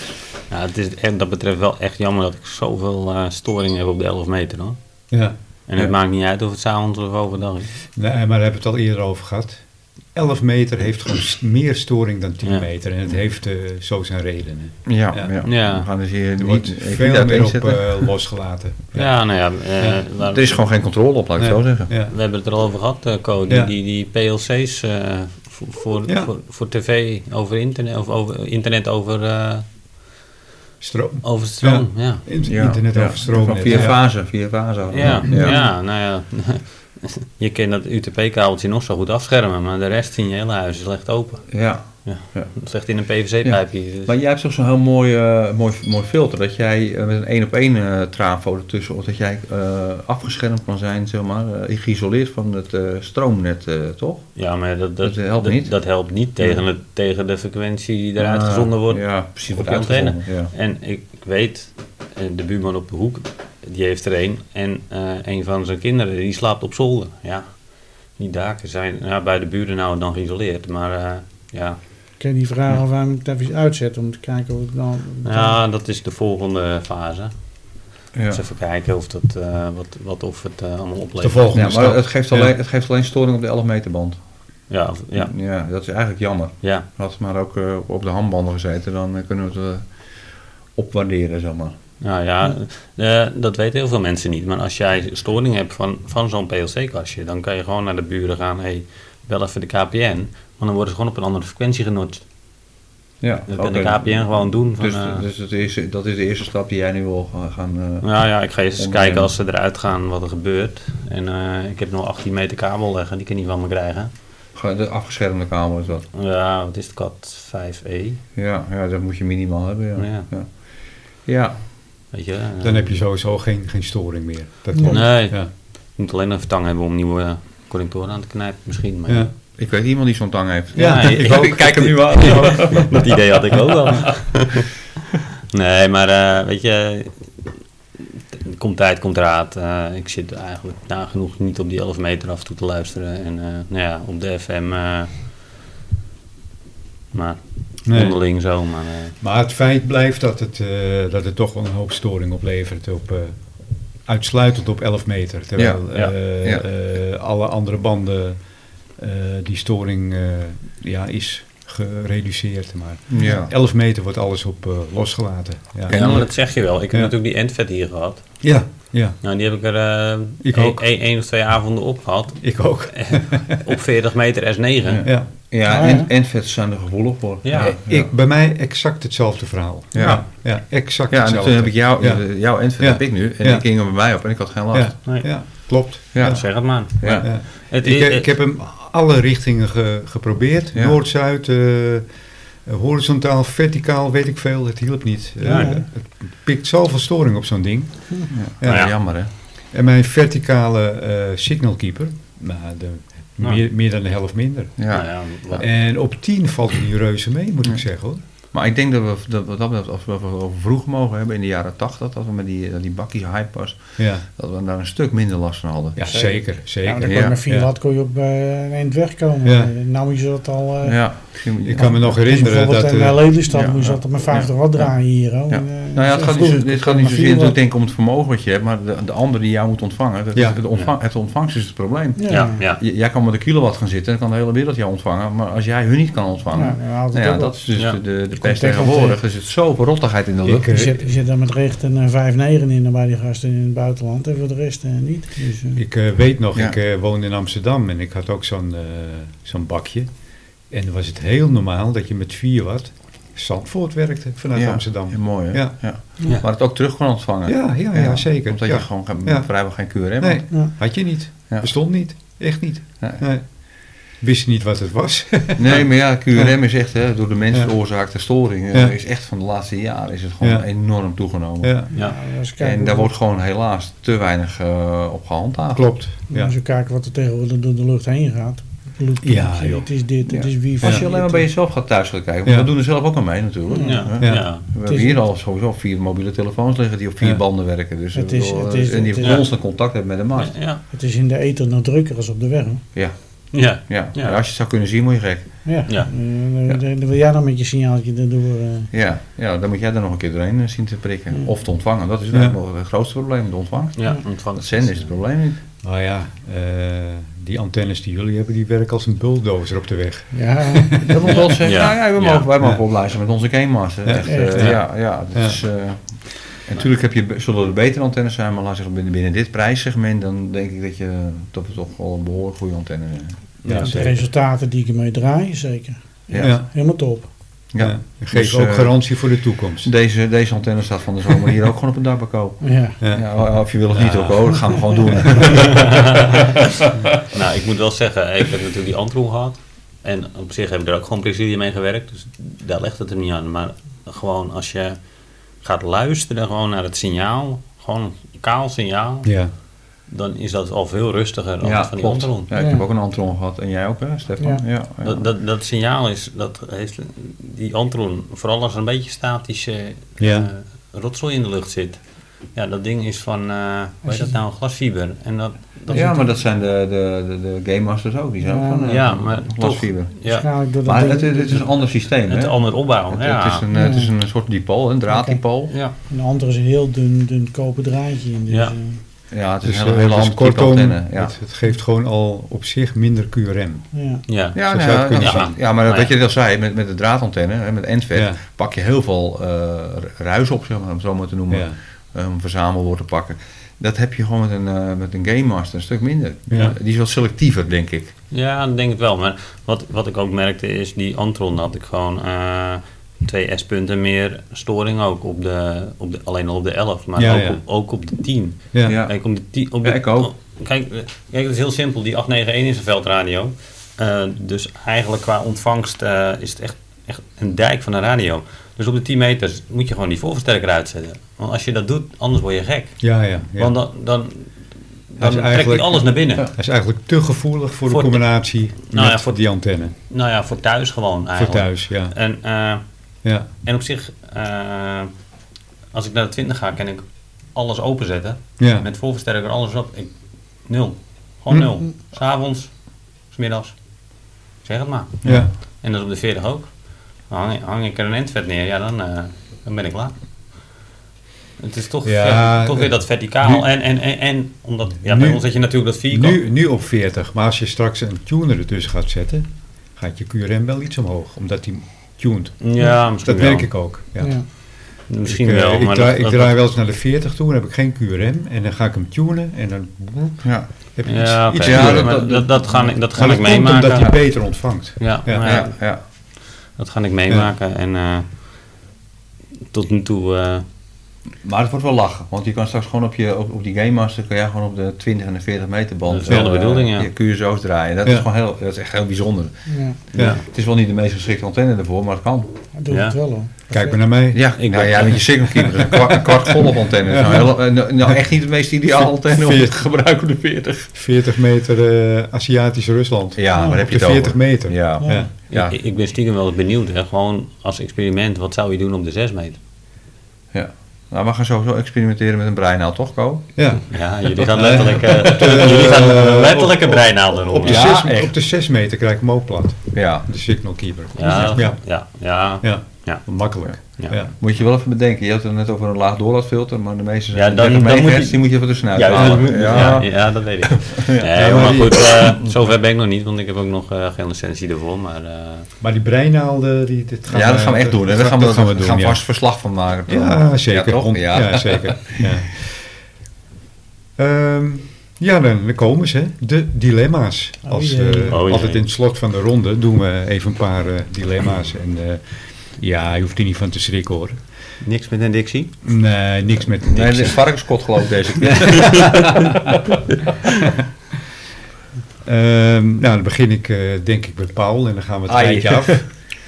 Speaker 4: Ja, het is en dat betreft wel echt jammer dat ik zoveel eh storing heb op de 11 meter. Hoor.
Speaker 1: ja.
Speaker 4: En het
Speaker 2: Ja.
Speaker 4: maakt niet uit of het s'avonds of overdag is.
Speaker 1: Nee, maar daar hebben we het al eerder over gehad. 11 meter heeft gewoon s- meer storing dan 10
Speaker 4: Ja.
Speaker 1: meter. En het heeft eh, zo zijn redenen.
Speaker 2: Ja,
Speaker 1: Ja.
Speaker 4: Ja.
Speaker 2: We gaan dus hier
Speaker 1: Er
Speaker 2: niet
Speaker 1: wordt
Speaker 2: even niet
Speaker 1: veel meer op
Speaker 2: uiteenzetten.
Speaker 1: eh, losgelaten.
Speaker 4: Ja, nou ja. eh,
Speaker 1: Ja.
Speaker 4: waar-
Speaker 2: Er is gewoon geen controle op, laat ik het zo zeggen.
Speaker 1: Ja.
Speaker 4: We hebben het er al over gehad, eh, Co. Die,
Speaker 1: Ja.
Speaker 4: die, die PLC's eh, voor, voor,
Speaker 1: Ja.
Speaker 4: voor, voor tv over internet, of over, internet over, eh,
Speaker 1: Stroom.
Speaker 4: over stroom. Ja.
Speaker 1: In-
Speaker 2: Ja,
Speaker 1: Internet
Speaker 2: ja.
Speaker 1: over stroom.
Speaker 2: Van
Speaker 1: net,
Speaker 2: Vier
Speaker 1: ja.
Speaker 2: fasen, vier fasen.
Speaker 4: Ja. Ja. nou ja. *laughs* Je kan dat UTP-kabeltje nog zo goed afschermen, maar de rest in je hele huis is slecht open.
Speaker 2: Ja,
Speaker 4: Slecht in een PVC-pijpje. Dus-
Speaker 2: Maar jij hebt toch zo'n heel mooi, eh, mooi, mooi filter. Dat jij eh, met een één op één eh, traanfoto tussen, of dat jij eh, afgeschermd kan zijn, zeg maar, eh, geïsoleerd van het eh, stroomnet, eh, toch?
Speaker 4: Ja, maar dat, dat,
Speaker 2: Dat helpt niet.
Speaker 4: Dat helpt niet tegen, het, tegen de frequentie die eruit
Speaker 2: Ah,
Speaker 4: gezonden wordt.
Speaker 2: Ja, precies.
Speaker 4: op
Speaker 2: Wordt
Speaker 4: je antenne.
Speaker 2: uitgezonden. Ja.
Speaker 4: En ik, ik weet, eh, de buurman op de hoek, die heeft er een. En eh, een van zijn kinderen, die slaapt op zolder. Ja, die daken zijn ja, bij de buren nou en dan geïsoleerd. Maar eh, ja.
Speaker 3: Kun je die vragen of hij hem even uitzet om te kijken of het dan...
Speaker 4: ja, dat is de volgende fase.
Speaker 2: Ja.
Speaker 4: Dus even kijken of, dat, eh, wat, wat, of het eh, allemaal
Speaker 1: De
Speaker 4: oplevert.
Speaker 1: volgende
Speaker 2: Ja, maar
Speaker 1: stap.
Speaker 2: het geeft, alleen, het geeft alleen storing op de 11 meter band.
Speaker 4: Ja, of- ja,
Speaker 2: ja, dat is eigenlijk jammer.
Speaker 4: ja.
Speaker 2: Had het maar ook eh, op de handbanden gezeten, dan eh, kunnen we het eh, opwaarderen, zeg maar.
Speaker 4: Nou ja, eh, dat weten heel veel mensen niet. Maar als jij storing hebt van, van zo'n PLC-kastje, dan kan je gewoon naar de buren gaan. hey, bel even de KPN. Want dan worden ze gewoon op een andere frequentie genotcht.
Speaker 2: Ja,
Speaker 4: Dat
Speaker 2: oké.
Speaker 4: kan de KPN gewoon doen. Van,
Speaker 2: Dus,
Speaker 4: eh,
Speaker 2: dus het is, dat is de eerste stap die jij nu wil gaan... gaan, eh,
Speaker 4: nou ja, ik ga eens
Speaker 2: Ondernemen.
Speaker 4: kijken als ze eruit gaan wat er gebeurt. En eh, ik heb nog 18 meter kabel leggen, die kan niet van me krijgen.
Speaker 2: gaan- de afgeschermde kamer is dat.
Speaker 4: Ja, wat is het kat E, 5e?
Speaker 2: Ja, ja, dat moet je minimaal hebben, ja.
Speaker 4: Ja.
Speaker 2: ja. Ja,
Speaker 4: Weet je? eh,
Speaker 1: Dan heb je sowieso geen, geen storing meer. Dat
Speaker 3: Nee.
Speaker 1: klopt.
Speaker 4: Nee,
Speaker 1: Ja.
Speaker 4: je moet alleen een vertang hebben om nieuwe eh, connectoren aan te knijpen misschien. Maar
Speaker 1: Ja.
Speaker 2: ik weet iemand die zo'n tang heeft.
Speaker 4: Ja, ik
Speaker 2: *laughs*
Speaker 4: ook.
Speaker 2: kijk hem nu
Speaker 4: *laughs*
Speaker 2: aan.
Speaker 4: Dat idee had ik ook
Speaker 1: *laughs*
Speaker 4: wel. nee, maar eh, weet je, t- komt tijd, komt raad. Eh, ik zit eigenlijk nagenoeg niet op die 11 meter af toe te luisteren. En eh, nou ja, op de FM. eh, maar
Speaker 1: Nee.
Speaker 4: onderling zo. Maar, eh,
Speaker 1: Maar het feit blijft dat het, eh, dat het toch wel een hoop storing oplevert op... eh, Uitsluitend op 11 meter, terwijl
Speaker 4: Ja, ja,
Speaker 1: eh,
Speaker 2: ja.
Speaker 1: eh, alle andere banden eh, die storing eh, ja, is gereduceerd. Maar
Speaker 2: Ja.
Speaker 1: 11 meter wordt alles op eh, losgelaten. Ja,
Speaker 4: ja,
Speaker 1: ja.
Speaker 4: maar dat zeg je wel. Ik heb
Speaker 1: Ja.
Speaker 4: natuurlijk die endvet hier gehad.
Speaker 1: ja,
Speaker 4: Nou, die heb ik er eh,
Speaker 1: Ik
Speaker 4: één-
Speaker 1: ook.
Speaker 4: één één of twee avonden op
Speaker 1: *laughs*
Speaker 4: gehad.
Speaker 1: ik ook.
Speaker 4: op 40 meter S9.
Speaker 1: Ja.
Speaker 2: Ja,
Speaker 3: Ah, ja.
Speaker 2: en, en vet zijn er gevoelig voor.
Speaker 4: Ja.
Speaker 2: ja.
Speaker 1: Ik, bij mij exact hetzelfde verhaal.
Speaker 2: Ja.
Speaker 1: ja, ja, exact
Speaker 2: Ja, en
Speaker 1: hetzelfde.
Speaker 2: toen heb ik jou,
Speaker 1: Ja.
Speaker 2: jouw endvet
Speaker 1: Ja.
Speaker 2: heb ik nu. En
Speaker 1: Ja.
Speaker 2: die ging er bij mij op en ik had geen last.
Speaker 1: Ja,
Speaker 4: Nee.
Speaker 1: ja, klopt.
Speaker 2: Ja.
Speaker 1: Ja.
Speaker 4: Zeg het maar.
Speaker 2: Ja.
Speaker 1: Ja.
Speaker 4: Het,
Speaker 1: Ik,
Speaker 4: is-
Speaker 1: ik heb hem alle richtingen ge- geprobeerd.
Speaker 2: Ja.
Speaker 1: Noord, Zuid, eh, horizontaal, verticaal, weet ik veel. Het hielp niet. Eh,
Speaker 3: Ja.
Speaker 1: het pikt zoveel storing op zo'n ding. Ja.
Speaker 2: Nou Ja, jammer hè.
Speaker 1: En mijn verticale eh signalkeeper, nou, de, meer, meer dan de helft minder.
Speaker 2: Ja.
Speaker 4: nou ja, wat-
Speaker 1: En op 10 valt hij reuze mee, moet ik zeggen hoor.
Speaker 2: Maar ik denk dat we dat, we, dat betreft, als we het over vroeg mogen hebben in de jaren 80, dat we met die, dat die bakkie hype was,
Speaker 1: Ja,
Speaker 2: dat we daar een stuk minder last van hadden.
Speaker 1: ja zeker.
Speaker 3: Ja, maar
Speaker 1: zeker.
Speaker 3: dan kon
Speaker 2: Ja,
Speaker 3: je met 4
Speaker 1: ja.
Speaker 3: watt kon je op eh, een eind wegkomen.
Speaker 1: Ja.
Speaker 3: Eh, Nou is dat al... eh,
Speaker 2: Ja.
Speaker 1: Ik kan me nog
Speaker 3: als je
Speaker 1: herinneren dat...
Speaker 3: bijvoorbeeld in
Speaker 1: eh,
Speaker 3: eh, Lelystad
Speaker 2: ja,
Speaker 3: moest
Speaker 2: ja.
Speaker 3: dat op maar 50 watt draaien hier. hoor.
Speaker 2: Ja.
Speaker 3: En, eh,
Speaker 2: Nou ja, het gaat niet, zo- dit
Speaker 3: vroeger kon
Speaker 2: gaat niet
Speaker 3: je maar
Speaker 2: zozeer
Speaker 3: 4
Speaker 2: natuurlijk
Speaker 3: watt.
Speaker 2: denk ik om het vermogen wat je hebt, maar de, de ander die jou moet ontvangen. Dat,
Speaker 1: Ja.
Speaker 2: het, ontvang, het ontvangst is het probleem.
Speaker 3: Ja.
Speaker 4: ja, ja.
Speaker 2: J- jij kan met een kilowatt gaan zitten en kan de hele wereld jou ontvangen, maar als jij hun niet kan ontvangen,
Speaker 3: Ja, dan haalt het
Speaker 2: nou ja,
Speaker 3: ook
Speaker 2: dat
Speaker 3: op.
Speaker 2: is dus
Speaker 4: Ja.
Speaker 2: de, de, de pest
Speaker 3: tegen
Speaker 2: tegenwoordig.
Speaker 3: tegen.
Speaker 2: Er zit zoveel rottigheid in de lucht.
Speaker 1: eh, Ik, eh,
Speaker 3: Je zit, je zit dan met recht een eh, 5-9 in dan bij die gasten in het buitenland en voor de rest eh, niet. Dus, eh,
Speaker 1: Ik eh, weet nog,
Speaker 2: Ja.
Speaker 1: ik eh, woonde in Amsterdam en ik had ook zo'n eh, zo'n bakje. En dan was het heel normaal dat je met vier watt Zandvoort werkte vanuit
Speaker 2: Ja,
Speaker 1: Amsterdam.
Speaker 2: ja, mooi hè?
Speaker 1: Ja.
Speaker 2: Ja.
Speaker 4: Ja.
Speaker 2: Maar het ook terug kan ontvangen.
Speaker 1: Ja, ja, ja, zeker.
Speaker 2: Omdat
Speaker 1: Ja.
Speaker 2: je gewoon geen,
Speaker 1: Ja.
Speaker 2: vrijwel geen kuur hebt.
Speaker 1: Nee,
Speaker 3: ja.
Speaker 1: had je niet.
Speaker 2: Ja.
Speaker 1: Bestond niet. Echt niet.
Speaker 2: Nee.
Speaker 1: Nee. Wist niet wat het was.
Speaker 2: Nee, maar ja, QRM is echt hè, door de mens
Speaker 1: Ja.
Speaker 2: veroorzaakte storing. eh,
Speaker 1: Ja.
Speaker 2: Is echt van de laatste jaren is het gewoon
Speaker 1: Ja.
Speaker 2: enorm toegenomen.
Speaker 1: ja,
Speaker 4: ja.
Speaker 3: nou, als ik kijk
Speaker 2: En
Speaker 3: hoe-
Speaker 2: daar wordt gewoon helaas te weinig eh, op gehandhaafd.
Speaker 1: klopt. Ja.
Speaker 3: Als je kijkt wat er tegenwoordig door de lucht heen gaat. Bluetooth,
Speaker 1: Ja,
Speaker 3: eh,
Speaker 1: joh.
Speaker 3: het is dit, het
Speaker 2: Ja. Dus
Speaker 3: is wifi.
Speaker 2: Als je alleen maar bij
Speaker 3: het-
Speaker 2: jezelf gaat thuis gaan kijken, want
Speaker 1: Ja.
Speaker 2: we doen er zelf ook aan mee natuurlijk.
Speaker 4: Ja,
Speaker 2: Hè?
Speaker 1: Ja.
Speaker 4: ja.
Speaker 2: We
Speaker 3: Het is-
Speaker 2: hebben hier al sowieso vier mobiele telefoons liggen die op vier
Speaker 1: Ja.
Speaker 2: banden werken. Dus
Speaker 3: Het
Speaker 2: ik
Speaker 3: is-
Speaker 2: bedoel,
Speaker 3: het is-
Speaker 2: en die
Speaker 3: het is-
Speaker 2: constant contact hebben met de markt.
Speaker 4: ja.
Speaker 3: Het is in de ether nog drukker als op de weg. hoor.
Speaker 2: Ja.
Speaker 4: Ja,
Speaker 2: Ja.
Speaker 4: Ja.
Speaker 2: Ja, als je het zou kunnen zien, moet je gek.
Speaker 3: Ja.
Speaker 4: Ja.
Speaker 3: Eh, dan- dan, dan wil jij dan met je signaaltje erdoor. eh,
Speaker 2: Ja, ja dan moet jij er nog een keer doorheen eh, zien te prikken.
Speaker 3: Ja.
Speaker 2: Of te ontvangen. Dat is
Speaker 1: Ja.
Speaker 2: eigenlijk nog het grootste probleem, de ontvangst.
Speaker 4: ja, ontvangt.
Speaker 2: Het zenden Mm. is het probleem niet.
Speaker 1: Nou ja, eh, die antennes die jullie hebben, die werken als een bulldozer op de weg.
Speaker 3: *laughs* ja,
Speaker 2: Dat moet wel zeggen.
Speaker 4: Ja.
Speaker 2: Ja, ja, wij
Speaker 4: Ja.
Speaker 2: mogen, wij mogen
Speaker 1: Ja.
Speaker 2: opblazen met onze Game Master.
Speaker 1: Ja,
Speaker 2: Echt,
Speaker 3: echt,
Speaker 2: eh,
Speaker 1: ja.
Speaker 2: ja, ja, dat
Speaker 1: Ja.
Speaker 2: is... eh, en natuurlijk heb je, be- zullen er betere antennes zijn, maar laat ik zeggen, binnen, binnen dit prijssegment, dan denk ik dat je dat we toch wel een behoorlijk goede antenne eh, zijn.
Speaker 4: Ja,
Speaker 1: Ja,
Speaker 3: de
Speaker 1: zeker.
Speaker 3: resultaten die ik ermee draai, zeker.
Speaker 2: Ja.
Speaker 1: Ja.
Speaker 3: Helemaal top.
Speaker 2: Ja.
Speaker 1: Ja. Geef
Speaker 2: Dus,
Speaker 1: ook
Speaker 2: eh,
Speaker 1: garantie voor de toekomst.
Speaker 2: Deze, deze antenne staat van de zomer hier ook gewoon op een dakbakkoop.
Speaker 3: Ja.
Speaker 1: Ja.
Speaker 2: Ja, of je wil of niet ook, oh, dat gaan we gewoon doen.
Speaker 4: Nou, ik moet wel zeggen, ik heb natuurlijk die Antroen gehad. En op zich hebben we er ook gewoon plezier mee gewerkt. Dus daar legt het hem niet aan. Maar gewoon als je gaat luisteren gewoon naar het signaal, gewoon een kaal signaal,
Speaker 1: Ja.
Speaker 4: dan is dat al veel rustiger dan van die
Speaker 2: klopt.
Speaker 4: Antron.
Speaker 2: Ja, ik
Speaker 3: Ja.
Speaker 2: heb ook een Antron gehad. En jij ook, hè, Stefan?
Speaker 3: Ja.
Speaker 2: Ja. Ja,
Speaker 4: Dat, dat, dat signaal is, dat heeft die Antron, vooral als er een beetje statische
Speaker 1: Ja.
Speaker 4: eh, rotzooi in de lucht zit. Ja, dat ding is van, eh hoe
Speaker 3: Als
Speaker 4: heet
Speaker 3: je-
Speaker 4: dat nou, glasfiber. En dat, dat
Speaker 2: Ja, maar dat zijn de, de, de, de Game Masters ook. Die zijn
Speaker 3: Ja,
Speaker 2: ook van eh,
Speaker 4: ja, maar
Speaker 2: glasfiber.
Speaker 4: ja,
Speaker 3: Waarschijnlijk door Dus dat
Speaker 2: Maar
Speaker 3: ding-
Speaker 2: het, het is een ander systeem, hè?
Speaker 4: het
Speaker 2: Het,
Speaker 4: andere opbouw. Oh, ja.
Speaker 2: het is een, eh, het is
Speaker 1: Hmm.
Speaker 2: een soort diepool, een draaddipool.
Speaker 4: ja.
Speaker 3: En de andere is een heel dun, dun koper draadje in. Dus,
Speaker 4: Ja.
Speaker 3: eh,
Speaker 2: Ja, het is
Speaker 1: Dus
Speaker 2: een hele,
Speaker 1: eh,
Speaker 2: hele
Speaker 1: dus
Speaker 2: andere type
Speaker 1: kortom,
Speaker 2: antenne. Ja.
Speaker 1: het, het geeft gewoon al op zich minder QRM.
Speaker 3: ja.
Speaker 4: ja.
Speaker 2: Ja,
Speaker 1: Zo zou
Speaker 2: nou
Speaker 1: het
Speaker 2: ja,
Speaker 1: kunnen
Speaker 2: ja,
Speaker 4: zijn.
Speaker 2: ja, maar
Speaker 4: Maar
Speaker 2: dat wat
Speaker 4: Oh, ja.
Speaker 2: je al zei, met, met de draadantenne, hè, met NVET,
Speaker 1: Ja.
Speaker 2: pak je heel veel eh, ruis op, zeg maar, om het zo maar te noemen.
Speaker 1: Ja.
Speaker 2: eh, Om verzamelwoord te pakken. Dat heb je gewoon met een, eh, met een Game Master een stuk minder.
Speaker 1: Ja.
Speaker 2: Die is wat selectiever, denk ik.
Speaker 4: Ja, ik denk het wel. Maar wat, wat ik ook merkte is, die Antron had ik gewoon eh, twee S-punten meer storing ook. Op de, op de, alleen al op de 11, maar
Speaker 1: Ja,
Speaker 4: ook,
Speaker 1: ja.
Speaker 4: Op, ook op de 10.
Speaker 1: Ja.
Speaker 2: Ja.
Speaker 4: Kijk, om de 10 op de,
Speaker 2: Ja, ik ook.
Speaker 4: Kijk, eh, kijk, het is heel simpel. Die 891 is een veldradio. Eh, dus eigenlijk qua ontvangst eh, is het echt, echt een dijk van een radio. Dus op de 10 meters moet je gewoon die voorversterker uitzetten. Want als je dat doet, anders word je gek.
Speaker 1: Ja, ja, ja.
Speaker 4: Want dan, dan, dan trekt hij
Speaker 1: eigenlijk-
Speaker 4: alles naar binnen.
Speaker 1: Hij is eigenlijk te gevoelig voor,
Speaker 4: Voor
Speaker 1: de
Speaker 4: de-
Speaker 1: combinatie
Speaker 4: Nou
Speaker 1: met
Speaker 4: ja, voor-
Speaker 1: die antenne.
Speaker 4: Nou ja, voor thuis gewoon eigenlijk.
Speaker 1: Voor thuis, ja.
Speaker 4: En, eh,
Speaker 1: ja.
Speaker 4: en op zich, eh, als ik naar de 20 ga, kan ik alles openzetten.
Speaker 1: ja.
Speaker 4: Met voorversterker, alles op. Ik, nul. Gewoon
Speaker 1: Hm.
Speaker 4: nul. S'avonds, smiddags. Zeg het maar.
Speaker 1: ja.
Speaker 4: En dat op de 40 ook. Dan hang, hang ik er een endvet neer, ja, dan, eh, dan ben ik klaar. Het is toch,
Speaker 1: Ja,
Speaker 4: ja, toch
Speaker 1: eh,
Speaker 4: weer dat verticaal.
Speaker 1: nu-
Speaker 4: en, en, en, en omdat, ja, bij
Speaker 1: Nu-
Speaker 4: ons had je natuurlijk dat vierkant.
Speaker 1: Nu, nu op 40, maar als je straks een tuner ertussen gaat zetten, gaat je QRM wel iets omhoog, omdat die tuned.
Speaker 4: ja, misschien
Speaker 1: Dat
Speaker 4: wel.
Speaker 1: merk ik ook. Ja.
Speaker 3: Ja.
Speaker 4: Misschien
Speaker 1: ik, eh,
Speaker 4: wel,
Speaker 1: ik,
Speaker 4: maar
Speaker 1: draai,
Speaker 4: dat-
Speaker 1: ik
Speaker 4: dat-
Speaker 1: draai wel eens naar de 40 toe, dan heb ik geen QRM en dan ga ik hem tunen en dan boep,
Speaker 2: Ja.
Speaker 1: heb je
Speaker 4: Ja,
Speaker 1: iets,
Speaker 4: oké.
Speaker 1: iets
Speaker 2: Ja,
Speaker 1: meer.
Speaker 4: dat,
Speaker 1: Maar
Speaker 4: dat, dat, dat ga ik, dat ga
Speaker 1: dat
Speaker 4: ik
Speaker 1: komt omdat
Speaker 4: meemaken.
Speaker 1: hij beter ontvangt.
Speaker 4: Ja,
Speaker 1: Ja.
Speaker 4: maar
Speaker 2: Ja. Ja. Ja.
Speaker 4: dat ga ik meemaken. En eh, tot nu toe, eh,
Speaker 2: Maar het wordt wel lachen, want je kan straks gewoon op, je, op, op die Game Master kan jij gewoon op de 20 en de 40 meter band
Speaker 4: Dat is wel de
Speaker 2: eh,
Speaker 4: bedoeling, ja.
Speaker 2: je QSO's draaien. Dat
Speaker 1: Ja.
Speaker 2: is gewoon heel, dat is echt heel bijzonder.
Speaker 3: Ja.
Speaker 1: Ja.
Speaker 2: Het is wel niet de meest geschikte antenne ervoor, maar het kan.
Speaker 3: Hij doet
Speaker 4: Ja.
Speaker 3: het wel hoor.
Speaker 1: Kijk maar naar mij.
Speaker 2: Ja,
Speaker 4: Ik
Speaker 2: nou
Speaker 4: ben-
Speaker 2: ja, met je signalkeeper, een kwart, een kwart volop antenne. Nou, heel- eh, nou, nou, echt niet het meest *laughs* ideaal antenne om te
Speaker 1: Veertig.
Speaker 2: gebruiken op de 40.
Speaker 1: 40 meter eh, Aziatisch Rusland.
Speaker 2: Ja, waar heb
Speaker 1: Op
Speaker 2: je
Speaker 1: de
Speaker 2: het over?
Speaker 1: 40 meter.
Speaker 2: Ja.
Speaker 3: Ja.
Speaker 1: Ja.
Speaker 2: Ja.
Speaker 4: ik, ik ben stiekem wel eens benieuwd. Hè, gewoon als experiment, wat zou je doen op de 6 meter?
Speaker 2: Nou, we gaan sowieso experimenteren met een breinaal, toch, Ko?
Speaker 1: Ja.
Speaker 4: Ja, jullie *laughs* gaan letterlijk, eh, jullie gaan letterlijk een breinaal eronder.
Speaker 1: Op, de
Speaker 2: Ja,
Speaker 1: Dus zes-
Speaker 2: echt.
Speaker 1: op de 6 meter krijg ik hem ook plat,
Speaker 2: Ja.
Speaker 1: de signalkeeper.
Speaker 4: Ja,
Speaker 1: ja.
Speaker 4: ja, ja, ja,
Speaker 1: Ja.
Speaker 4: Ja.
Speaker 1: makkelijk.
Speaker 4: Ja.
Speaker 1: Ja.
Speaker 2: Moet je wel even bedenken, je had het net over een laag doorlaatfilter, maar de meeste zijn
Speaker 4: Ja, dan-
Speaker 2: 30
Speaker 4: dan moet
Speaker 2: megahertz,
Speaker 4: je-
Speaker 2: die moet je even tussenuit
Speaker 4: ja, dus
Speaker 2: halen.
Speaker 4: ja, *laughs* ja, dat weet ik. Nee,
Speaker 1: Ja, maar
Speaker 4: maar
Speaker 1: die-
Speaker 4: goed, eh, zover ben ik nog niet, want ik heb ook nog eh, geen licentie ervoor. Maar eh,
Speaker 1: Maar die breinaalden, die, dit gaan
Speaker 2: Ja, dat gaan we echt doen. Hè.
Speaker 1: Dat,
Speaker 2: Daar gaan we,
Speaker 1: dat gaan we doen,
Speaker 2: gaan
Speaker 1: ja.
Speaker 2: vast verslag van maken. toch?
Speaker 1: Ja, zeker.
Speaker 2: Ja,
Speaker 1: Ja,
Speaker 2: toch? Ja.
Speaker 1: ja. zeker. Ja. Ehm, ja, dan dan komen ze. hè. De dilemma's.
Speaker 3: Oh
Speaker 1: Als,
Speaker 3: jee.
Speaker 1: eh,
Speaker 4: Oh jee.
Speaker 1: altijd in het slot van de ronde doen we even een paar eh, dilemma's. En eh, ja, je hoeft er niet van te schrikken hoor.
Speaker 4: niks met een dictie.
Speaker 1: Nee, niks met niks.
Speaker 2: Nee, dit is varkenskot geloof ik deze *laughs* keer.
Speaker 1: Ehm, nou, dan begin ik eh, denk ik met Paul en dan gaan we het
Speaker 2: Ai.
Speaker 1: eindje
Speaker 2: *laughs*
Speaker 1: af.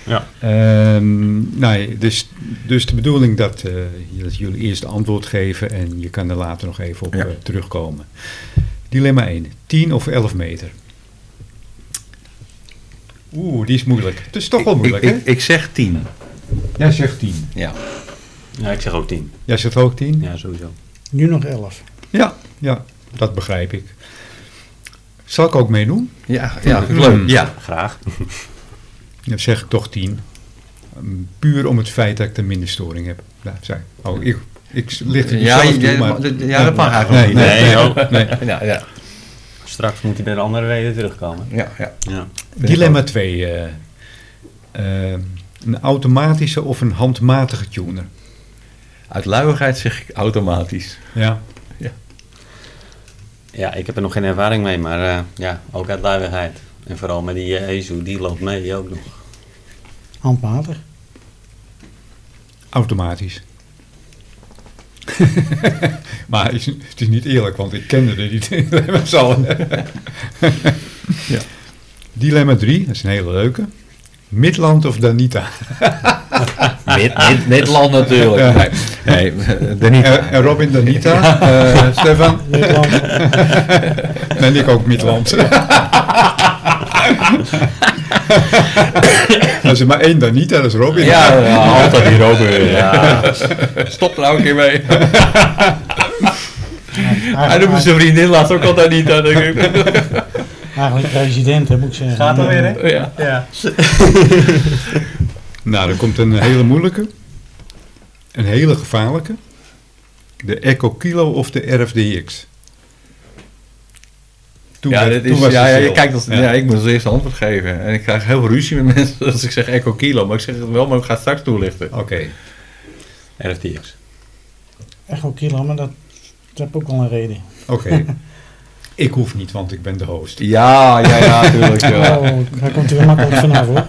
Speaker 4: Ja.
Speaker 1: Ehm, nou, dus, dus de bedoeling dat, eh, dat jullie eerst antwoord geven en je kan er later nog even op
Speaker 2: Ja.
Speaker 1: eh, terugkomen. Dilemma 1. 10 of 11 meter? Oeh, die is moeilijk. Het is toch wel
Speaker 2: ik,
Speaker 1: moeilijk, hè?
Speaker 2: ik, ik zeg 10.
Speaker 1: Jij zegt 10.
Speaker 2: Ja.
Speaker 4: Ja, ik zeg ook 10.
Speaker 1: Jij zegt ook 10?
Speaker 4: Ja, sowieso.
Speaker 3: Nu nog 11.
Speaker 1: ja, ja, dat begrijp ik. Zal ik ook meedoen?
Speaker 2: Ja, ja, leuk. Ja.
Speaker 4: Graag.
Speaker 1: Dan zeg ik toch 10. Um, Puur om het feit dat ik er minder storing heb. Nou, zei, oh, ik, ik licht het
Speaker 2: Ja,
Speaker 1: ja,
Speaker 2: ja,
Speaker 1: toe,
Speaker 2: ja,
Speaker 1: maar...
Speaker 2: dat- ja, dat mag eigenlijk
Speaker 1: Nee,
Speaker 2: nog
Speaker 1: nee,
Speaker 4: Nee,
Speaker 1: nee,
Speaker 4: ook.
Speaker 1: nee.
Speaker 2: Ja, ja,
Speaker 4: Straks moet hij met een andere reden terugkomen.
Speaker 2: ja, ja.
Speaker 4: Ja.
Speaker 1: Dilemma 2. een automatische of een handmatige tuner?
Speaker 2: Uit luiigheid zeg ik automatisch.
Speaker 1: Ja.
Speaker 4: ja, ik heb er nog geen ervaring mee, maar eh, ja, ook uit luiigheid. En vooral met die eh Ezu, die loopt mee ook nog.
Speaker 3: Handmatig.
Speaker 1: Automatisch. *laughs* maar het is, het *laughs* is niet eerlijk, want ik kende er niet. Dilemma's al.
Speaker 2: Ja.
Speaker 1: Dilemma 3, dat is een hele leuke. Midland of Danita?
Speaker 2: Net, land natuurlijk.
Speaker 1: Ja.
Speaker 2: Nee, nee,
Speaker 1: Eh, En, en Robin Danita, eh, Stefan. *laughs*
Speaker 3: Nederland.
Speaker 1: En ik ook Midland. Als *laughs* er maar één Danita, dat is Robin.
Speaker 2: Ja, ja, altijd hier ook weer.
Speaker 6: Ja. Stop er nou een keer mee.
Speaker 2: Hij doet met
Speaker 3: Eigenlijk,
Speaker 2: zijn vriendin laatst ook altijd niet aan. denk ik.
Speaker 3: eigenlijk president, hè, moet ik zeggen.
Speaker 7: Gaat alweer, hè?
Speaker 2: Ja.
Speaker 7: Ja.
Speaker 1: Nou, er komt een hele moeilijke. Een hele gevaarlijke. De Echo Kilo of de RFDX? Toen
Speaker 2: Ja,
Speaker 1: werd-
Speaker 2: dit
Speaker 1: toen
Speaker 2: is,
Speaker 1: was
Speaker 2: ja,
Speaker 1: het
Speaker 2: ja,
Speaker 1: stil.
Speaker 2: je kijkt als,
Speaker 1: Ja.
Speaker 2: ja. ik moet als eerste antwoord geven. En ik krijg heel veel ruzie met *laughs* mensen als ik zeg Echo Kilo. Maar ik zeg het wel, maar ik ga het straks toelichten.
Speaker 1: Oké.
Speaker 4: RFTX.
Speaker 3: Echt ook kilo, maar dat, dat heb ook al een reden.
Speaker 1: Oké. ik hoef niet, want ik ben de host.
Speaker 2: Ja, ja, ja, natuurlijk. *laughs* Ja.
Speaker 3: Oh, daar komt hij weer makkelijk vanaf, hoor.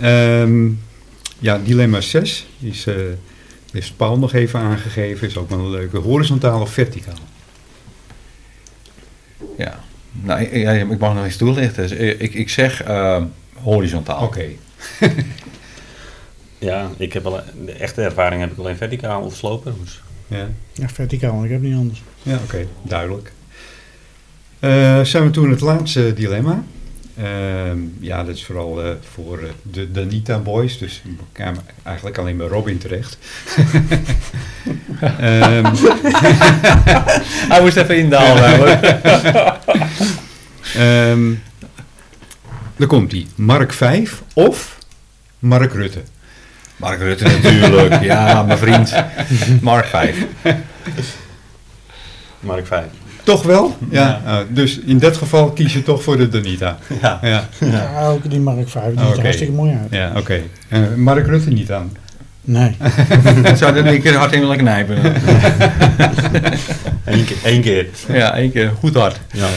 Speaker 1: Ehm, ja, dilemma 6 is, eh, heeft Paul nog even aangegeven. Is ook wel een leuke. Horizontaal of verticaal?
Speaker 2: ja. Nou, ik, ja, ik mag nog iets toelichten. Dus ik, ik zeg eh, horizontaal.
Speaker 1: Oké.
Speaker 4: Ja, ik heb al, de echte ervaring heb ik alleen verticaal of dus sloopers.
Speaker 1: Ja,
Speaker 3: Ja, verticaal, want ik heb niet anders.
Speaker 1: ja oké. Duidelijk. Eh, zijn we toen het laatste dilemma. Ehm, ja, dat is vooral eh, voor eh, de Danita Boys. Dus ik kwam eigenlijk alleen bij Robin terecht. Ehm,
Speaker 2: Hij moest even *laughs* indalen. hoor.
Speaker 1: ehm, daar komt hij. Mark 5 of Mark Rutte.
Speaker 2: Mark Rutte *laughs* natuurlijk. Ja, mijn vriend. Mark 5.
Speaker 4: Mark 5.
Speaker 1: Toch wel? Ja. Ah, dus in dat geval kies je toch voor de Danita.
Speaker 4: Ja.
Speaker 1: Ja,
Speaker 3: Ja, ook die Mark 5, die ziet
Speaker 1: Oké.
Speaker 3: er hartstikke mooi uit.
Speaker 1: ja oké. Eh, Mark Rutte niet aan.
Speaker 3: Nee,
Speaker 2: Zou er een keer hard in willen knijpen.
Speaker 4: Eén keer. Één keer.
Speaker 2: Ja, één keer goed hard.
Speaker 4: Ja, ja.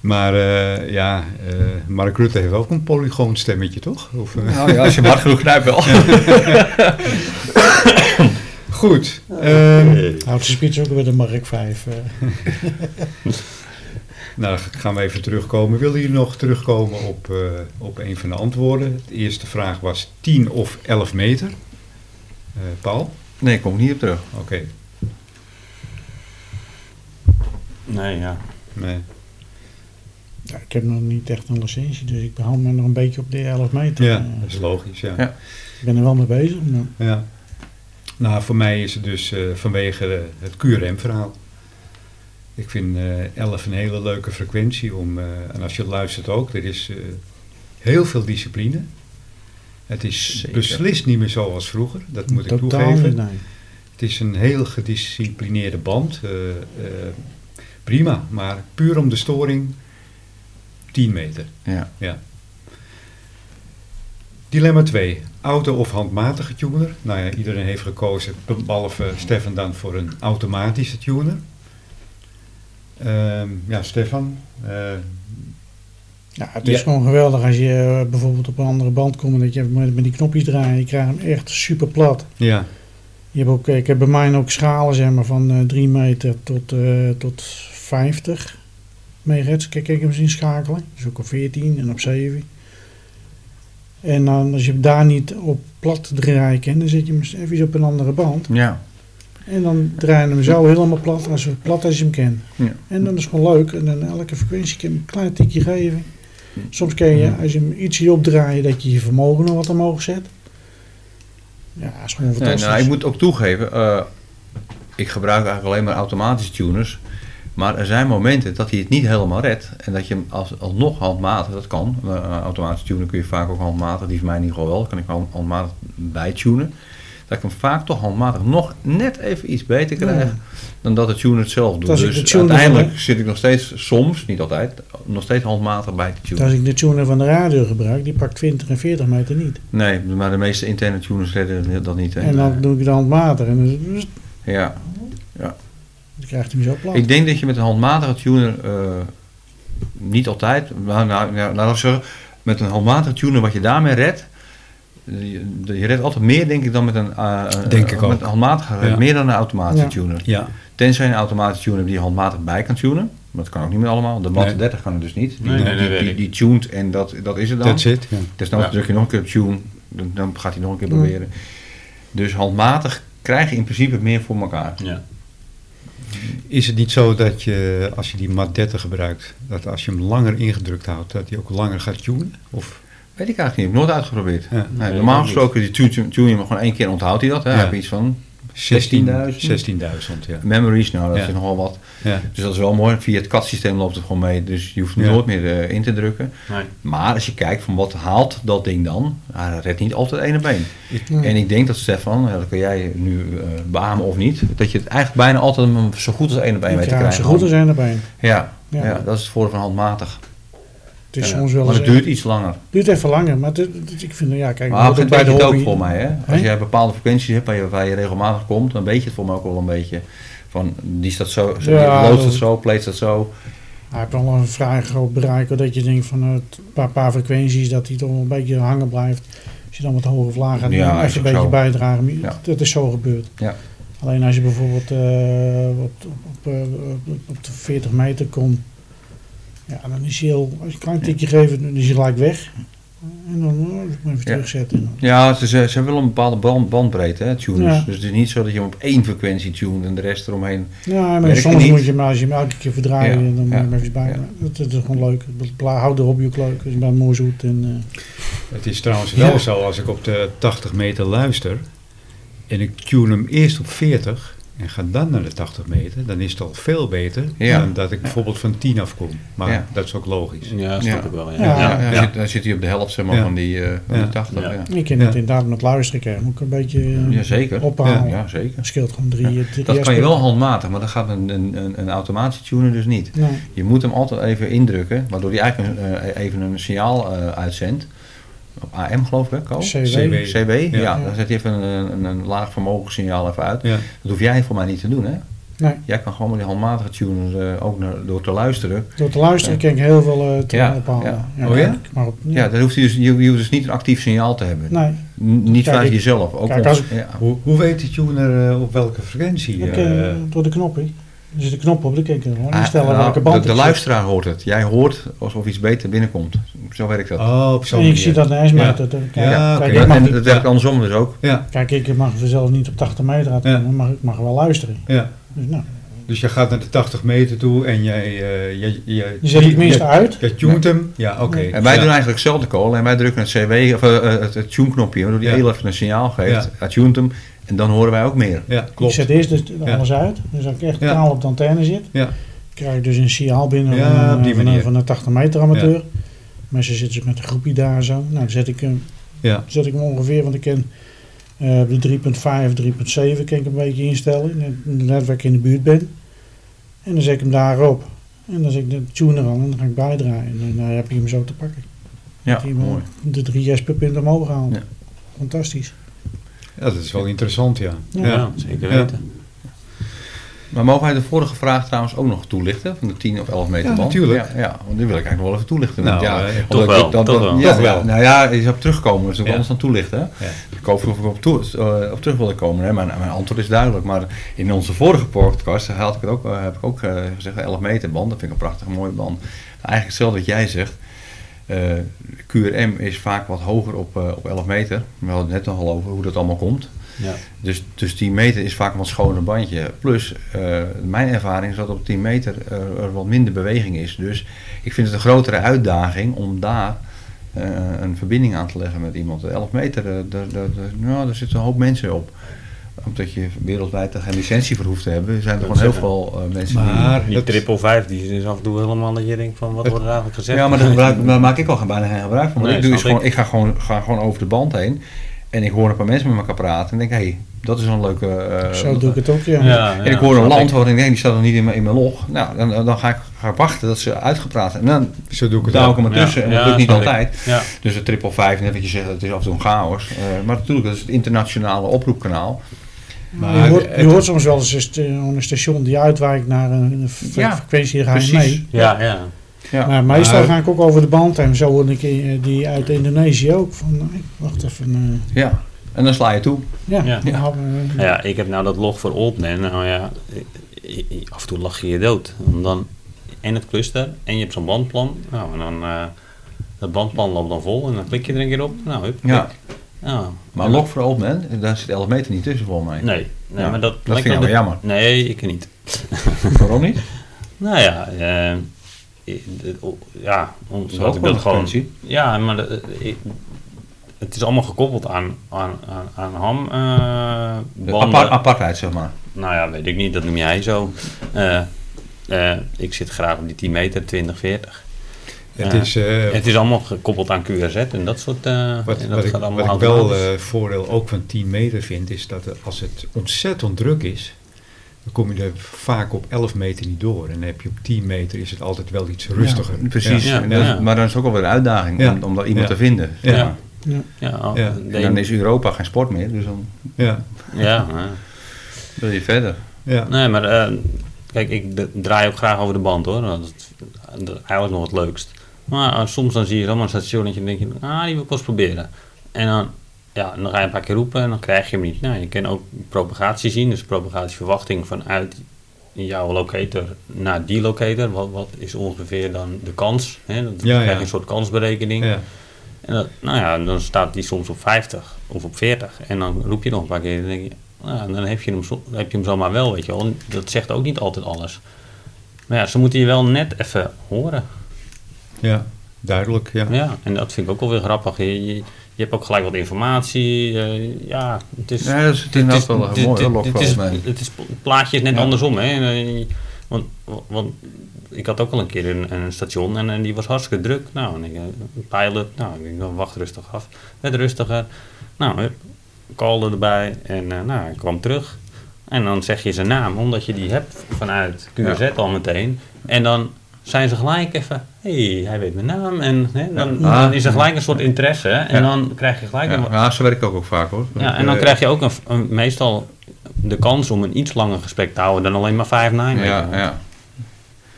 Speaker 1: Maar eh, ja, eh, Mark Rutte heeft ook een polygoonstemmetje, toch? Of, eh,
Speaker 2: Nou ja, als je hem hard genoeg knijpt wel.
Speaker 1: Goed. ehm,
Speaker 3: *laughs* houdt zijn spits ook weer de Mark 5. eh.
Speaker 1: nou, dan gaan we even terugkomen. Willen jullie nog terugkomen op, eh, op een van de antwoorden? De eerste vraag was 10 of 11 meter. Eh, Paul?
Speaker 2: Nee, ik kom er niet op terug.
Speaker 1: Oké.
Speaker 4: Nee, ja.
Speaker 1: Nee.
Speaker 3: Ja, ik heb nog niet echt een licentie, dus ik behoud me nog een beetje op de 11 meter.
Speaker 1: Ja,
Speaker 3: Eh,
Speaker 1: dat is logisch, ja.
Speaker 2: Ja.
Speaker 3: ik ben er wel mee bezig. Maar
Speaker 1: Ja. Nou, voor mij is het dus eh, vanwege eh, het QRM-verhaal. Ik vind eh 11 een hele leuke frequentie om, eh, en als je luistert ook, er is eh, heel veel discipline. Het is
Speaker 2: Zeker.
Speaker 1: beslist niet meer zoals vroeger, dat moet ik
Speaker 3: totaal
Speaker 1: toegeven.
Speaker 3: niet, nee.
Speaker 1: Het is een heel gedisciplineerde band. eh, eh, prima, maar puur om de storing 10 meter.
Speaker 2: Ja.
Speaker 1: Dilemma 2. Auto of handmatige tuner? Nou ja, iedereen heeft gekozen, behalve Stefan dan, voor een automatische tuner. Ehm, ja, Stefan. eh,
Speaker 3: Ja, het is
Speaker 1: Ja.
Speaker 3: gewoon geweldig als je eh, bijvoorbeeld op een andere band komt en dat je even met, met die knopjes draait. Je krijgt hem echt super plat.
Speaker 1: ja,
Speaker 3: Je hebt ook, ik heb bij mij ook schalen zeg maar, van eh, 3 meter tot, eh, tot 50 megahertz. Kijk, ik heb hem zien schakelen. Dus ook op 14 en op 7. En dan, als je hem daar niet op plat draaien kan, dan zet je hem eens even op een andere band.
Speaker 2: Ja.
Speaker 3: En dan draai je hem zo helemaal plat, als, plat als je hem kent.
Speaker 2: Ja.
Speaker 3: En dan is het gewoon leuk. En dan elke frequentie kan je hem een klein tikje geven. Soms kan je, als je hem ietsje opdraait, dat je je vermogen nog wat omhoog zet. Ja, dat is gewoon
Speaker 2: Nee,
Speaker 3: fantastisch.
Speaker 2: nou, ik moet ook toegeven, eh, ik gebruik eigenlijk alleen maar automatische tuners. Maar er zijn momenten dat hij het niet helemaal redt. En dat je hem als, alsnog handmatig, dat kan. eh, Een automatische tuner kun je vaak ook handmatig, die van mij in ieder geval wel. Kan ik hand- handmatig bijtunen. Dat ik hem vaak toch handmatig nog net even iets beter
Speaker 3: Ja.
Speaker 2: krijg. Dan dat de tuner het zelf doet.
Speaker 3: Dat is de
Speaker 2: dus
Speaker 3: tuner
Speaker 2: uiteindelijk
Speaker 3: van,
Speaker 2: zit ik nog steeds, soms, niet altijd, nog steeds handmatig bij te tunen.
Speaker 3: Als ik de tuner van de radio gebruik, die pakt 20 en 40 meter niet.
Speaker 2: Nee, maar de meeste interne tuners redden dat niet. hè.
Speaker 3: En dan doe ik de handmatig en dan,
Speaker 2: Ja.
Speaker 3: dan krijgt hij hem zo plat.
Speaker 2: Ik denk dat je met een handmatige tuner eh, niet altijd, maar nou, nou, laat ik zeggen, met een handmatige tuner wat je daarmee redt, je, je redt altijd meer denk ik dan met een, eh, eh,
Speaker 1: Denk ik
Speaker 2: met
Speaker 1: ook.
Speaker 2: een handmatige,
Speaker 1: Ja.
Speaker 2: meer dan een automatische
Speaker 3: Ja.
Speaker 2: tuner.
Speaker 1: ja,
Speaker 2: Tenzij je een automatische tuner hebt die je handmatig bij kan tunen. Maar dat kan ook niet meer allemaal. De matte
Speaker 1: Nee.
Speaker 2: 30 kan het dus niet. Die,
Speaker 4: Nee, nee, nee,
Speaker 2: die,
Speaker 4: weet
Speaker 2: die,
Speaker 4: ik.
Speaker 2: die tuned en dat, dat is het dan.
Speaker 1: That's it. Ja.
Speaker 2: Dus dan
Speaker 4: Ja.
Speaker 2: druk je nog een keer op tune, dan, dan gaat hij nog een keer proberen. Dus handmatig krijg je in principe meer voor elkaar.
Speaker 4: Ja.
Speaker 1: Is het niet zo dat je, als je die mat 30 gebruikt, dat als je hem langer ingedrukt houdt, dat hij ook langer gaat tunen? Of,
Speaker 2: Weet ik eigenlijk niet, heb ik nooit uitgeprobeerd.
Speaker 1: ja,
Speaker 2: Nee,
Speaker 4: Nee,
Speaker 2: normaal
Speaker 4: ook niet.
Speaker 2: gesproken, die tune, tune je maar gewoon één keer onthoudt hij dat. Hè?
Speaker 1: Ja.
Speaker 2: Hij heeft iets van
Speaker 1: 16.000?
Speaker 2: 16.000?
Speaker 1: 16.000, ja.
Speaker 2: memories, nou dat
Speaker 1: Ja.
Speaker 2: is nogal wat.
Speaker 1: ja.
Speaker 2: Dus dat is wel mooi, via het CAD-systeem loopt het gewoon mee, dus je hoeft
Speaker 1: Ja.
Speaker 2: nooit meer eh, in te drukken.
Speaker 4: Nee.
Speaker 2: Maar als je kijkt van wat haalt dat ding dan, nou, dat redt niet altijd ene been.
Speaker 3: Nee.
Speaker 2: En ik denk dat Stefan, ja, dat kun jij nu eh beamen of niet, dat je het eigenlijk bijna altijd hem zo goed als één op één weet te
Speaker 3: Ja,
Speaker 2: krijgen.
Speaker 3: zo goed als één op één.
Speaker 2: Ja,
Speaker 3: Ja.
Speaker 2: ja. dat is het voordeel van handmatig.
Speaker 3: Het is
Speaker 2: Ja.
Speaker 3: soms wel
Speaker 2: maar
Speaker 3: eens...
Speaker 2: het duurt iets langer.
Speaker 3: duurt even langer, maar het- het- het- ik vind... Ja, kijk,
Speaker 2: Maar
Speaker 3: dat
Speaker 2: dat
Speaker 3: ik
Speaker 2: weet je het ook
Speaker 3: hobby-
Speaker 2: voor mij. Hè? Als
Speaker 3: Hè?
Speaker 2: jij bepaalde frequenties hebt waar je, waar je regelmatig komt, dan weet je het voor mij ook wel een beetje. Van, die staat zo, zo
Speaker 3: Ja,
Speaker 2: loods
Speaker 3: dat-
Speaker 2: dat zo, pleet dat zo.
Speaker 3: Hij heeft wel een vrij groot bereik, hoor, dat je denkt van eh, een paar, paar frequenties, dat hij toch wel een beetje hangen blijft. Als je dan wat hoger of lager gaat,
Speaker 2: Ja,
Speaker 3: ja,
Speaker 2: is
Speaker 3: echt een
Speaker 2: ook
Speaker 3: beetje
Speaker 2: zo.
Speaker 3: bijdragen. Maar
Speaker 2: Ja.
Speaker 3: Dat is zo gebeurd.
Speaker 2: Ja.
Speaker 3: Alleen als je bijvoorbeeld eh, op, op, op, eh, op- op de 40 meter komt, ja, dan is hij heel, als je een klein tikje geeft, dan is hij gelijk weg. En dan oh, moet ik hem even
Speaker 2: Ja.
Speaker 3: terugzetten. En dan-
Speaker 2: Ja, ze, ze, ze hebben wel een bepaalde band, bandbreedte, hè, tuners.
Speaker 3: Ja.
Speaker 2: Dus het is niet zo dat je hem op één frequentie tunt en de rest eromheen.
Speaker 3: Ja, maar
Speaker 2: Werkt
Speaker 3: soms
Speaker 2: niet.
Speaker 3: moet je maar als je hem elke keer verdraait,
Speaker 2: Ja,
Speaker 3: en dan moet je
Speaker 2: ja,
Speaker 3: hem even bij.
Speaker 2: ja.
Speaker 3: Dat, dat is gewoon leuk. Het bla- Houdt de hobby ook leuk. Het is bij mooi zoet. En, eh,
Speaker 1: Het is trouwens wel
Speaker 3: Ja.
Speaker 1: zo, als ik op de 80 meter luister en ik tune hem eerst op 40 en ga dan naar de 80 meter, dan is het al veel beter
Speaker 2: Ja.
Speaker 1: dan dat ik bijvoorbeeld van 10 afkom. Maar
Speaker 2: Ja.
Speaker 1: dat is ook logisch.
Speaker 4: Ja, snap
Speaker 2: Ja.
Speaker 4: ik wel. Ja.
Speaker 3: Ja.
Speaker 2: Ja,
Speaker 1: Ja.
Speaker 2: Dan, zit, dan zit hij op de helft zeg maar,
Speaker 1: Ja.
Speaker 2: van die, eh, van
Speaker 1: Ja.
Speaker 2: die 80.
Speaker 4: Ja.
Speaker 2: Ja.
Speaker 3: ik ken
Speaker 1: Ja.
Speaker 3: het inderdaad met luisteren krijgen. Moet ik een beetje eh,
Speaker 2: Ja, zeker.
Speaker 3: ophalen.
Speaker 2: ja, zeker.
Speaker 3: Dat scheelt gewoon drie. drie
Speaker 2: Dat kan je
Speaker 3: aspecten.
Speaker 2: wel handmatig, maar dat gaat een, een, een, een automatietuner dus niet.
Speaker 3: Nee.
Speaker 2: Je moet hem altijd even indrukken, waardoor hij eigenlijk een, eh, even een signaal eh, uitzendt. Op AM geloof ik, hè, Ko?
Speaker 3: CW.
Speaker 1: CW.
Speaker 2: CB, ja.
Speaker 1: Ja.
Speaker 2: Dan zet hij even een, een, een laag vermogenssignaal even uit.
Speaker 1: Ja.
Speaker 2: Dat hoef jij voor mij niet te doen, hè?
Speaker 3: Nee.
Speaker 2: Jij kan gewoon met die handmatige tuners eh, ook naar, door te luisteren.
Speaker 3: Door te luisteren kan ik heel veel eh, te
Speaker 2: Ja,
Speaker 3: ophalen.
Speaker 2: ja. Oh ja?
Speaker 3: Maar op,
Speaker 2: Ja, daar hoeft hij dus, je, je hoeft dus niet een actief signaal te hebben.
Speaker 3: Nee.
Speaker 2: N- niet
Speaker 3: Kijk,
Speaker 2: vanuit
Speaker 3: ik-
Speaker 2: jezelf. Ook
Speaker 3: kijk,
Speaker 2: ons-
Speaker 3: als
Speaker 2: ja.
Speaker 1: Hoe, hoe weet de tuner eh, op welke frequentie?
Speaker 3: Dan kan je,
Speaker 1: eh,
Speaker 3: door de knop in. Er zit een knop op, dan kan ik er gewoon instellen
Speaker 2: Ah, nou,
Speaker 3: welke band
Speaker 2: de, de
Speaker 3: het zit.
Speaker 2: luisteraar hoort het. Jij hoort alsof iets beter binnenkomt. Zo werkt dat.
Speaker 1: oh, op zo'n
Speaker 3: En ik
Speaker 1: manier.
Speaker 3: zie dat ineens
Speaker 1: Ja.
Speaker 3: met het. eh, Kijk,
Speaker 1: Ja,
Speaker 3: kijk,
Speaker 1: oké.
Speaker 2: Ja,
Speaker 3: ik mag
Speaker 2: en
Speaker 3: niet-
Speaker 2: dat werkt andersom dus ook.
Speaker 1: Ja,
Speaker 3: Kijk, ik mag zelf niet op 80 meter uitkomen,
Speaker 1: Ja.
Speaker 3: maar ik mag wel luisteren.
Speaker 1: ja.
Speaker 3: Dus nou,
Speaker 1: Dus je gaat naar de 80 meter toe en jij... eh, je, je,
Speaker 3: je zet het minste
Speaker 1: je-
Speaker 3: uit.
Speaker 1: Je tunt hem. Ja, oké.
Speaker 3: Nee.
Speaker 2: En wij
Speaker 1: Ja.
Speaker 2: doen eigenlijk hetzelfde call. En wij drukken het CW, of eh, eh, het, het tune-knopje, waardoor die
Speaker 1: Ja.
Speaker 2: heel even een signaal geeft.
Speaker 1: Ja.
Speaker 2: Hij tunt hem en dan horen wij ook meer.
Speaker 1: Ja, klopt.
Speaker 3: Ik zet eerst dus alles uit, dus als ik echt
Speaker 1: Ja.
Speaker 3: kaal op de antenne zit,
Speaker 1: Ja.
Speaker 3: krijg ik dus een signaal binnen
Speaker 1: Ja,
Speaker 3: van,
Speaker 1: op
Speaker 3: een,
Speaker 1: die
Speaker 3: van, een,
Speaker 1: manier.
Speaker 3: van een 80 meter amateur. Mensen zitten dus met een groepie daar en zo. Nou, dan zet ik hem,
Speaker 1: Ja.
Speaker 3: zet ik hem ongeveer, want ik ken eh, op de 3.5, 3.7 kan ik een beetje instellen, net- net waar ik in de buurt ben. En dan zet ik hem daarop. En dan zet ik de tuner aan en dan ga ik bijdraaien. En dan heb je hem zo te pakken.
Speaker 2: Ja,
Speaker 3: Die man
Speaker 2: mooi.
Speaker 3: De drie jes per punt omhoog gehaald.
Speaker 2: Ja.
Speaker 3: Fantastisch.
Speaker 1: Ja, dat is wel interessant, ja.
Speaker 3: Ja.
Speaker 1: Ja.
Speaker 4: Ja, zeker
Speaker 1: Ja.
Speaker 4: weten.
Speaker 2: Maar mogen wij de vorige vraag trouwens ook nog toelichten? Van de 10 of 11 meter
Speaker 1: Ja,
Speaker 2: band?
Speaker 1: natuurlijk.
Speaker 2: Ja, ja, want die wil ik eigenlijk nog wel even toelichten.
Speaker 1: Nou,
Speaker 2: ja,
Speaker 1: eh,
Speaker 2: omdat
Speaker 4: toch
Speaker 2: ik-
Speaker 4: wel,
Speaker 2: dan-
Speaker 4: toch
Speaker 2: dan-
Speaker 4: wel.
Speaker 2: Ja,
Speaker 1: Toch wel.
Speaker 2: Nou ja, je zou op terugkomen. Dus ik
Speaker 1: Ja.
Speaker 2: anders dan toelichten. hè?
Speaker 1: Ja.
Speaker 2: Ik hoop of ik op, toe- eh, op terug wilde komen. Hè? Mijn, mijn antwoord is duidelijk. Maar in onze vorige podcast had ik het ook, eh, heb ik ook eh, gezegd: 11 meter band. Dat vind ik een prachtig mooie band. Eigenlijk hetzelfde wat jij zegt. Eh, QRM is vaak wat hoger op, eh, op 11 meter. We hadden het net nogal over hoe dat allemaal komt.
Speaker 4: Ja.
Speaker 2: Dus, dus 10 meter is vaak een wat schoner bandje. Plus, eh, mijn ervaring is dat op 10 meter eh, er wat minder beweging is. Dus ik vind het een grotere uitdaging om daar eh, een verbinding aan te leggen met iemand. 11 meter, eh, daar, daar, daar- nou, daar zitten een hoop mensen op. Omdat je wereldwijd er geen licentie voor hoeft te hebben, zijn er
Speaker 4: Dat
Speaker 2: gewoon heel
Speaker 4: zeggen.
Speaker 2: veel eh, mensen die...
Speaker 1: Maar
Speaker 4: Die
Speaker 1: dat-
Speaker 4: triple 5 die is dus af en toe helemaal dat je denkt van wat
Speaker 1: Het-
Speaker 4: wordt er eigenlijk gezegd?
Speaker 2: Ja, maar daar, gebruik, daar maak ik al geen- bijna geen gebruik van. Wat
Speaker 4: Nee,
Speaker 2: ik doe is
Speaker 4: snap ik.
Speaker 2: gewoon, ik ga gewoon, ga gewoon over de band heen en ik hoor een paar mensen met elkaar praten en denk, hé, hey, dat is een leuke... eh,
Speaker 3: zo doe ik het ook, ja.
Speaker 4: *laughs* Ja, ja,
Speaker 2: en ik hoor een
Speaker 4: snap
Speaker 2: land
Speaker 4: ik.
Speaker 2: waarin ik denk, die staat nog niet in mijn, in mijn log. Nou, dan, dan ga ik ga ik wachten dat ze uitgepraat zijn. En dan
Speaker 1: Zo doe ik het
Speaker 2: douw
Speaker 1: ook.
Speaker 2: ik hem ertussen.
Speaker 4: Ja,
Speaker 2: en dat
Speaker 4: ja,
Speaker 2: lukt niet
Speaker 4: snap ik.
Speaker 2: altijd.
Speaker 4: Ja,
Speaker 2: Dus de triple vijf, net wat je zegt, het is af en toe een chaos. Eh, maar natuurlijk, dat is het internationale oproepkanaal.
Speaker 1: Maar
Speaker 3: je, hoort, je
Speaker 1: het-
Speaker 3: hoort soms wel eens een st- een station die uitwijkt naar een, een fre-
Speaker 2: Ja,
Speaker 3: frequentie, daar ga je
Speaker 2: precies.
Speaker 3: mee.
Speaker 4: ja, ja.
Speaker 2: Ja.
Speaker 3: Maar meestal
Speaker 1: Maar-
Speaker 3: ga ik ook over de band en zo hoorde ik eh, die uit Indonesië ook van, eh, wacht even, eh,
Speaker 2: ja. En dan sla je toe.
Speaker 3: ja,
Speaker 4: Ja.
Speaker 3: dan hadden we- eh,
Speaker 4: Nou ja, ik heb nou dat log voor Olden. Nou ja, i- i- i- af en toe lach je je dood. Want dan en het cluster en je hebt zo'n bandplan. Nou, en dan, eh dat bandplan loopt dan vol en dan klik je er een keer op. Nou, hup,
Speaker 8: Ja.
Speaker 4: klik. Nou,
Speaker 8: Maar
Speaker 4: en
Speaker 8: lok voor open end, daar zit 11 meter niet tussen volgens mij.
Speaker 4: Nee, nee
Speaker 8: Ja,
Speaker 4: maar dat...
Speaker 8: dat vind ik wel jammer.
Speaker 4: Nee, ik niet.
Speaker 8: Waarom niet?
Speaker 4: Nou ja, eh, ik- de- o- ja, om-
Speaker 8: is
Speaker 4: zodat
Speaker 8: ook
Speaker 4: ik
Speaker 8: wel een
Speaker 4: dat gewoon...
Speaker 8: functie.
Speaker 4: Ja, maar de- eh, ik- het is allemaal gekoppeld aan, aan, aan, aan ham. eh,
Speaker 8: De
Speaker 4: banden.
Speaker 8: apart, apartheid, zeg maar.
Speaker 4: Nou ja, weet ik niet, dat noem jij zo. Eh, eh, ik zit graag op die 10 meter, 20, 40.
Speaker 1: Het
Speaker 4: Ja.
Speaker 1: is, eh,
Speaker 4: het is allemaal gekoppeld aan QRZ en dat soort... eh
Speaker 1: Wat,
Speaker 4: en dat
Speaker 1: wat, ik,
Speaker 4: gaat allemaal
Speaker 1: wat ik wel
Speaker 4: automatisch.
Speaker 1: eh, voordeel ook van 10 meter vind, is dat er, als het ontzettend druk is, dan kom je er vaak op 11 meter niet door. En dan heb je op 10 meter is het altijd wel iets rustiger.
Speaker 8: Ja, precies.
Speaker 4: Ja.
Speaker 8: En dat is-
Speaker 4: Ja.
Speaker 8: Maar dan is het ook alweer een uitdaging
Speaker 1: Ja.
Speaker 8: om, om daar iemand
Speaker 1: Ja.
Speaker 8: te vinden.
Speaker 1: Ja.
Speaker 8: Ja.
Speaker 4: ja, oh, al-
Speaker 1: Ja.
Speaker 4: de-
Speaker 8: En dan is Europa geen sport meer, dus dan
Speaker 1: Ja,
Speaker 4: ja,
Speaker 1: *laughs*
Speaker 4: eh.
Speaker 8: wil je verder.
Speaker 1: ja.
Speaker 4: Nee, maar eh, kijk, ik d- draai ook graag over de band hoor. Dat is, dat is eigenlijk nog het leukst. Maar eh, soms dan zie je zomaar een stationnetje en denk je, ah, die wil ik wel eens proberen. En dan, ja, dan ga je een paar keer roepen en dan krijg je hem niet. Nou, je kan ook propagatie zien, dus propagatieverwachting vanuit jouw locator naar die locator. Wat, wat is ongeveer dan de kans? Hè? Dan
Speaker 1: Ja,
Speaker 4: krijg
Speaker 1: ja.
Speaker 4: je een soort kansberekening.
Speaker 1: ja.
Speaker 4: En dat, nou ja, dan staat die soms op 50 of op 40. En dan roep je nog een paar keer. En dan denk je, nou, dan heb je, hem zo, heb je hem zomaar wel, weet je wel. En Dat zegt ook niet altijd alles. Maar ja, ze moeten je wel net even horen.
Speaker 1: ja. duidelijk. Ja.
Speaker 4: Ja, en dat vind ik ook wel weer grappig. Je, je, je hebt ook gelijk wat informatie. eh, ja, het is...
Speaker 8: Ja, dat is, het is
Speaker 4: het
Speaker 8: inderdaad
Speaker 4: is-
Speaker 8: wel
Speaker 4: dit-
Speaker 8: een mooie
Speaker 4: dit-
Speaker 8: lok
Speaker 4: dit
Speaker 8: voor
Speaker 4: is-
Speaker 8: open end.
Speaker 4: Het is- het plaatje is net
Speaker 8: Ja.
Speaker 4: andersom, hè. En, eh, Want, want ik had ook al een keer een, een station en, en die was hartstikke druk. Nou, en ik, eh, een pilot, nou, ik denk, nou, wacht rustig af. Werd rustiger. Nou, hup, callen erbij en eh, nou, ik kwam terug. En dan zeg je zijn naam, omdat je die hebt vanuit QZ al meteen. En dan zijn ze gelijk even, hey, hij weet mijn naam. En hè, dan,
Speaker 8: Ja. Ah.
Speaker 4: dan is er gelijk een soort interesse. hè. En
Speaker 8: Ja.
Speaker 4: dan krijg je gelijk een,
Speaker 8: Ja, ja, zo werk ik eh, ook, ook vaak hoor.
Speaker 2: Eh,
Speaker 4: ja, en dan krijg je ook een, een- meestal de kans om een iets langer gesprek te houden dan alleen maar 5 9
Speaker 8: Ja, ja.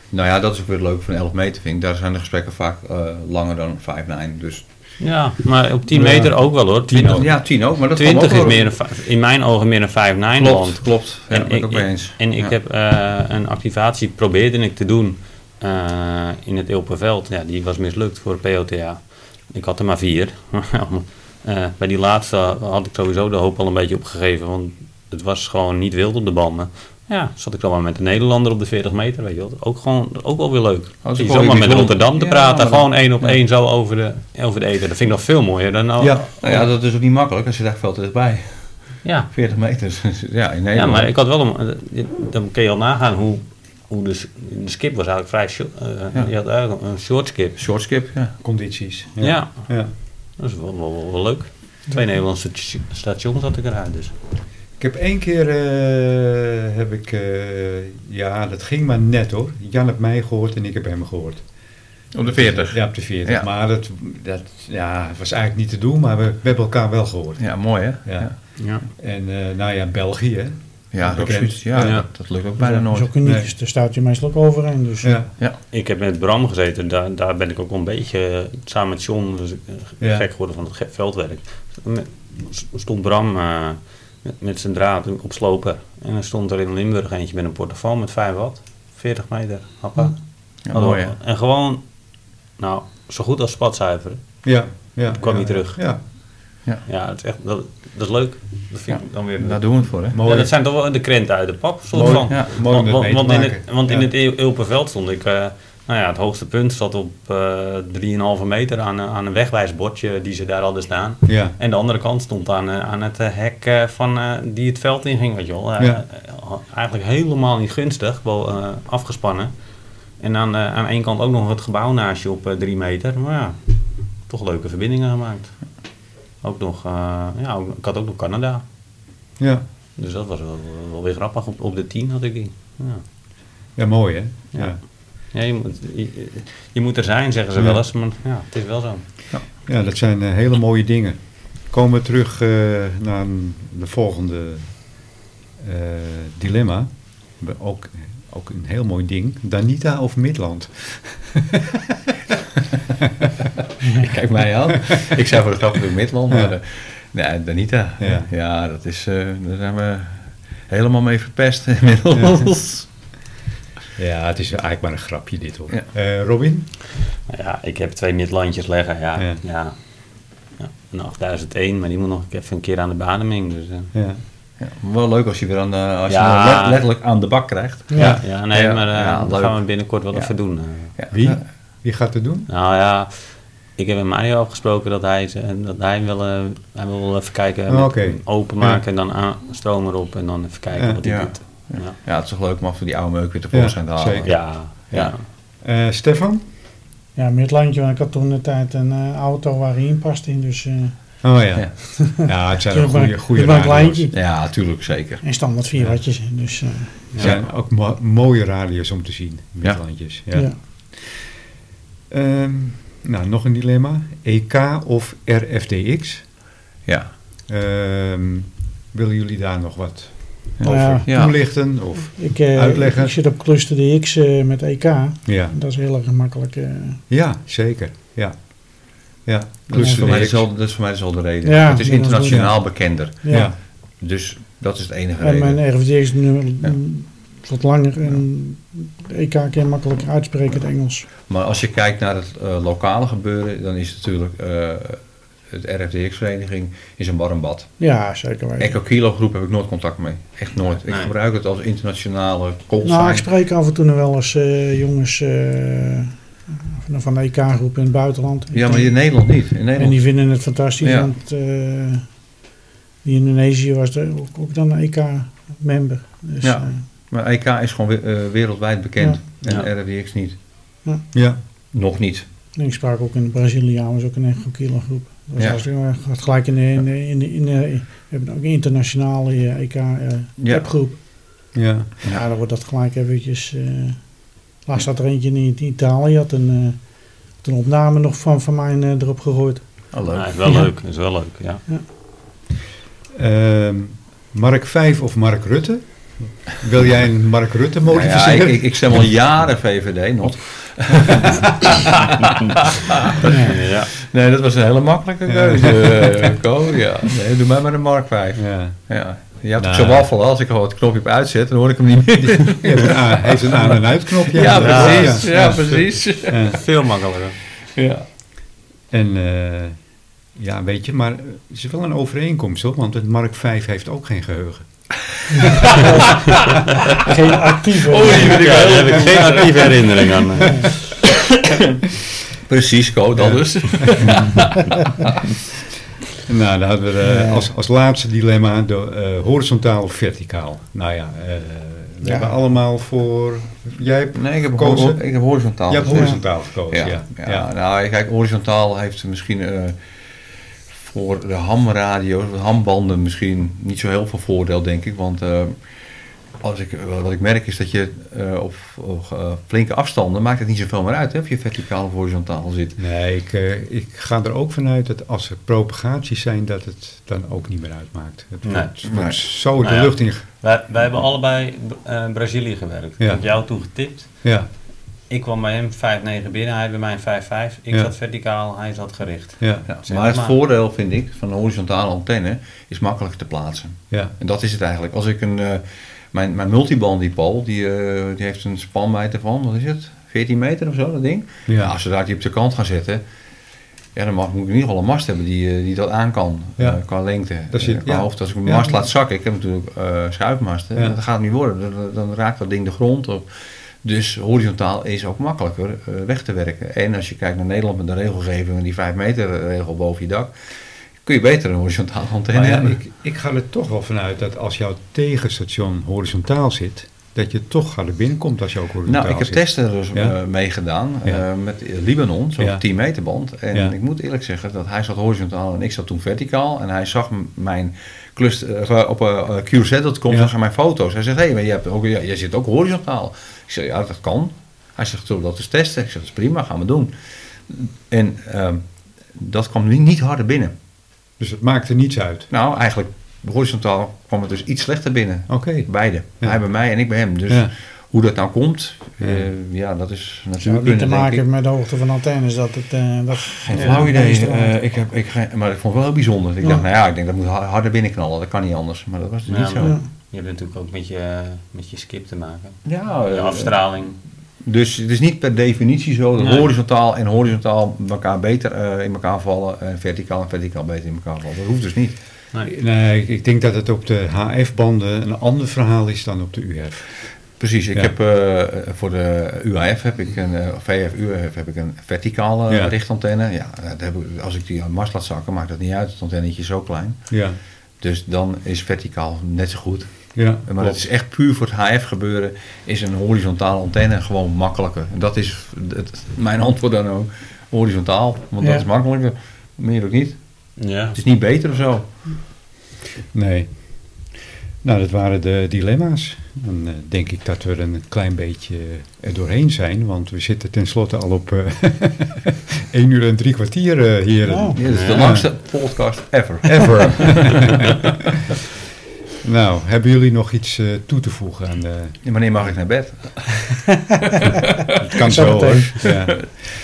Speaker 8: Nou ja, dat is ook weer leuk van 11 meter, vind ik. Daar zijn de gesprekken vaak eh, langer dan 5-9. Dus
Speaker 4: ja, maar op 10 meter ook wel hoor. 20,
Speaker 8: ja, 10 ook, maar dat kan
Speaker 4: 20
Speaker 8: ook
Speaker 4: is
Speaker 8: wel.
Speaker 4: meer een, vijf- in mijn ogen meer een 5 9
Speaker 8: Klopt, klopt. Ja,
Speaker 4: en
Speaker 8: ben ik
Speaker 4: ik,
Speaker 8: ook mee eens.
Speaker 4: En ik
Speaker 8: Ja.
Speaker 4: heb eh, een activatie probeerde ik te doen eh, in het Ilpenveld. Ja, die was mislukt voor POTA. Ik had er maar vier. *laughs* Eh, bij die laatste had ik sowieso de hoop al een beetje opgegeven, want het was gewoon niet wild op de banden. Ja, zat ik dan maar met een Nederlander op de 40 meter, weet je wel. Ook, gewoon, ook wel weer leuk.
Speaker 8: Als
Speaker 4: Als
Speaker 8: ik
Speaker 4: je
Speaker 8: gewoon
Speaker 4: zomaar
Speaker 8: weer
Speaker 4: met
Speaker 8: bijzonder-
Speaker 4: Rotterdam te
Speaker 8: Ja,
Speaker 4: praten,
Speaker 8: maar-
Speaker 4: gewoon één op één zo over de, over de eten. Dat vind ik nog veel mooier dan nou.
Speaker 8: Ja, nou ja, dat is ook niet makkelijk als je daar veel te dichtbij.
Speaker 4: ja.
Speaker 8: 40 meter. *laughs* ja, in
Speaker 4: Ja,
Speaker 8: Nederland.
Speaker 4: maar ik had wel een. eh, Dan kun je al nagaan hoe, hoe de, s- de skip was eigenlijk vrij short.
Speaker 8: Ja.
Speaker 4: Je had eigenlijk een short skip.
Speaker 8: Short skip, ja.
Speaker 1: Condities.
Speaker 4: Ja,
Speaker 1: Ja.
Speaker 4: dat is wel, wel, wel- wel leuk. Twee Nederlandse st- stations had ik eruit dus.
Speaker 1: Ik heb één keer, eh, heb ik, eh, ja, dat ging maar net hoor. Jan heeft mij gehoord en ik heb hem gehoord.
Speaker 8: Op de 40.
Speaker 1: Ja, op de 40.
Speaker 8: Ja.
Speaker 1: Maar dat, dat ja, was eigenlijk niet te doen, maar we, we hebben elkaar wel gehoord.
Speaker 8: Ja, mooi hè?
Speaker 1: Ja.
Speaker 8: ja.
Speaker 4: Ja.
Speaker 1: En eh, nou ja, België. hè?
Speaker 8: Ja,
Speaker 1: Bekend.
Speaker 8: absoluut. Ja,
Speaker 4: Ja.
Speaker 8: Dat, dat lukt ook bijna nooit.
Speaker 3: Dat is ook uniek,
Speaker 1: Nee.
Speaker 3: dus daar staat je meestal ook overheen. Dus
Speaker 1: Ja.
Speaker 4: Ik heb met Bram gezeten, daar, daar ben ik ook wel een beetje eh, samen met John dus, eh,
Speaker 1: Ja.
Speaker 4: gek geworden van het ge- veldwerk. Met- s- Stond Bram eh, met, met zijn draad op slopen. En dan stond er in Limburg eentje met een portefeuille met 5 watt. 40 meter, happa.
Speaker 8: Ja,
Speaker 4: Hallo.
Speaker 8: mooi hè?
Speaker 4: En gewoon, nou, zo goed als spatzuiveren.
Speaker 1: Ja. ja.
Speaker 4: kwam
Speaker 1: ja.
Speaker 4: niet terug.
Speaker 1: Ja.
Speaker 4: Ja, het is echt, dat, dat is leuk. Dat vind ik dan weer...
Speaker 8: Daar doen we het voor hè?
Speaker 4: ja,
Speaker 1: Mooi.
Speaker 4: dat zijn toch wel de krenten uit de pap, soort
Speaker 1: Mooi,
Speaker 4: van.
Speaker 8: ja.
Speaker 1: Mooi om dat
Speaker 4: want
Speaker 1: mee te
Speaker 4: want, want in
Speaker 1: maken.
Speaker 4: het, want in
Speaker 1: Ja.
Speaker 4: het Il- Ilpenveld stond ik... eh, nou ja, het hoogste punt zat op eh 3,5 meter aan, een- aan een wegwijsbordje die ze daar hadden staan.
Speaker 1: Ja.
Speaker 4: En de andere kant stond aan, eh, aan het eh, hek eh, van, eh, die het veld inging, weet je wel. Eh,
Speaker 1: Ja.
Speaker 4: eh, Eigenlijk helemaal niet gunstig, wel eh, afgespannen. En aan, eh, aan één kant ook nog het gebouw naast je op eh, drie meter. Maar ja, toch leuke verbindingen gemaakt. Ook nog, eh, ja, ook- ik had ook nog Canada.
Speaker 1: Ja.
Speaker 4: Dus dat was wel, wel weer grappig. Op, op de 10 had ik die. Ja.
Speaker 1: ja, mooi hè? Ja.
Speaker 4: Ja. Ja, je, moet, je, je moet er zijn, zeggen ze
Speaker 1: Ja.
Speaker 4: wel eens. Maar ja, het is wel zo.
Speaker 1: Ja, dat zijn eh, hele mooie dingen. Komen we terug eh, naar de volgende eh, dilemma. We- Ook, ook een heel mooi ding. Danita of Midland? *laughs*
Speaker 2: *laughs*
Speaker 8: Kijk mij aan. ik zei voor de grap natuurlijk Midland, maar
Speaker 1: Ja.
Speaker 8: eh, nee, Danita.
Speaker 1: Ja.
Speaker 8: Ja,
Speaker 2: *laughs*
Speaker 8: dat is, eh, daar zijn we helemaal mee verpest inmiddels.
Speaker 9: Ja, het is eigenlijk maar een grapje dit hoor.
Speaker 2: Ja.
Speaker 1: Eh, Robin?
Speaker 4: Ja, ik heb twee nitlantjes leggen, ja.
Speaker 1: Ja.
Speaker 4: ja. ja. Een 8001, maar die moet nog even een keer aan de bademing. Dus, eh.
Speaker 1: Ja.
Speaker 2: Ja, wel leuk als je weer aan de, als
Speaker 4: Ja.
Speaker 2: je hem le- letterlijk aan de bak krijgt.
Speaker 4: ja. ja, nee,
Speaker 2: Ja,
Speaker 4: maar eh
Speaker 2: ja,
Speaker 4: daar
Speaker 2: leuk.
Speaker 4: gaan we binnenkort wel
Speaker 2: Ja.
Speaker 4: even doen. eh.
Speaker 2: Ja.
Speaker 1: Wie?
Speaker 2: Ja.
Speaker 1: Wie gaat het doen?
Speaker 4: Nou ja, ik heb met Mario afgesproken dat hij, ze- dat hij hem wil, eh, hij wil wel even kijken.
Speaker 1: Oh,
Speaker 4: met-
Speaker 1: oké.
Speaker 4: Openmaken en dan aan, stroom erop en dan even kijken
Speaker 1: Ja.
Speaker 4: wat hij
Speaker 2: Ja.
Speaker 4: doet. Ja.
Speaker 2: Ja, het is toch leuk om af en toe die oude meuk weer tevoorschijn
Speaker 1: Ja,
Speaker 2: te halen.
Speaker 1: zeker.
Speaker 4: Ja, ja.
Speaker 1: Eh, Stefan?
Speaker 3: Ja, met het landje, want ik had toen de tijd een eh, auto waar hij in paste. in, Dus eh
Speaker 1: Oh ja.
Speaker 2: Ja.
Speaker 1: Ja, het zijn
Speaker 3: dus
Speaker 1: ook
Speaker 3: maar-
Speaker 1: goede goede
Speaker 3: dus maar een
Speaker 1: radio's.
Speaker 3: lijntje.
Speaker 2: Ja, tuurlijk, zeker.
Speaker 3: En standaard vier watjes. hè, Dus, eh,
Speaker 1: Het zijn ook mo- mooie radio's om te zien. Met landjes.
Speaker 3: ja.
Speaker 1: Ja. Ehm, nou, nog een dilemma. EK of RFDX?
Speaker 2: Ja.
Speaker 1: Ehm, willen jullie daar nog wat
Speaker 2: Ja.
Speaker 1: over
Speaker 3: Ja.
Speaker 2: Ja.
Speaker 1: toelichten? Of,
Speaker 3: Ik, eh,
Speaker 1: Uitleggen.
Speaker 3: ik zit op cluster DX eh, met EK.
Speaker 1: ja.
Speaker 3: Dat is heel erg gemakkelijk. eh.
Speaker 1: ja, zeker. Ja. Ja,
Speaker 2: Dat is,
Speaker 1: Cluster
Speaker 2: voor mij
Speaker 1: DX.
Speaker 2: dezelfde, dat is voor mij dezelfde reden.
Speaker 3: Ja,
Speaker 2: het is
Speaker 3: dat is
Speaker 2: internationaal bekender.
Speaker 3: ja.
Speaker 1: Ja.
Speaker 2: Dus dat is het enige
Speaker 3: En
Speaker 2: reden.
Speaker 3: mijn RFD is nu mm,
Speaker 2: Ja.
Speaker 3: wat langer. En EK kan je makkelijker uitspreken in het Engels.
Speaker 2: Maar als je kijkt naar het eh, lokale gebeuren, dan is het natuurlijk eh, het RFDX-vereniging is een warm bad.
Speaker 3: Oh, Ja, zeker weten.
Speaker 2: Echo Kilo Groep heb ik nooit contact mee. Echt nooit. Ik
Speaker 4: Nee.
Speaker 2: gebruik het als internationale call
Speaker 3: Nou, ik
Speaker 2: sign.
Speaker 3: spreek af en toe nog wel eens eh, jongens eh, van- van de EK-groep in het buitenland.
Speaker 2: Ja, maar hier in Nederland niet. In
Speaker 3: En
Speaker 2: Nederland
Speaker 3: die vinden het fantastisch,
Speaker 2: Ja.
Speaker 3: want eh, die Indonesië was de, ook, ook dan een EK-member. Dus,
Speaker 2: Ja.
Speaker 3: eh,
Speaker 2: Maar EK is gewoon we- eh, wereldwijd bekend.
Speaker 4: Ja.
Speaker 2: En RFDX niet.
Speaker 1: Ja.
Speaker 2: Nog niet.
Speaker 3: en ik sprak ook in de Braziliaan, was ook een echt kilo groep. Dat was
Speaker 2: Ja.
Speaker 3: hartstikke- eh, had gelijk in de, in de, in de- in de- we hebben ook een internationale eh, E
Speaker 2: Ja.
Speaker 3: EK-groep.
Speaker 1: Ja.
Speaker 3: ja. dan wordt dat gelijk eventjes... eh laatst had er eentje in Italië, had een, eh, had een opname nog van, van mij eh, erop gegooid.
Speaker 2: Oh,
Speaker 4: Ja,
Speaker 2: leuk.
Speaker 4: is wel
Speaker 3: Ja.
Speaker 4: leuk, is wel leuk, ja.
Speaker 1: Ehm, Mark 5 of Mark Rutte? Wil jij een Mark Rutte
Speaker 2: Nou Ja, ja,
Speaker 1: modificeren?
Speaker 2: ik, ik, ik stem al jaren VVD, not.
Speaker 4: ja.
Speaker 2: Nee, dat was een hele makkelijke
Speaker 3: *laughs*
Speaker 2: keuze, eh, Ko. Ja. Nee, doe mij maar een Mark 5.
Speaker 1: Ja.
Speaker 2: Ja. Je hebt
Speaker 1: Nou.
Speaker 2: ook zo'n waffel, als ik gewoon het knopje op uitzet, dan hoor ik hem niet meer.
Speaker 1: Hij heeft een aan- hij heeft een aan- en uitknopje.
Speaker 2: Ja, precies.
Speaker 1: Ja.
Speaker 2: Ja, precies.
Speaker 1: Ja.
Speaker 4: Veel makkelijker.
Speaker 2: Ja.
Speaker 1: En eh, ja, weet je, maar eh, er is wel een overeenkomst hoor, want het Mark 5 heeft ook geen geheugen.
Speaker 3: Geen actieve. eh,
Speaker 4: Ja, daar heb Oh, ik geen actieve herinnering aan. eh.
Speaker 2: Precies, Ko, dat
Speaker 1: Ja.
Speaker 2: dus.
Speaker 1: Nou, dan hadden we eh,
Speaker 3: Ja.
Speaker 1: als, als laatste dilemma de, eh, horizontaal of verticaal. Nou ja, eh, we
Speaker 3: Ja.
Speaker 1: hebben allemaal voor. Jij hebt,
Speaker 2: Nee, ik heb,
Speaker 1: Kozen.
Speaker 2: hor- ik heb horizontaal.
Speaker 1: jij hebt
Speaker 2: gekozen.
Speaker 1: horizontaal gekozen,
Speaker 2: Ja,
Speaker 1: ja.
Speaker 2: ja. nou kijk, horizontaal heeft misschien eh, voor de hamradio's, de hambanden misschien niet zo heel veel voordeel, denk ik. Want eh, als ik, wat ik merk is dat je eh, op, op, eh, flinke afstanden maakt het niet zoveel meer uit hè, of je verticaal of horizontaal zit.
Speaker 1: Nee, ik, eh, ik ga er ook vanuit dat als er propagaties zijn, dat het dan ook niet meer uitmaakt. Het
Speaker 4: Nee.
Speaker 1: wordt, wordt
Speaker 2: Nee.
Speaker 1: zo de
Speaker 4: Nou ja.
Speaker 1: lucht in. ge-
Speaker 4: Wij, wij hebben allebei eh, Brazilië gewerkt.
Speaker 1: Ja.
Speaker 4: Ik heb jou toen getipt.
Speaker 1: Ja,
Speaker 4: Ik kwam bij hem 5-9 binnen, hij bij mij 5-5. Ik
Speaker 1: Ja.
Speaker 4: zat verticaal, hij zat gericht.
Speaker 1: ja,
Speaker 2: Ja,
Speaker 4: Zeg
Speaker 2: maar het
Speaker 4: maar.
Speaker 2: voordeel, vind ik, van een horizontale antenne is makkelijk te plaatsen.
Speaker 1: ja.
Speaker 2: En dat is het eigenlijk. Als ik een, eh, mijn, mijn multiband, die Paul, die, eh, die heeft een spanwijdte van, wat is het? 14 meter of zo, dat ding? Ja,
Speaker 1: ja.
Speaker 2: als ze daar die op de kant gaan zetten, ja, dan mag, moet ik in ieder geval een mast hebben die, eh, die dat aan kan,
Speaker 1: Ja.
Speaker 2: eh, qua lengte.
Speaker 1: Dat
Speaker 2: Eh,
Speaker 1: zit-
Speaker 2: qua
Speaker 1: ja.
Speaker 2: hoofd, als ik mijn
Speaker 1: Ja.
Speaker 2: mast laat zakken, ik heb natuurlijk eh schuifmasten,
Speaker 1: Ja.
Speaker 2: dat gaat het niet worden. Dan, dan raakt dat ding de grond op. Dus horizontaal is ook makkelijker eh, weg te werken. En als je kijkt naar Nederland met de regelgeving, die 5 meter eh, regel boven je dak, kun je beter een horizontale antenne
Speaker 1: Maar ja,
Speaker 2: hebben.
Speaker 1: ik, ik ga er toch wel vanuit dat als jouw tegenstation horizontaal zit, dat je toch harder binnenkomt als je ook horizontaal
Speaker 2: Nou, ik heb
Speaker 1: zit.
Speaker 2: testen dus
Speaker 1: Ja.
Speaker 2: eh, meegedaan eh,
Speaker 1: Ja.
Speaker 2: met Libanon, zo'n
Speaker 1: Ja.
Speaker 2: 10 meter band. En
Speaker 1: Ja.
Speaker 2: ik moet eerlijk zeggen dat hij zat horizontaal en ik zat toen verticaal. En hij zag m- mijn cluster of, eh, op eh, QZ.com,
Speaker 1: Ja.
Speaker 2: zag hij mijn foto's. Hij zegt, hé, hey, maar je hebt ook, ja, jij zit ook horizontaal. Ik zeg, ja, dat kan. Hij zegt, zullen we dat eens testen? Ik zeg, dat is prima, gaan we doen. En ehm, dat kwam niet- niet harder binnen.
Speaker 1: Dus het maakt er niets uit.
Speaker 2: Nou, eigenlijk horizontaal kwam het dus iets slechter binnen.
Speaker 1: Oké.
Speaker 2: Beide.
Speaker 1: Ja.
Speaker 2: Hij bij mij en ik bij hem. Dus
Speaker 1: Ja.
Speaker 2: hoe dat nou komt,
Speaker 1: Ja.
Speaker 2: ja, ja dat is
Speaker 3: Het heeft
Speaker 2: natuurlijk
Speaker 3: niet te
Speaker 2: kunnen, denk
Speaker 3: maken
Speaker 2: ik.
Speaker 3: met de hoogte van de antennes. Dat het, eh, dat,
Speaker 2: Geen flauw idee.
Speaker 3: Ja,
Speaker 2: Eh, ik heb, ik, ge- maar ik vond het wel heel bijzonder. Ik
Speaker 3: Ja.
Speaker 2: dacht, nou ja, ik denk dat moet har- harder binnenknallen. Dat kan niet anders. Maar dat was dus
Speaker 4: Ja,
Speaker 2: niet zo.
Speaker 4: maar-
Speaker 3: ja.
Speaker 4: Je hebt natuurlijk ook met je, met je skip te maken.
Speaker 2: Ja,
Speaker 4: Je
Speaker 2: eh,
Speaker 4: afstraling.
Speaker 2: Dus het is niet per definitie zo dat
Speaker 4: Nee.
Speaker 2: horizontaal en horizontaal elkaar beter eh, in elkaar vallen en verticaal en verticaal beter in elkaar vallen. Dat hoeft dus niet.
Speaker 4: Nee.
Speaker 1: Nee, ik- ik denk dat het op de HF-banden een ander verhaal is dan op de UF.
Speaker 2: Precies, ik
Speaker 1: Ja.
Speaker 2: heb eh, voor de UAF heb ik een eh, VF UAF heb ik een verticale
Speaker 1: Ja.
Speaker 2: richtantenne. Ja, dat heb ik, als ik die aan de mast laat zakken, maakt dat niet uit. Het antennetje is zo klein.
Speaker 1: Ja,
Speaker 2: Dus dan is verticaal net zo goed.
Speaker 1: ja.
Speaker 2: Maar het is echt puur voor het HF gebeuren, is een horizontale antenne gewoon makkelijker. En dat is het, mijn antwoord dan ook. Horizontaal, want
Speaker 3: Ja.
Speaker 2: dat is makkelijker. Meer ook niet.
Speaker 4: Ja.
Speaker 2: Het is niet beter of zo.
Speaker 1: Nee. Nou, dat waren de dilemma's. Dan eh, denk ik dat we er een klein beetje eh, er doorheen zijn, want we zitten tenslotte al op eh *laughs* 1 uur en drie kwartier, eh, heren.
Speaker 3: Nou.
Speaker 2: Ja, dit is de
Speaker 4: Ja.
Speaker 2: langste podcast ever.
Speaker 1: Ever. *laughs* nou, hebben jullie nog iets eh, toe te voegen aan de...
Speaker 2: Ja, wanneer mag ik naar bed?
Speaker 1: Het kan
Speaker 3: Zo
Speaker 1: zo hoor.
Speaker 3: meteen.
Speaker 1: Ja.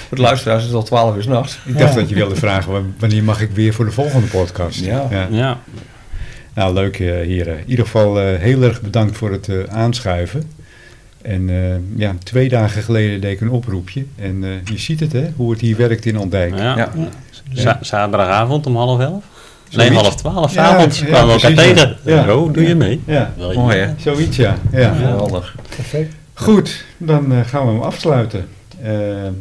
Speaker 2: Voor de luisteraars is het al 12 uur s'nachts.
Speaker 1: Ik dacht
Speaker 3: Ja.
Speaker 1: dat je wilde vragen, wa- wanneer mag ik weer voor de volgende podcast?
Speaker 2: Ja.
Speaker 4: Ja.
Speaker 1: Nou, leuk eh, heren. In ieder geval eh, heel erg bedankt voor het eh, aanschuiven. En eh, ja, twee dagen geleden deed ik een oproepje. En eh, je ziet het, hè, hoe het hier werkt in Andijk.
Speaker 4: ja.
Speaker 2: Ja.
Speaker 4: Za- zaterdagavond om half elf?
Speaker 1: Zoiets.
Speaker 4: Nee, half twaalf
Speaker 1: Ja,
Speaker 4: avonds
Speaker 1: ja,
Speaker 4: kwamen we elkaar
Speaker 1: precies, ja.
Speaker 4: tegen.
Speaker 1: Ja.
Speaker 4: Zo, doe je mee?
Speaker 1: Ja,
Speaker 4: Wel,
Speaker 2: Mooi, hè?
Speaker 1: zoiets, ja. ja.
Speaker 2: Geweldig.
Speaker 3: Perfect.
Speaker 1: Goed, dan eh, gaan we hem afsluiten. eh,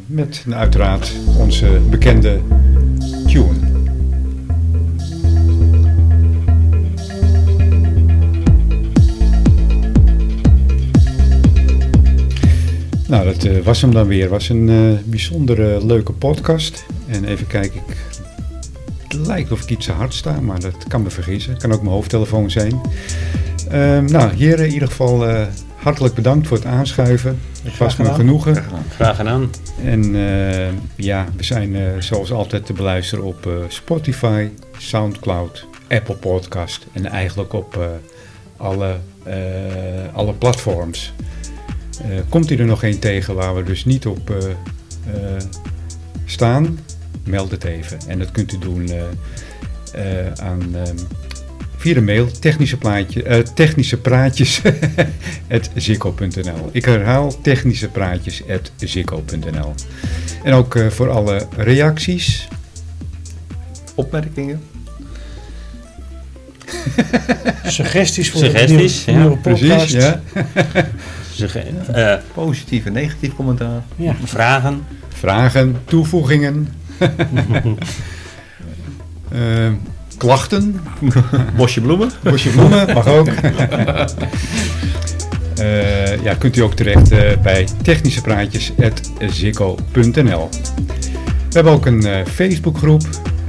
Speaker 1: met nou, uiteraard onze bekende tune. Nou, dat eh, was hem dan weer. was een eh, bijzondere leuke podcast. En even kijken, ik... het lijkt of ik iets te hard sta, maar dat kan me vergissen. Kan ook mijn hoofdtelefoon zijn. Ehm, nou, heren, in ieder geval eh, hartelijk bedankt voor het aanschuiven. Het was me
Speaker 3: gedaan.
Speaker 1: genoegen.
Speaker 4: Graag gedaan.
Speaker 1: En eh, ja, we zijn eh, zoals altijd te beluisteren op eh, Spotify, Soundcloud, Apple Podcast en eigenlijk op eh, alle, eh, alle platforms. Eh, komt u er nog één tegen waar we dus niet op eh, eh, staan? Meld het even. En dat kunt u doen eh, eh, aan, ehm, via de mail technische, plaatje, eh, technische praatjes *laughs* at zikko.nl. Ik herhaal technische praatjes at zikko.nl. En ook eh, voor alle reacties.
Speaker 2: Opmerkingen?
Speaker 3: Suggesties voor
Speaker 4: Suggesties,
Speaker 3: de nieuwe,
Speaker 4: ja.
Speaker 3: nieuwe podcast.
Speaker 1: Precies, ja.
Speaker 4: Sugge- eh,
Speaker 2: Positief en negatief commentaar.
Speaker 3: Ja.
Speaker 4: vragen?
Speaker 1: Vragen, toevoegingen. *laughs* Eh, klachten,
Speaker 2: Bosje bloemen.
Speaker 1: bosje bloemen, mag ook. *laughs* Eh, ja, kunt u ook terecht eh, bij technischepraatjes.zikko.nl We hebben ook een eh, Facebookgroep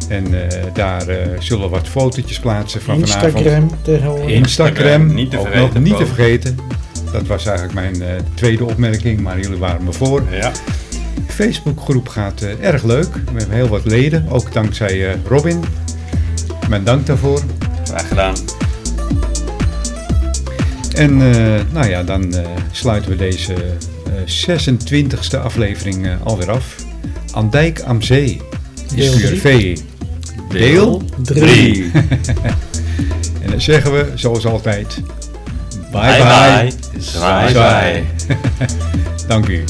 Speaker 1: en eh, daar eh, zullen we wat fotootjes plaatsen van vanavond.
Speaker 3: Instagram tegenwoordig.
Speaker 1: Instagram.
Speaker 4: Niet te
Speaker 1: ook
Speaker 4: vergeten,
Speaker 1: nog niet te
Speaker 4: Paul.
Speaker 1: vergeten. Dat was eigenlijk mijn eh, tweede opmerking, maar jullie waren me voor.
Speaker 4: Ja.
Speaker 1: Facebookgroep gaat eh, erg leuk. We hebben heel wat leden, ook dankzij eh, Robin. Mijn dank daarvoor.
Speaker 4: Graag gedaan.
Speaker 1: En eh, nou ja, dan eh, sluiten we deze eh 26e aflevering eh, alweer af. Andijk am Zee is
Speaker 3: Deel
Speaker 1: puur
Speaker 3: drie.
Speaker 1: vee. Deel
Speaker 3: Drie.
Speaker 1: En dan zeggen we, zoals altijd, bye
Speaker 4: Bye
Speaker 1: bye.
Speaker 4: bye. Zwaai zwaai.
Speaker 1: Dank u.